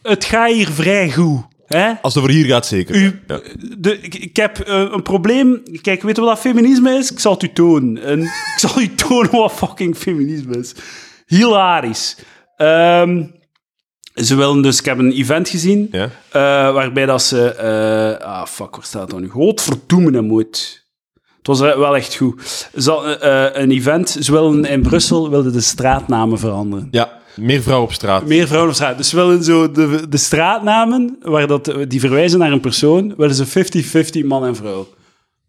[SPEAKER 1] het gaat hier vrij goed. Hè?
[SPEAKER 2] Als het over hier gaat, zeker.
[SPEAKER 1] U, de, ik, ik heb eh, een probleem. Kijk, weet je wat dat feminisme is? Ik zal het u tonen. En ik zal u tonen wat fucking feminisme is. Hilarisch. Ehm, ze willen dus... Ik heb een event gezien
[SPEAKER 2] Ja.
[SPEAKER 1] eh, waarbij dat ze... eh, ah, fuck, waar staat dat nu? Godverdoemen hem ooit. Het was eh, wel echt goed. Ze hadden, eh, een event. Ze willen in Brussel wilden de straatnamen veranderen.
[SPEAKER 2] Ja, meer vrouwen op straat.
[SPEAKER 1] Meer vrouwen op straat. Dus ze willen zo de, de straatnamen, waar dat, eh, die verwijzen naar een persoon, willen ze 50-50 man en vrouw.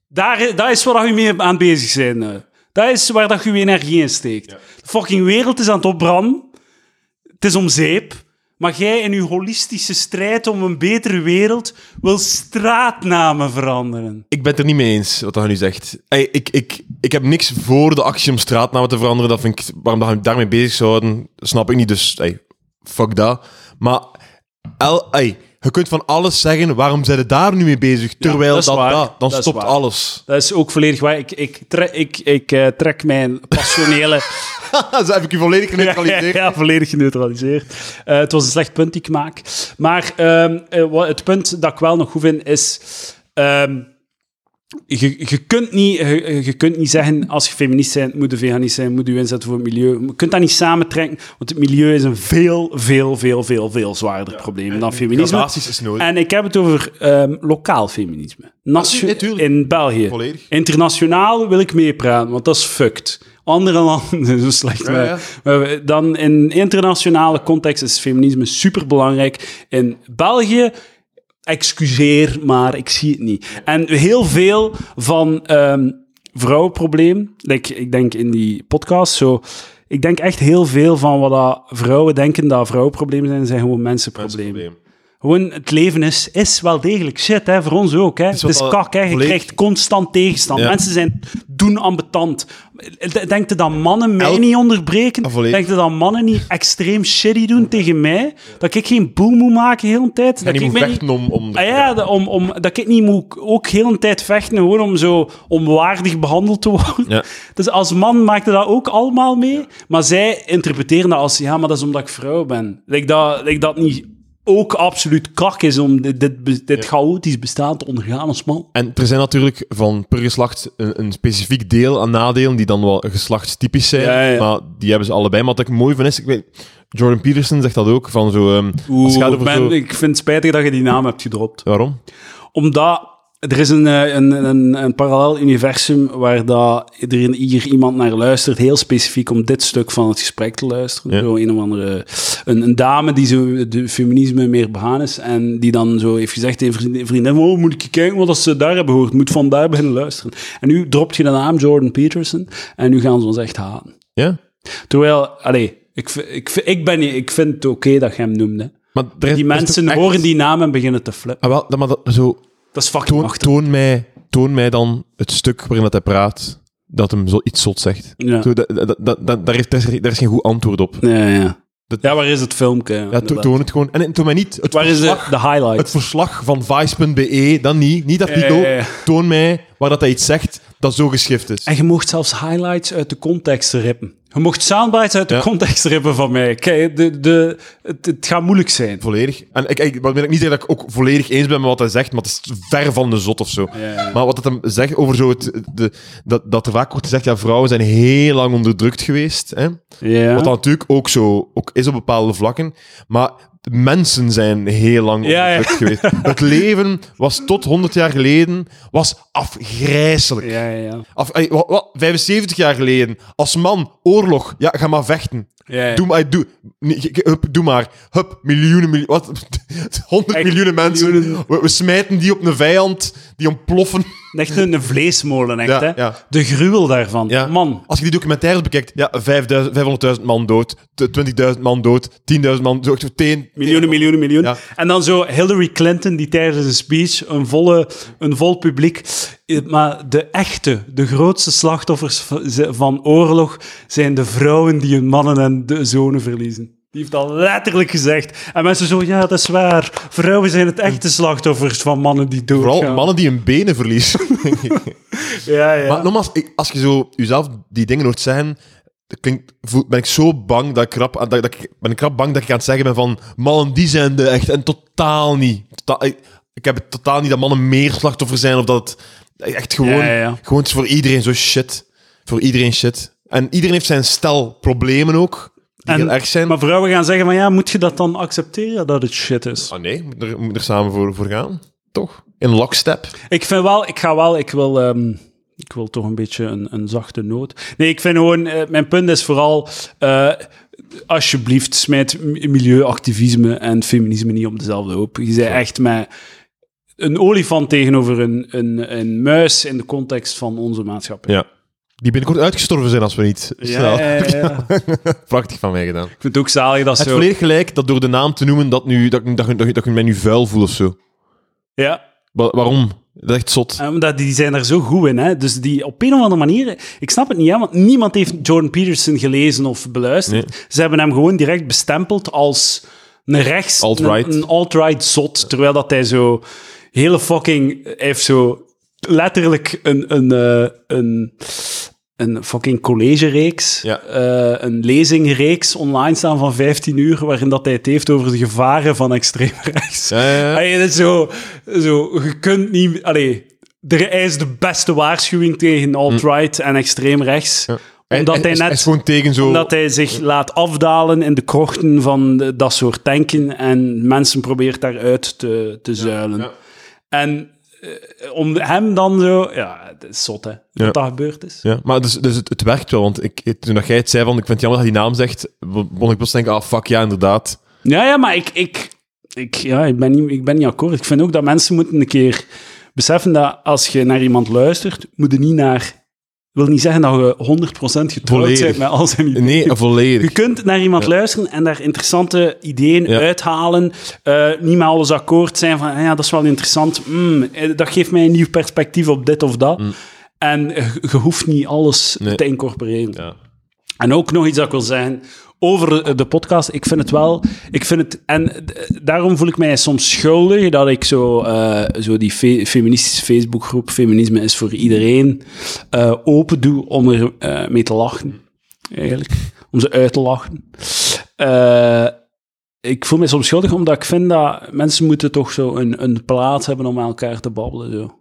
[SPEAKER 1] Daar, dat is waar je mee aan bezig bent. eh. Dat is waar dat je je energie in steekt. De fucking wereld is aan het opbranden. Het is om zeep. Maar jij in je holistische strijd om een betere wereld wil straatnamen veranderen.
[SPEAKER 2] Ik ben het er niet mee eens, wat hij nu zegt. Ey, ik, ik, ik heb niks voor de actie om straatnamen te veranderen. Dat vind ik, waarom dat je daarmee bezig zou houden, snap ik niet. Dus ey, fuck dat. Maar el, ey, je kunt van alles zeggen, waarom zijn ze daar nu mee bezig? Terwijl
[SPEAKER 1] dat
[SPEAKER 2] dat,
[SPEAKER 1] is waar.
[SPEAKER 2] dat- dan
[SPEAKER 1] Dat is
[SPEAKER 2] stopt
[SPEAKER 1] waar.
[SPEAKER 2] alles.
[SPEAKER 1] Dat is ook volledig waar. Ik, ik, tre- ik, ik eh, trek mijn passionele...
[SPEAKER 2] Zo heb ik je volledig geneutraliseerd.
[SPEAKER 1] Ja, ja, volledig geneutraliseerd. Eh, het was een slecht punt die ik maak. Maar ehm, eh, wat- het punt dat ik wel nog goed vind is. ehm, je, je, kunt niet, je, je kunt niet zeggen, als je feminist bent, moet je veganist zijn, moet je inzetten voor het milieu. Je kunt dat niet samentrekken, want het milieu is een veel, veel, veel, veel, veel zwaarder probleem dan feminisme.
[SPEAKER 2] Gradaties is nodig.
[SPEAKER 1] En ik heb het over ehm, lokaal feminisme. Natio-
[SPEAKER 2] Nee, tuurlijk.
[SPEAKER 1] in België.
[SPEAKER 2] Volledig.
[SPEAKER 1] Internationaal wil ik meepraten, want dat is fucked. Andere landen, zo slecht. maar-
[SPEAKER 2] ja.
[SPEAKER 1] maar we- dan in internationale context is feminisme superbelangrijk. In België, excuseer, maar ik zie het niet. En heel veel van ehm vrouwenprobleem, like, ik denk in die podcast, zo... Ik denk echt heel veel van wat dat vrouwen denken dat vrouwenproblemen zijn, zijn gewoon mensenproblemen. Gewoon, het leven is, is wel degelijk shit, hè, voor ons ook. Hè. Het is,
[SPEAKER 2] wat al
[SPEAKER 1] kak, hè. je
[SPEAKER 2] volledig-
[SPEAKER 1] krijgt constant tegenstand.
[SPEAKER 2] Ja.
[SPEAKER 1] Mensen zijn doen ambetant. D- Denkt u dat mannen mij
[SPEAKER 2] Elk-
[SPEAKER 1] niet onderbreken?
[SPEAKER 2] Ah, volledig.
[SPEAKER 1] Denkt u dat mannen niet extreem shitty doen tegen mij? Dat ik geen boel moet maken heel de hele tijd?
[SPEAKER 2] En
[SPEAKER 1] dat
[SPEAKER 2] die
[SPEAKER 1] ik
[SPEAKER 2] moet
[SPEAKER 1] mij
[SPEAKER 2] vechten om... om de-
[SPEAKER 1] Ah ja, dat- om, om, dat ik niet moet ook heel een tijd vechten gewoon om zo onwaardig behandeld te worden.
[SPEAKER 2] Ja.
[SPEAKER 1] Dus als man maakte dat ook allemaal mee. Maar zij interpreteren dat als, ja, maar dat is omdat ik vrouw ben. Like dat, like dat niet ook absoluut kak is om dit, dit, be- dit chaotisch bestaan te ondergaan als man.
[SPEAKER 2] En er zijn natuurlijk van per geslacht een, een specifiek deel aan nadelen die dan wel geslachtstypisch zijn,
[SPEAKER 1] Ja, ja.
[SPEAKER 2] maar die hebben ze allebei. Maar wat ik mooi vind is, ik weet, Jordan Peterson zegt dat ook, van zo... ehm, als het gaat over zo-
[SPEAKER 1] ik vind het spijtig dat je die naam hebt gedropt.
[SPEAKER 2] Waarom?
[SPEAKER 1] Omdat er is een, eh, een, een, een parallel universum waar dat iedereen hier iemand naar luistert, heel specifiek om dit stuk van het gesprek te luisteren.
[SPEAKER 2] Ja.
[SPEAKER 1] Zo een of andere... Een, een dame die zo de feminisme meer behaan is en die dan zo heeft gezegd tegen vriendin, vriendin oh, moet ik kijken wat dat ze daar hebben gehoord, moet vandaar beginnen luisteren. En nu dropt je de naam Jordan Peterson en nu gaan ze ons echt haten.
[SPEAKER 2] Ja?
[SPEAKER 1] Terwijl, allee, ik, v- ik, v- ik, ben, niet- ik vind het oké dat je hem noemde.
[SPEAKER 2] Maar er is-
[SPEAKER 1] Die
[SPEAKER 2] er is
[SPEAKER 1] mensen
[SPEAKER 2] toch echt-
[SPEAKER 1] horen die naam en beginnen te flippen.
[SPEAKER 2] Ah, wel, dat- maar dat, zo,
[SPEAKER 1] Dat is fucking
[SPEAKER 2] toon,
[SPEAKER 1] machtig.
[SPEAKER 2] toon, mij, toon mij dan het stuk waarin dat hij praat, dat hem zo iets zot zegt.
[SPEAKER 1] Ja.
[SPEAKER 2] Zo, dat, dat, dat, dat- daar, is, daar, is, daar is geen goed antwoord op.
[SPEAKER 1] Ja, ja.
[SPEAKER 2] Dat-
[SPEAKER 1] ja, waar is het filmpje?
[SPEAKER 2] Ja,
[SPEAKER 1] inderdaad?
[SPEAKER 2] to- toon het gewoon. En, en toon mij niet het
[SPEAKER 1] waar is de,
[SPEAKER 2] verslag,
[SPEAKER 1] de highlight?
[SPEAKER 2] het verslag van vice.be, dan niet, niet dat artikel.
[SPEAKER 1] Ja, ja, ja.
[SPEAKER 2] Toon mij waar dat hij iets zegt dat zo geschift is.
[SPEAKER 1] En je mocht zelfs highlights uit de context rippen. Je mocht soundbites uit de
[SPEAKER 2] Ja.
[SPEAKER 1] context rippen van mij. Kijk, de, de, het, het gaat moeilijk zijn.
[SPEAKER 2] Volledig. En ik, ik, waarmee ik niet zeg dat ik ook volledig eens ben met wat hij zegt, maar het is ver van de zot of zo.
[SPEAKER 1] ja.
[SPEAKER 2] Maar wat het hem zegt over zo het, de, dat, dat er vaak wordt gezegd, ja, vrouwen zijn heel lang onderdrukt geweest. Hè?
[SPEAKER 1] Ja.
[SPEAKER 2] Wat dat natuurlijk ook zo ook is op bepaalde vlakken. Maar mensen zijn heel lang
[SPEAKER 1] Ja, ja.
[SPEAKER 2] onderdrukt geweest. Het leven was tot 100 jaar geleden was afgrijzelijk.
[SPEAKER 1] Ja, ja, ja.
[SPEAKER 2] Af, ey, wa- wa- 75 jaar geleden, als man, oorlog. Ja, ga maar vechten.
[SPEAKER 1] Ja, ja.
[SPEAKER 2] Doe, maar, doe, nee, ge- ge- hup, doe maar. Hup, miljoenen, miljoen, wat? 100
[SPEAKER 1] Echt,
[SPEAKER 2] miljoenen mensen.
[SPEAKER 1] miljoenen.
[SPEAKER 2] We, we smijten die op een vijand, die ontploffen.
[SPEAKER 1] Echt een een vleesmolen, echt,
[SPEAKER 2] Ja,
[SPEAKER 1] hè?
[SPEAKER 2] ja.
[SPEAKER 1] De gruwel daarvan.
[SPEAKER 2] Ja.
[SPEAKER 1] Man,
[SPEAKER 2] Als je die documentaires bekijkt, ja, 5000, 500.000 man dood, t- 20.000 man dood, 10.000 man dood, teen.
[SPEAKER 1] miljoenen, miljoenen, miljoenen.
[SPEAKER 2] Ja.
[SPEAKER 1] En dan zo Hillary Clinton, die tijdens een speech, een, volle, een vol publiek... eh, Maar de echte, de grootste slachtoffers v- ze- van oorlog zijn de vrouwen die hun mannen en de zonen verliezen. Die heeft al letterlijk gezegd. En mensen zo, ja, dat is waar. Vrouwen zijn het echte slachtoffers van mannen die doodgaan.
[SPEAKER 2] Vooral mannen die hun benen verliezen.
[SPEAKER 1] Ja, ja.
[SPEAKER 2] Maar nogmaals, ik- als je zo jezelf die dingen hoort zeggen, dat klinkt, voel- ben ik zo bang dat ik krap, dat, dat ik, ben ik krap bang dat ik aan het zeggen ben van mannen, die zijn de echt. En totaal niet. Totaal, ik, ik heb het totaal niet dat mannen meer slachtoffer zijn of dat het echt gewoon,
[SPEAKER 1] Ja, ja, ja.
[SPEAKER 2] gewoon het is voor iedereen zo shit. Voor iedereen shit. En iedereen heeft zijn stel problemen ook, die
[SPEAKER 1] En-
[SPEAKER 2] heel erg zijn.
[SPEAKER 1] Maar vrouwen gaan zeggen, maar ja, moet je dat dan accepteren dat het shit is?
[SPEAKER 2] Ah nee, moet er, moet er samen voor, voor gaan. Toch? In lockstep.
[SPEAKER 1] Ik vind wel, ik ga wel, ik wil, ehm, ik wil toch een beetje een, een zachte noot. Nee, ik vind gewoon, eh, mijn punt is vooral, eh, alsjeblieft, smijt m- milieuactivisme en feminisme niet op dezelfde hoop. Je bent echt met een olifant tegenover een, een, een muis in de context van onze maatschappij.
[SPEAKER 2] Ja. Die binnenkort uitgestorven zijn als we niet snel.
[SPEAKER 1] ja, ja, ja.
[SPEAKER 2] Prachtig van mij gedaan.
[SPEAKER 1] Ik vind het ook zalig dat
[SPEAKER 2] Het
[SPEAKER 1] zo...
[SPEAKER 2] volledig gelijk dat door de naam te noemen dat, nu, dat, ik- dat, ik- dat, ik- dat ik mij nu vuil voel of zo.
[SPEAKER 1] Ja.
[SPEAKER 2] Wa- waarom? Dat is echt zot.
[SPEAKER 1] Ja, Omdat Ehm, die zijn daar zo goed in. Hè? Dus die op een of andere manier... Ik snap het niet, hè? want niemand heeft Jordan Peterson gelezen of beluisterd. Ze hebben hem gewoon direct bestempeld als een rechts...
[SPEAKER 2] Alt-right.
[SPEAKER 1] Een, een alt-right zot. Terwijl dat hij zo... Hele fucking... Hij heeft zo letterlijk een... een, eh, een een fucking collegereeks,
[SPEAKER 2] Ja.
[SPEAKER 1] eh, een lezingreeks online staan van 15 uur, waarin dat hij het heeft over de gevaren van extreem rechts.
[SPEAKER 2] Ja, ja, ja.
[SPEAKER 1] Allee, dat is zo, zo, je kunt niet... Allee, er is de beste waarschuwing tegen alt-right
[SPEAKER 2] Hm.
[SPEAKER 1] en extreem rechts. Omdat hij
[SPEAKER 2] is-
[SPEAKER 1] net...
[SPEAKER 2] is gewoon tegen zo...
[SPEAKER 1] omdat hij zich laat afdalen in de krochten van de- dat soort tanken en mensen probeert daaruit te, te zuilen.
[SPEAKER 2] ja.
[SPEAKER 1] En eh, om hem dan zo... Ja, het is zot, hè.
[SPEAKER 2] Ja.
[SPEAKER 1] Dat dat gebeurd is.
[SPEAKER 2] Ja, maar dus, dus het, het werkt wel, want ik, ik- toen dat jij het zei van ik vind het jammer dat hij die naam zegt, be- begon ik pas te denken, ah fuck, ja, inderdaad.
[SPEAKER 1] Ja, ja, maar ik, ik, ik, ja, ik, ben niet, ik ben niet akkoord. Ik vind ook dat mensen moeten een keer beseffen dat als je naar iemand luistert, moet je niet naar... wil niet zeggen dat je 100% getrouwd
[SPEAKER 2] Volledig.
[SPEAKER 1] bent met al zijn ideeën.
[SPEAKER 2] Nee,
[SPEAKER 1] Je
[SPEAKER 2] volledig.
[SPEAKER 1] kunt naar iemand luisteren en daar interessante ideeën
[SPEAKER 2] Ja.
[SPEAKER 1] uithalen. eh, niet met alles akkoord zijn van, ah ja, dat is wel interessant. Mm, eh, dat geeft mij een nieuw perspectief op dit of dat. En eh, je je hoeft niet alles
[SPEAKER 2] Mm. Nee.
[SPEAKER 1] te incorporeren.
[SPEAKER 2] Ja.
[SPEAKER 1] En ook nog iets dat ik wil zeggen over eh, de- de podcast. Ik vind het wel. Ik vind het, en d- daarom voel ik mij soms schuldig dat ik zo, eh, zo die fe- feministische Facebookgroep Feminisme is voor iedereen eh, open doe om er eh, mee te lachen. Eigenlijk. Om ze uit te lachen. Eh, ik voel me soms schuldig omdat ik vind dat mensen moeten toch zo een, een plaats hebben om met elkaar te babbelen. Zo.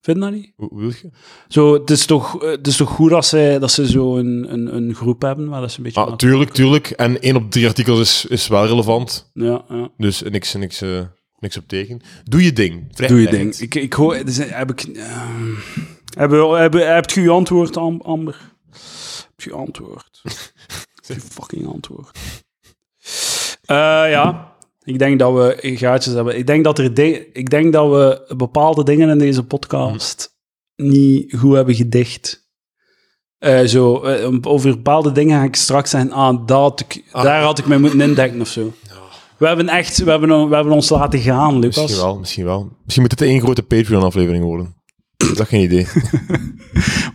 [SPEAKER 1] Vind je dat niet?
[SPEAKER 2] Hoe- hoe wil je?
[SPEAKER 1] Zo, het, is toch, eh, het is toch goed dat ze, dat ze zo een, een, een groep hebben waar dat ze een beetje...
[SPEAKER 2] Ah, tuurlijk, tuurlijk. En één op drie artikels is, is wel relevant,
[SPEAKER 1] ja, ja.
[SPEAKER 2] dus niks, niks, eh, niks op tegen. Doe je ding. Vrij
[SPEAKER 1] Doe je
[SPEAKER 2] vrijheid.
[SPEAKER 1] ding. Ik, ik hoor... Dus, eh, heb ik... ehm, hebben, hebben, heb je je antwoord, Am- Amber? Heb je antwoord? Heb je fucking antwoord? Eh, ja. Ik denk dat we gaatjes hebben. Ik denk dat, er di- ik denk dat we bepaalde dingen in deze podcast niet goed hebben gedicht. Eh, zo, eh, over bepaalde dingen ga ik straks zeggen, ah, dat had ik, daar had ik mij moeten indenken of zo. We hebben echt, we hebben, we hebben ons laten gaan, Lucas.
[SPEAKER 2] Misschien wel, misschien wel. Misschien moet het één grote Patreon-aflevering worden. Dat is geen idee.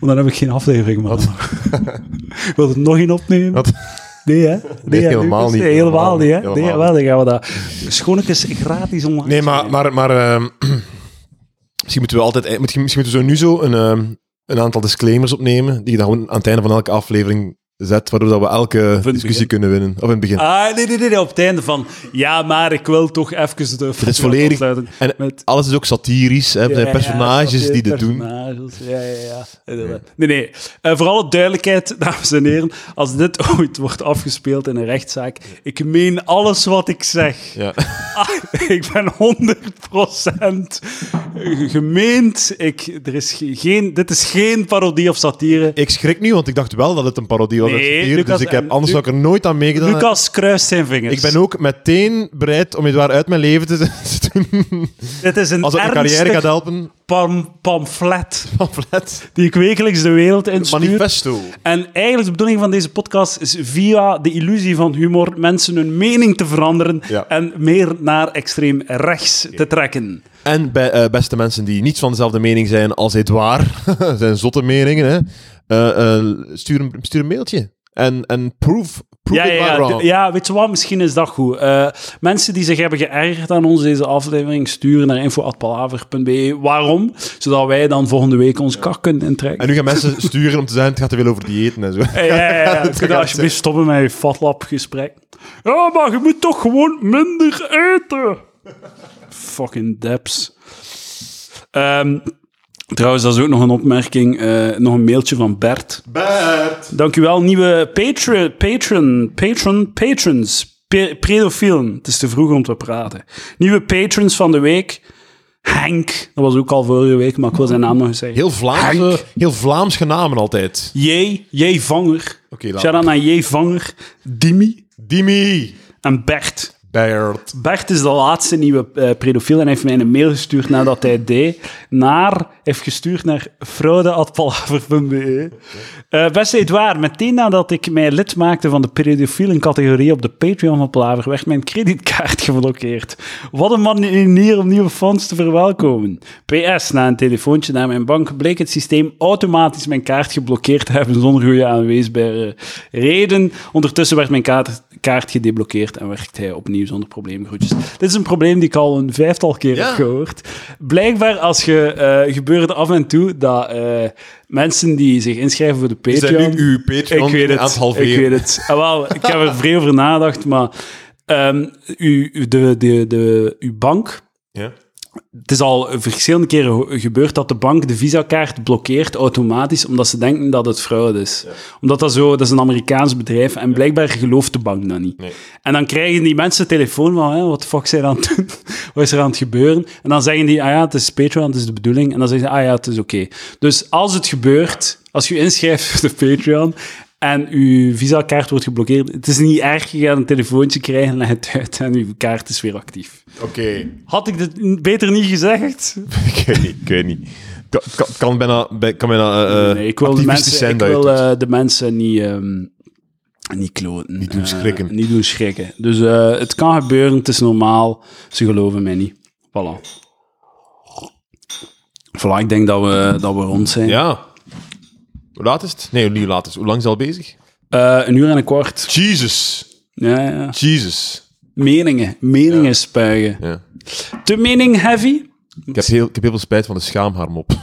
[SPEAKER 1] Want dan heb ik geen aflevering, man. Ik wil er nog één opnemen.
[SPEAKER 2] Wat?
[SPEAKER 1] Nee, hè? Nee, hè,
[SPEAKER 2] helemaal
[SPEAKER 1] Lucas?
[SPEAKER 2] niet.
[SPEAKER 1] Nee, helemaal
[SPEAKER 2] Helemaal
[SPEAKER 1] niet, hè?
[SPEAKER 2] niet.
[SPEAKER 1] Nee,
[SPEAKER 2] Helemaal
[SPEAKER 1] wel, dan gaan we dat... Schoonlijkjes gratis online.
[SPEAKER 2] Nee, maar, maar, maar ehm, misschien moeten we altijd, e- misschien misschien moeten we zo nu zo een, ehm, een aantal disclaimers opnemen, die je dan gewoon aan het einde van elke aflevering zet, waardoor dat we elke discussie
[SPEAKER 1] begin.
[SPEAKER 2] kunnen winnen. Of in het begin.
[SPEAKER 1] Ah, nee, nee, nee, nee, op het einde van... Ja, maar ik wil toch even de...
[SPEAKER 2] het is volledig. En
[SPEAKER 1] met-
[SPEAKER 2] alles is ook satirisch. Hè. Er zijn
[SPEAKER 1] Ja, ja,
[SPEAKER 2] personages
[SPEAKER 1] snap je,
[SPEAKER 2] die dit doen.
[SPEAKER 1] personages. Ja, ja, ja. Inderdaad. Nee, nee. Eh, voor alle duidelijkheid, dames en heren, als dit ooit wordt afgespeeld in een rechtszaak, ik meen alles wat ik zeg.
[SPEAKER 2] Ja.
[SPEAKER 1] Ah, ik ben 100% gemeend. Ik, er is ge- geen, dit is geen parodie of satire.
[SPEAKER 2] Ik schrik nu, want ik dacht wel dat het een parodie was. wordt
[SPEAKER 1] Nee,
[SPEAKER 2] uitgespierd,
[SPEAKER 1] Lucas,
[SPEAKER 2] dus ik heb,
[SPEAKER 1] eh,
[SPEAKER 2] anders zou ik er nooit aan meegedaan hebben.
[SPEAKER 1] Lucas kruist zijn vingers.
[SPEAKER 2] Ik ben ook meteen bereid om Edouard uit mijn leven te, te doen.
[SPEAKER 1] Dit is een
[SPEAKER 2] Als het mijn carrière
[SPEAKER 1] ernstig
[SPEAKER 2] gaat helpen.
[SPEAKER 1] pam- pamflet
[SPEAKER 2] Pamflet.
[SPEAKER 1] die ik wekelijks de wereld instuur.
[SPEAKER 2] Manifesto.
[SPEAKER 1] En eigenlijk de bedoeling van deze podcast is via de illusie van humor mensen hun mening te veranderen
[SPEAKER 2] Ja.
[SPEAKER 1] en meer naar extreem rechts te trekken.
[SPEAKER 2] En bij, eh, beste mensen die niet van dezelfde mening zijn als Edouard, zijn zotte meningen, hè, eh, eh, stuur, een, stuur een mailtje. En, en proof, proof
[SPEAKER 1] Ja,
[SPEAKER 2] it
[SPEAKER 1] ja,
[SPEAKER 2] right
[SPEAKER 1] ja,
[SPEAKER 2] wrong.
[SPEAKER 1] d- ja, weet je wat? Misschien is dat goed. Eh, mensen die zich hebben geërgerd aan ons deze aflevering, sturen naar info.palaver.be. e. Waarom? Zodat wij dan volgende week ons kak kunnen intrekken.
[SPEAKER 2] En nu gaan mensen sturen om te zijn, het gaat te veel over diëten en zo.
[SPEAKER 1] Eh, Ja, ja, ja.
[SPEAKER 2] Het
[SPEAKER 1] Kun je
[SPEAKER 2] gaat-
[SPEAKER 1] alsjeblieft stoppen met je fatlab-gesprek? Ja, maar je moet toch gewoon minder eten. Fucking deps. Ehm, trouwens, dat is ook nog een opmerking. eh, nog een mailtje van Bert.
[SPEAKER 2] Bert.
[SPEAKER 1] Dankjewel, nieuwe patron, patron, patron, patrons. Pe- Predofielen. Het is te vroeg om te praten. Nieuwe patrons van de week. Henk. Dat was ook al vorige week, maar ik wil zijn naam nog eens zeggen.
[SPEAKER 2] Heel Vlaams, eh, heel Vlaams genamen altijd.
[SPEAKER 1] J. J. Vanger.
[SPEAKER 2] Oké, laat
[SPEAKER 1] Shout-out naar J. Vanger, Dimi
[SPEAKER 2] Dimi.
[SPEAKER 1] en Bert.
[SPEAKER 2] Bert.
[SPEAKER 1] Bert is de laatste nieuwe eh, pedofiel en hij heeft mij een mail gestuurd nadat hij het deed. Naar, hij heeft gestuurd naar fraude.palaver.be. Eh beste Edouard, meteen nadat ik mij lid maakte van de pedofielen categorie op de Patreon van Palaver, werd mijn creditkaart geblokkeerd. Wat een manier om nieuwe fans te verwelkomen. PS, na een telefoontje naar mijn bank bleek het systeem automatisch mijn kaart geblokkeerd te hebben zonder goede aanwijsbare reden. Ondertussen werd mijn kaart, kaart gedeblokkeerd en werkt hij opnieuw zonder probleem. Groetjes. Dit is een probleem die ik al een vijftal keer
[SPEAKER 2] Ja.
[SPEAKER 1] heb gehoord. Blijkbaar als je, eh, gebeurt het af en toe dat eh, mensen die zich inschrijven voor de
[SPEAKER 2] Is dat
[SPEAKER 1] Patreon...
[SPEAKER 2] nu uw Patreon
[SPEAKER 1] Ik weet
[SPEAKER 2] aan het
[SPEAKER 1] het.
[SPEAKER 2] halveren?
[SPEAKER 1] Ik weet het. Ah, wel, ik heb er vrij over nagedacht, maar ehm, u, u- de, de, de, uw bank.
[SPEAKER 2] Ja.
[SPEAKER 1] Het is al verschillende keren ho- gebeurd dat de bank de visakaart blokkeert automatisch, omdat ze denken dat het fraude is. Omdat dat zo, dat is een Amerikaans bedrijf en blijkbaar gelooft de bank dat niet.
[SPEAKER 2] Nee.
[SPEAKER 1] En dan krijgen die mensen telefoon van, hè, wat de fuck zijn aan het doen? Wat is er aan het gebeuren? En dan zeggen die, ah ja, het is Patreon, het is de bedoeling. En dan zeggen ze, ah ja, het is oké. Dus als het gebeurt, als je inschrijft voor de Patreon en je visa-kaart wordt geblokkeerd, het is niet erg, je gaat een telefoontje krijgen, leg het uit en je kaart is weer actief.
[SPEAKER 2] Oké.
[SPEAKER 1] Had ik dit n- beter niet gezegd?
[SPEAKER 2] Ik weet niet, ik weet niet. Ka- ka- kan bijna, bij- kan bijna eh, eh,
[SPEAKER 1] nee, ik wil de
[SPEAKER 2] activistisch
[SPEAKER 1] mensen,
[SPEAKER 2] zijn
[SPEAKER 1] ik
[SPEAKER 2] dat je
[SPEAKER 1] wil,
[SPEAKER 2] het doet.
[SPEAKER 1] eh, de mensen niet, ehm, niet kloten. Niet
[SPEAKER 2] doen schrikken.
[SPEAKER 1] niet doen schrikken. Dus eh, het kan gebeuren, het is normaal. Ze geloven mij niet. Voilà. Voilà, ik denk dat we, dat we rond zijn.
[SPEAKER 2] Ja. Hoe laat is het? Nee, niet hoe laat is het. Hoe lang is het al bezig?
[SPEAKER 1] Eh, een uur en een kwart.
[SPEAKER 2] Jesus.
[SPEAKER 1] Ja, ja.
[SPEAKER 2] Jesus.
[SPEAKER 1] Meningen. Meningen spuigen.
[SPEAKER 2] Ja.
[SPEAKER 1] Te mening heavy?
[SPEAKER 2] Ik, heb heel, ik heb heel veel spijt van de schaamharmop. ik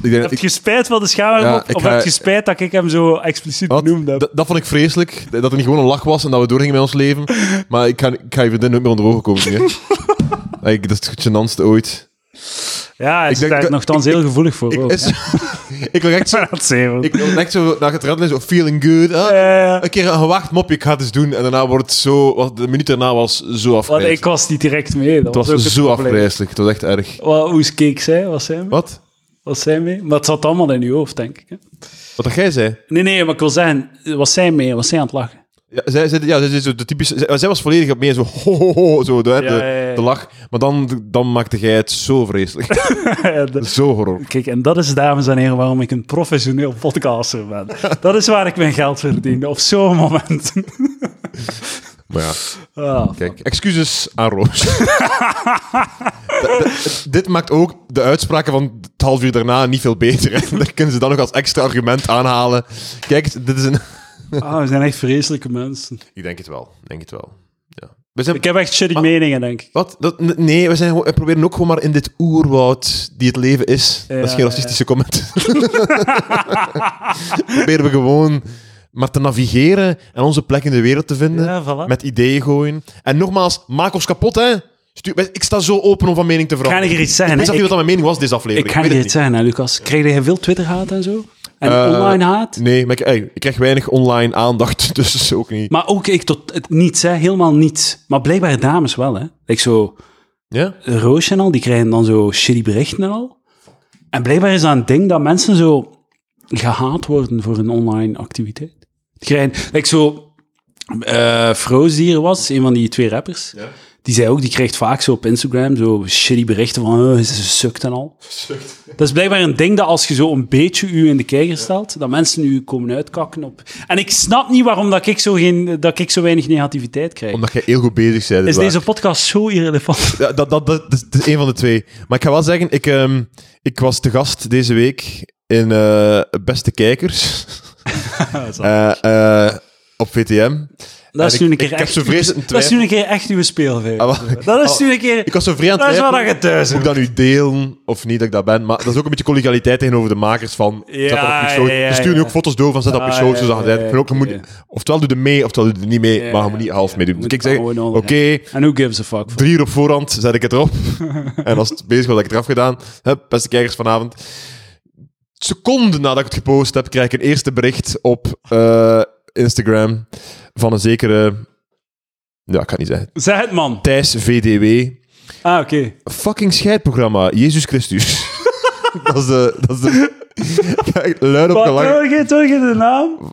[SPEAKER 2] denk, dat
[SPEAKER 1] Heb
[SPEAKER 2] ik,
[SPEAKER 1] je spijt van de schaam?
[SPEAKER 2] Ja,
[SPEAKER 1] of
[SPEAKER 2] ik
[SPEAKER 1] of
[SPEAKER 2] ga-
[SPEAKER 1] heb je spijt dat ik hem zo expliciet
[SPEAKER 2] wat?
[SPEAKER 1] benoemd heb?
[SPEAKER 2] Dat, dat vond ik vreselijk. Dat er niet gewoon een lach was en dat we doorgingen met ons leven. Maar ik ga, ik ga je vriendin nooit meer onder ogen komen. nu, hè. Like, dat is het gênantste ooit.
[SPEAKER 1] Ja, hij is
[SPEAKER 2] denk
[SPEAKER 1] daar
[SPEAKER 2] dat-
[SPEAKER 1] nogthans heel gevoelig voor.
[SPEAKER 2] Ik,
[SPEAKER 1] ook.
[SPEAKER 2] is, ik wil echt zo...
[SPEAKER 1] Ja, dat is heel-
[SPEAKER 2] Ik wil echt zo naar het rennen, zo feeling good. ah.
[SPEAKER 1] Eh,
[SPEAKER 2] Een keer een gewacht mopje, ik ga het eens doen. En daarna wordt het zo... wat- De minuut daarna was zo
[SPEAKER 1] Want
[SPEAKER 2] afgrijzelijk.
[SPEAKER 1] ik was niet direct mee. Dat
[SPEAKER 2] Het
[SPEAKER 1] ook
[SPEAKER 2] was zo
[SPEAKER 1] probleem.
[SPEAKER 2] afgrijzelijk. Het was echt erg.
[SPEAKER 1] Wat, hoe keek zij? Was zij mee?
[SPEAKER 2] Wat?
[SPEAKER 1] Was zij mee? Maar het zat allemaal in je hoofd, denk ik. hè.
[SPEAKER 2] Wat dat jij zei?
[SPEAKER 1] Nee, nee, maar ik wil zeggen, was zij mee? Was zij aan het lachen?
[SPEAKER 2] Ja, zij, zij, ja, zij, zij- zo de typische, zij, zij was volledig op meer zo ho, ho, ho, zo, de, de,
[SPEAKER 1] ja, ja.
[SPEAKER 2] de lach. Maar dan, dan maakte jij het zo vreselijk.
[SPEAKER 1] De-
[SPEAKER 2] zo horror.
[SPEAKER 1] Kijk, en dat is, dames en heren, waarom ik een professioneel podcaster ben. Dat is waar ik mijn geld verdien, op zo'n moment.
[SPEAKER 2] Maar ja,
[SPEAKER 1] Ah,
[SPEAKER 2] kijk. Excuses aan Roos. D- d- dit maakt ook de uitspraken van het half uur daarna niet veel beter. hè. Dat kunnen ze dan nog als extra argument aanhalen. Kijk, dit is een...
[SPEAKER 1] ah, we zijn echt vreselijke mensen.
[SPEAKER 2] Ik denk het wel. Ik denk het wel. Ja. We zijn...
[SPEAKER 1] Ik heb echt shitty
[SPEAKER 2] Maar-
[SPEAKER 1] meningen, denk ik.
[SPEAKER 2] Wat? Dat, n- nee, we, zijn, gewoon- we proberen ook gewoon maar in dit oerwoud die het leven is. dat is
[SPEAKER 1] Ja,
[SPEAKER 2] geen racistische comment. proberen we gewoon maar te navigeren en onze plek in de wereld te vinden.
[SPEAKER 1] Ja, voilà.
[SPEAKER 2] Met ideeën gooien. En nogmaals, maak ons kapot, hè. Stuur, wij- ik sta zo open om van mening te
[SPEAKER 1] Ik ga
[SPEAKER 2] veranderen.
[SPEAKER 1] niet iets zeggen.
[SPEAKER 2] Ik
[SPEAKER 1] hè.
[SPEAKER 2] weet zelf niet
[SPEAKER 1] Ik,
[SPEAKER 2] wat dat mijn mening was, deze aflevering.
[SPEAKER 1] ik ga
[SPEAKER 2] weet
[SPEAKER 1] niet
[SPEAKER 2] het
[SPEAKER 1] iets zeggen, hè, Lucas. Kreeg jij veel Twitter-haat en zo? En
[SPEAKER 2] Eh,
[SPEAKER 1] online haat?
[SPEAKER 2] Nee, maar ik, ey, ik krijg weinig online aandacht, dus ook niet.
[SPEAKER 1] Maar ook ik tot het niets, hè? helemaal niets. Maar blijkbaar dames wel, hè? Like zo,
[SPEAKER 2] Ja?
[SPEAKER 1] Roosje en al, die krijgen dan zo shitty berichten en al. En blijkbaar is dat een ding dat mensen zo gehaat worden voor een online activiteit. Grijn, like zo, eh Froze die er was, een van die twee rappers, die zei ook, die krijgt vaak zo op Instagram zo shitty berichten van, eh, ze sukt en al. Dat is blijkbaar een ding dat als je zo een beetje u in de kijker stelt, dat mensen u komen uitkakken op. En ik snap niet waarom dat ik zo, geen, dat ik zo weinig negativiteit krijg.
[SPEAKER 2] Omdat jij heel goed bezig bent.
[SPEAKER 1] Is
[SPEAKER 2] waar.
[SPEAKER 1] deze podcast zo irrelevant?
[SPEAKER 2] Ja, dat, dat, dat, dat is een van de twee. Maar ik ga wel zeggen, ik, ehm, ik was te gast deze week in eh, Beste Kijkers Eh, eh, op VTM.
[SPEAKER 1] Dat is
[SPEAKER 2] ik-
[SPEAKER 1] nu een
[SPEAKER 2] ik
[SPEAKER 1] keer
[SPEAKER 2] heb
[SPEAKER 1] echt-
[SPEAKER 2] zo vreselijk een
[SPEAKER 1] Dat is nu een keer echt uw speelvijf.
[SPEAKER 2] Ah, wel, ik-
[SPEAKER 1] dat is
[SPEAKER 2] ah,
[SPEAKER 1] nu een keer...
[SPEAKER 2] Ik was zo vrij aan het
[SPEAKER 1] Dat is waar
[SPEAKER 2] twijfelen,
[SPEAKER 1] dat je eh, thuis
[SPEAKER 2] Moet ik dat nu delen of niet dat ik dat ben? Maar dat is ook een beetje collegialiteit tegenover de makers van...
[SPEAKER 1] Ja,
[SPEAKER 2] zet dat op je story.
[SPEAKER 1] ja, ja,
[SPEAKER 2] Ze sturen nu
[SPEAKER 1] ja.
[SPEAKER 2] ook foto's door van zet dat op je
[SPEAKER 1] Ah,
[SPEAKER 2] story,
[SPEAKER 1] ja,
[SPEAKER 2] zo zag het
[SPEAKER 1] ja,
[SPEAKER 2] uit. Ik vind ook, je moet-
[SPEAKER 1] ja.
[SPEAKER 2] Oftewel doe je er mee, oftewel doe je er niet mee, maar je moet niet half meedoen.
[SPEAKER 1] Moet
[SPEAKER 2] Dus ik
[SPEAKER 1] het
[SPEAKER 2] zeg,
[SPEAKER 1] gewoon
[SPEAKER 2] oké,
[SPEAKER 1] al En who gives a fuck?
[SPEAKER 2] drie uur op voorhand zet ik het erop. en als het bezig was, had ik het eraf gedaan. Hup, beste kijkers vanavond. Seconden nadat ik het gepost heb, krijg ik een eerste bericht op eh, Instagram van een zekere... Ja, ik kan het niet zeggen.
[SPEAKER 1] Zeg het, man.
[SPEAKER 2] Thijs VDW.
[SPEAKER 1] Ah, oké.
[SPEAKER 2] Fucking scheidprogramma. Jezus Christus. dat is de... Dat is de... Kijk, luid op
[SPEAKER 1] Wat,
[SPEAKER 2] gelang.
[SPEAKER 1] hoor je, hoor je de naam?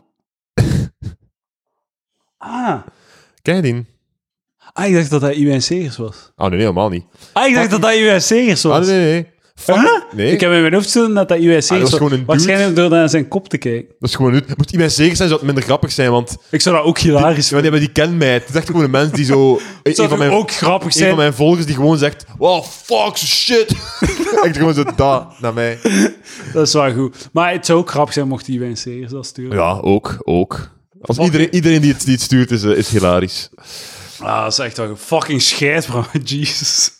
[SPEAKER 1] Ah.
[SPEAKER 2] Kijk die.
[SPEAKER 1] ah, ik dacht dat dat Iwijn Segers was.
[SPEAKER 2] Oh, nee, nee, helemaal niet.
[SPEAKER 1] Ah, ik dacht dat dat Iwijn Segers was.
[SPEAKER 2] Ah, nee, nee, nee. Fuck.
[SPEAKER 1] Huh?
[SPEAKER 2] Nee, Ah,
[SPEAKER 1] Ik heb in mijn hoofd zitten dat dat Iwijn Segers
[SPEAKER 2] was
[SPEAKER 1] was.
[SPEAKER 2] gewoon een dude.
[SPEAKER 1] Waarschijnlijk door naar zijn kop te kijken.
[SPEAKER 2] dat is gewoon... Het moet iemand zeker zijn, zou het minder grappig zijn, want...
[SPEAKER 1] Ik zou dat ook hilarisch
[SPEAKER 2] Ja,
[SPEAKER 1] vinden.
[SPEAKER 2] nee, maar die kent mij. Het is echt gewoon een mens die zo... een,
[SPEAKER 1] Het zou
[SPEAKER 2] van
[SPEAKER 1] toch
[SPEAKER 2] mijn,
[SPEAKER 1] ook grappig
[SPEAKER 2] een van
[SPEAKER 1] zijn.
[SPEAKER 2] mijn volgers die gewoon zegt... Wow, fuck, shit. echt gewoon zo da naar mij.
[SPEAKER 1] Dat is wel goed. Maar het zou ook grappig zijn mocht Iwijn Segers dat sturen.
[SPEAKER 2] Ja, ook, ook. Als
[SPEAKER 1] Fuck.
[SPEAKER 2] iedereen, iedereen die, het, die het stuurt, is, eh, is hilarisch.
[SPEAKER 1] Ah, dat is echt wel een fucking scheid, bro. Jesus.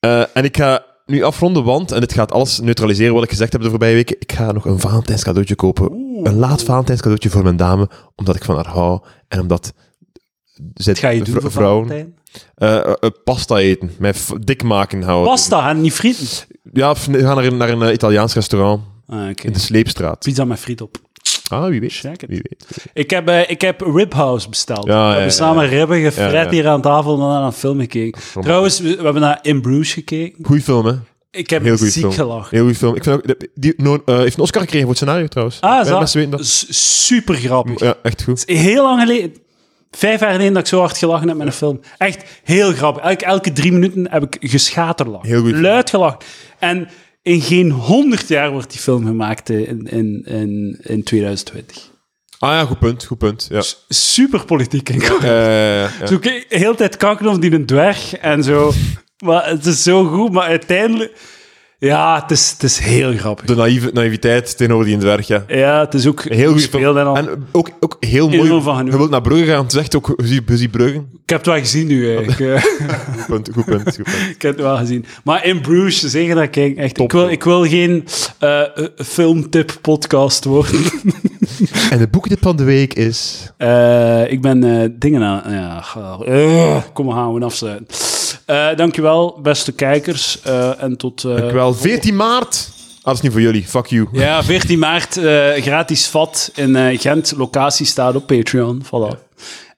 [SPEAKER 2] Eh, en ik ga nu afronden, want... En dit gaat alles neutraliseren wat ik gezegd heb de voorbije weken. Ik ga nog een Valentijns cadeautje kopen. Een laat Valentijns cadeautje voor mijn dame. Omdat ik van haar hou. En omdat... Zit,
[SPEAKER 1] Wat ga je doen voor
[SPEAKER 2] vrouwen
[SPEAKER 1] Valentijn?
[SPEAKER 2] eh, eh, eh, pasta eten. Mij f- dik maken houden.
[SPEAKER 1] Pasta en niet frieten.
[SPEAKER 2] Ja, of nee, we gaan naar een, naar een eh, Italiaans restaurant
[SPEAKER 1] Ah, oké.
[SPEAKER 2] in de Sleepstraat.
[SPEAKER 1] Pizza met friet op.
[SPEAKER 2] Ah, wie weet.
[SPEAKER 1] Check it.
[SPEAKER 2] Wie weet.
[SPEAKER 1] Ik heb, eh, ik heb Ribhouse besteld.
[SPEAKER 2] Ja, ja,
[SPEAKER 1] we hebben
[SPEAKER 2] ja,
[SPEAKER 1] samen ribben
[SPEAKER 2] Ja,
[SPEAKER 1] gefret
[SPEAKER 2] ja.
[SPEAKER 1] hier aan tafel en dan aan een film gekeken. Trouwens, we, we hebben naar In Bruges gekeken.
[SPEAKER 2] Goeie film, hè?
[SPEAKER 1] Ik heb
[SPEAKER 2] Heel goede
[SPEAKER 1] ziek
[SPEAKER 2] film.
[SPEAKER 1] gelachen.
[SPEAKER 2] Heel goede film. Ik vind ook, die- die no- eh, heeft een Oscar gekregen voor het scenario, trouwens.
[SPEAKER 1] Ah,
[SPEAKER 2] Weinig
[SPEAKER 1] zo.
[SPEAKER 2] Mensen weten dat.
[SPEAKER 1] S- Super grappig.
[SPEAKER 2] Ja, echt goed.
[SPEAKER 1] Het is Heel lang geleden. Vijf jaar geleden dat ik zo hard gelachen heb met een film. Echt heel grappig. Elke, elke drie minuten heb ik geschaterlachen.
[SPEAKER 2] Heel goed.
[SPEAKER 1] Luid gelachen. En in geen honderd jaar wordt die film gemaakt eh, in, in, in, in 2020.
[SPEAKER 2] Ah ja, goed punt. Goed punt. Ja.
[SPEAKER 1] Super politiek en
[SPEAKER 2] Eh, ja.
[SPEAKER 1] Zo, k- heel de tijd kanker of die een dwerg en zo. maar het is zo goed, maar uiteindelijk... Ja, het is, het is heel grappig.
[SPEAKER 2] De naïeve, naïviteit tegenover die in dwerg, ja.
[SPEAKER 1] Ja, het is ook
[SPEAKER 2] Heel goed
[SPEAKER 1] gespeeld. En al.
[SPEAKER 2] En ook, ook heel
[SPEAKER 1] Heel
[SPEAKER 2] mooi.
[SPEAKER 1] veel van genoeg.
[SPEAKER 2] je wilt naar Brugge gaan, het is echt ook... Je ziet, je ziet Brugge.
[SPEAKER 1] Ik heb het wel gezien nu, eigenlijk. Eh,
[SPEAKER 2] Goed punt, goed punt, goed punt.
[SPEAKER 1] ik heb het wel gezien. Maar in Bruges, zeggen dat kijk, echt... Ik wil, ik wil geen eh, eh, filmtip-podcast worden.
[SPEAKER 2] En de boekentip van de week is...
[SPEAKER 1] Eh, ik ben eh, dingen aan... Ja, ga- eh, kom, we gaan we afsluiten. Eh, dankjewel, beste kijkers. eh, en tot... eh,
[SPEAKER 2] Wel, 14 maart... Ah, dat is niet voor jullie. Fuck you.
[SPEAKER 1] Ja, 14 maart, eh, gratis vat in eh, Gent. Locatie staat op Patreon. Voilà.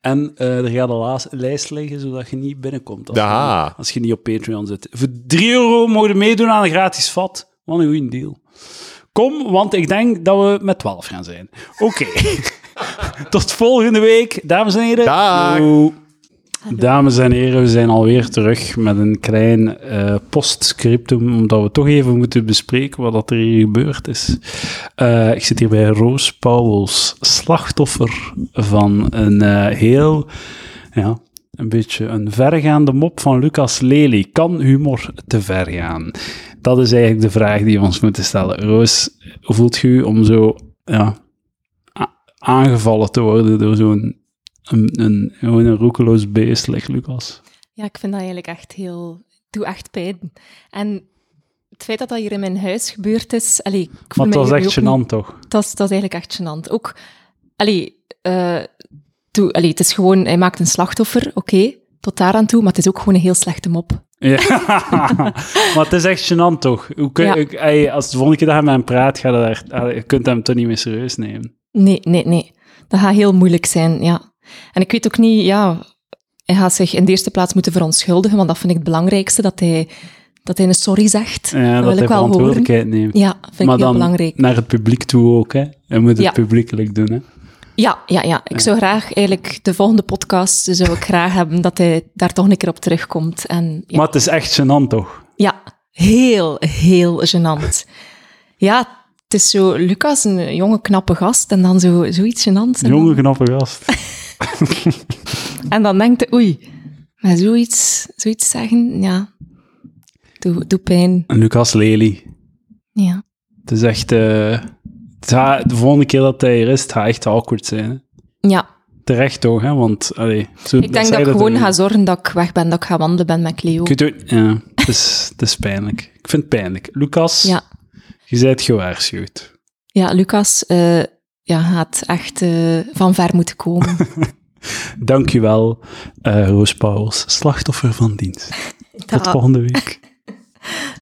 [SPEAKER 1] En eh, er gaat een laas- lijst liggen, zodat je niet binnenkomt. Als,
[SPEAKER 2] Aha.
[SPEAKER 1] je, als je niet op Patreon zit. Voor 3 euro mogen we meedoen aan een gratis vat. Wat een goede deal. Kom, want ik denk dat we met 12 gaan zijn. Oké. Tot volgende week, dames en heren.
[SPEAKER 2] Dag.
[SPEAKER 1] Doei. Dames en heren, we zijn alweer terug met een klein eh, postscriptum, omdat we toch even moeten bespreken wat dat er hier gebeurd is. Eh, ik zit hier bij Roos Pauwels, slachtoffer van een eh, heel, ja, een beetje een vergaande mop van Lucas Lely. Kan humor te ver gaan? Dat is eigenlijk de vraag die we ons moeten stellen. Roos, hoe voelt u om zo ja, a- aangevallen te worden door zo'n een, een, gewoon een roekeloos beest, like Lucas.
[SPEAKER 3] Ja, ik vind dat eigenlijk echt heel... Doe echt pijn. En het feit dat dat hier in mijn huis gebeurd is... Allee, ik voel
[SPEAKER 1] Maar het
[SPEAKER 3] mij
[SPEAKER 1] was
[SPEAKER 3] hier
[SPEAKER 1] echt
[SPEAKER 3] ook niet-
[SPEAKER 1] gênant, toch?
[SPEAKER 3] Dat is, dat is eigenlijk echt gênant. Ook, allee, eh, toe, allee, het is gewoon... Hij maakt een slachtoffer, oké, tot daar aan toe. Maar het is ook gewoon een heel slechte mop.
[SPEAKER 1] Ja. maar het is echt gênant, toch? Hoe kun,
[SPEAKER 3] Ja.
[SPEAKER 1] ik- ey, als de volgende keer dat je met hem praat, ga je, daar, ah, je kunt hem toch niet meer serieus nemen.
[SPEAKER 3] Nee, nee, nee. Dat gaat heel moeilijk zijn, ja. En ik weet ook niet, ja... Hij gaat zich in de eerste plaats moeten verontschuldigen, want dat vind ik het belangrijkste, dat hij dat hij een sorry zegt.
[SPEAKER 1] Ja, dat,
[SPEAKER 3] wil
[SPEAKER 1] hij
[SPEAKER 3] ik wel horen.
[SPEAKER 1] verantwoordelijkheid neemt.
[SPEAKER 3] Ja, vind
[SPEAKER 1] maar
[SPEAKER 3] ik heel
[SPEAKER 1] dan
[SPEAKER 3] belangrijk.
[SPEAKER 1] naar het publiek toe ook, hè. Hij moet het
[SPEAKER 3] Ja.
[SPEAKER 1] publiekelijk doen, hè.
[SPEAKER 3] Ja, ja, ja. Ik zou graag eigenlijk de volgende podcast eh, zou ik graag hebben dat hij daar toch een keer op terugkomt. En ja,
[SPEAKER 1] Maar het is echt gênant, toch?
[SPEAKER 3] ja heel, heel gênant. Ja, het is zo Lucas, een jonge knappe gast, en dan zo, zoiets gênants. En,
[SPEAKER 1] Jonge, knappe gast.
[SPEAKER 3] en dan denkt hij, oei, maar zoiets, zoiets zeggen, ja, doe, doe pijn.
[SPEAKER 1] En Lucas Lely.
[SPEAKER 3] Ja.
[SPEAKER 1] Het is echt... eh, het gaat- de volgende keer dat hij er is, het gaat echt awkward zijn, hè.
[SPEAKER 3] ja,
[SPEAKER 1] Terecht toch, hè? Want, allee, zo-
[SPEAKER 3] ik denk
[SPEAKER 1] zei
[SPEAKER 3] dat ik gewoon
[SPEAKER 1] er-
[SPEAKER 3] ga zorgen dat ik weg ben, dat ik ga wandelen ben met Cleo.
[SPEAKER 1] Ik weet het ook- ja, het is, het is pijnlijk. Ik vind het pijnlijk. Lucas,
[SPEAKER 3] Ja.
[SPEAKER 1] je bent gewaarschuwd.
[SPEAKER 3] Ja, Lucas eh, ja, gaat echt eh, van ver moeten komen.
[SPEAKER 1] Dankjewel, eh Roos Pauwels, slachtoffer van dienst. Tot
[SPEAKER 3] Da-
[SPEAKER 1] volgende week.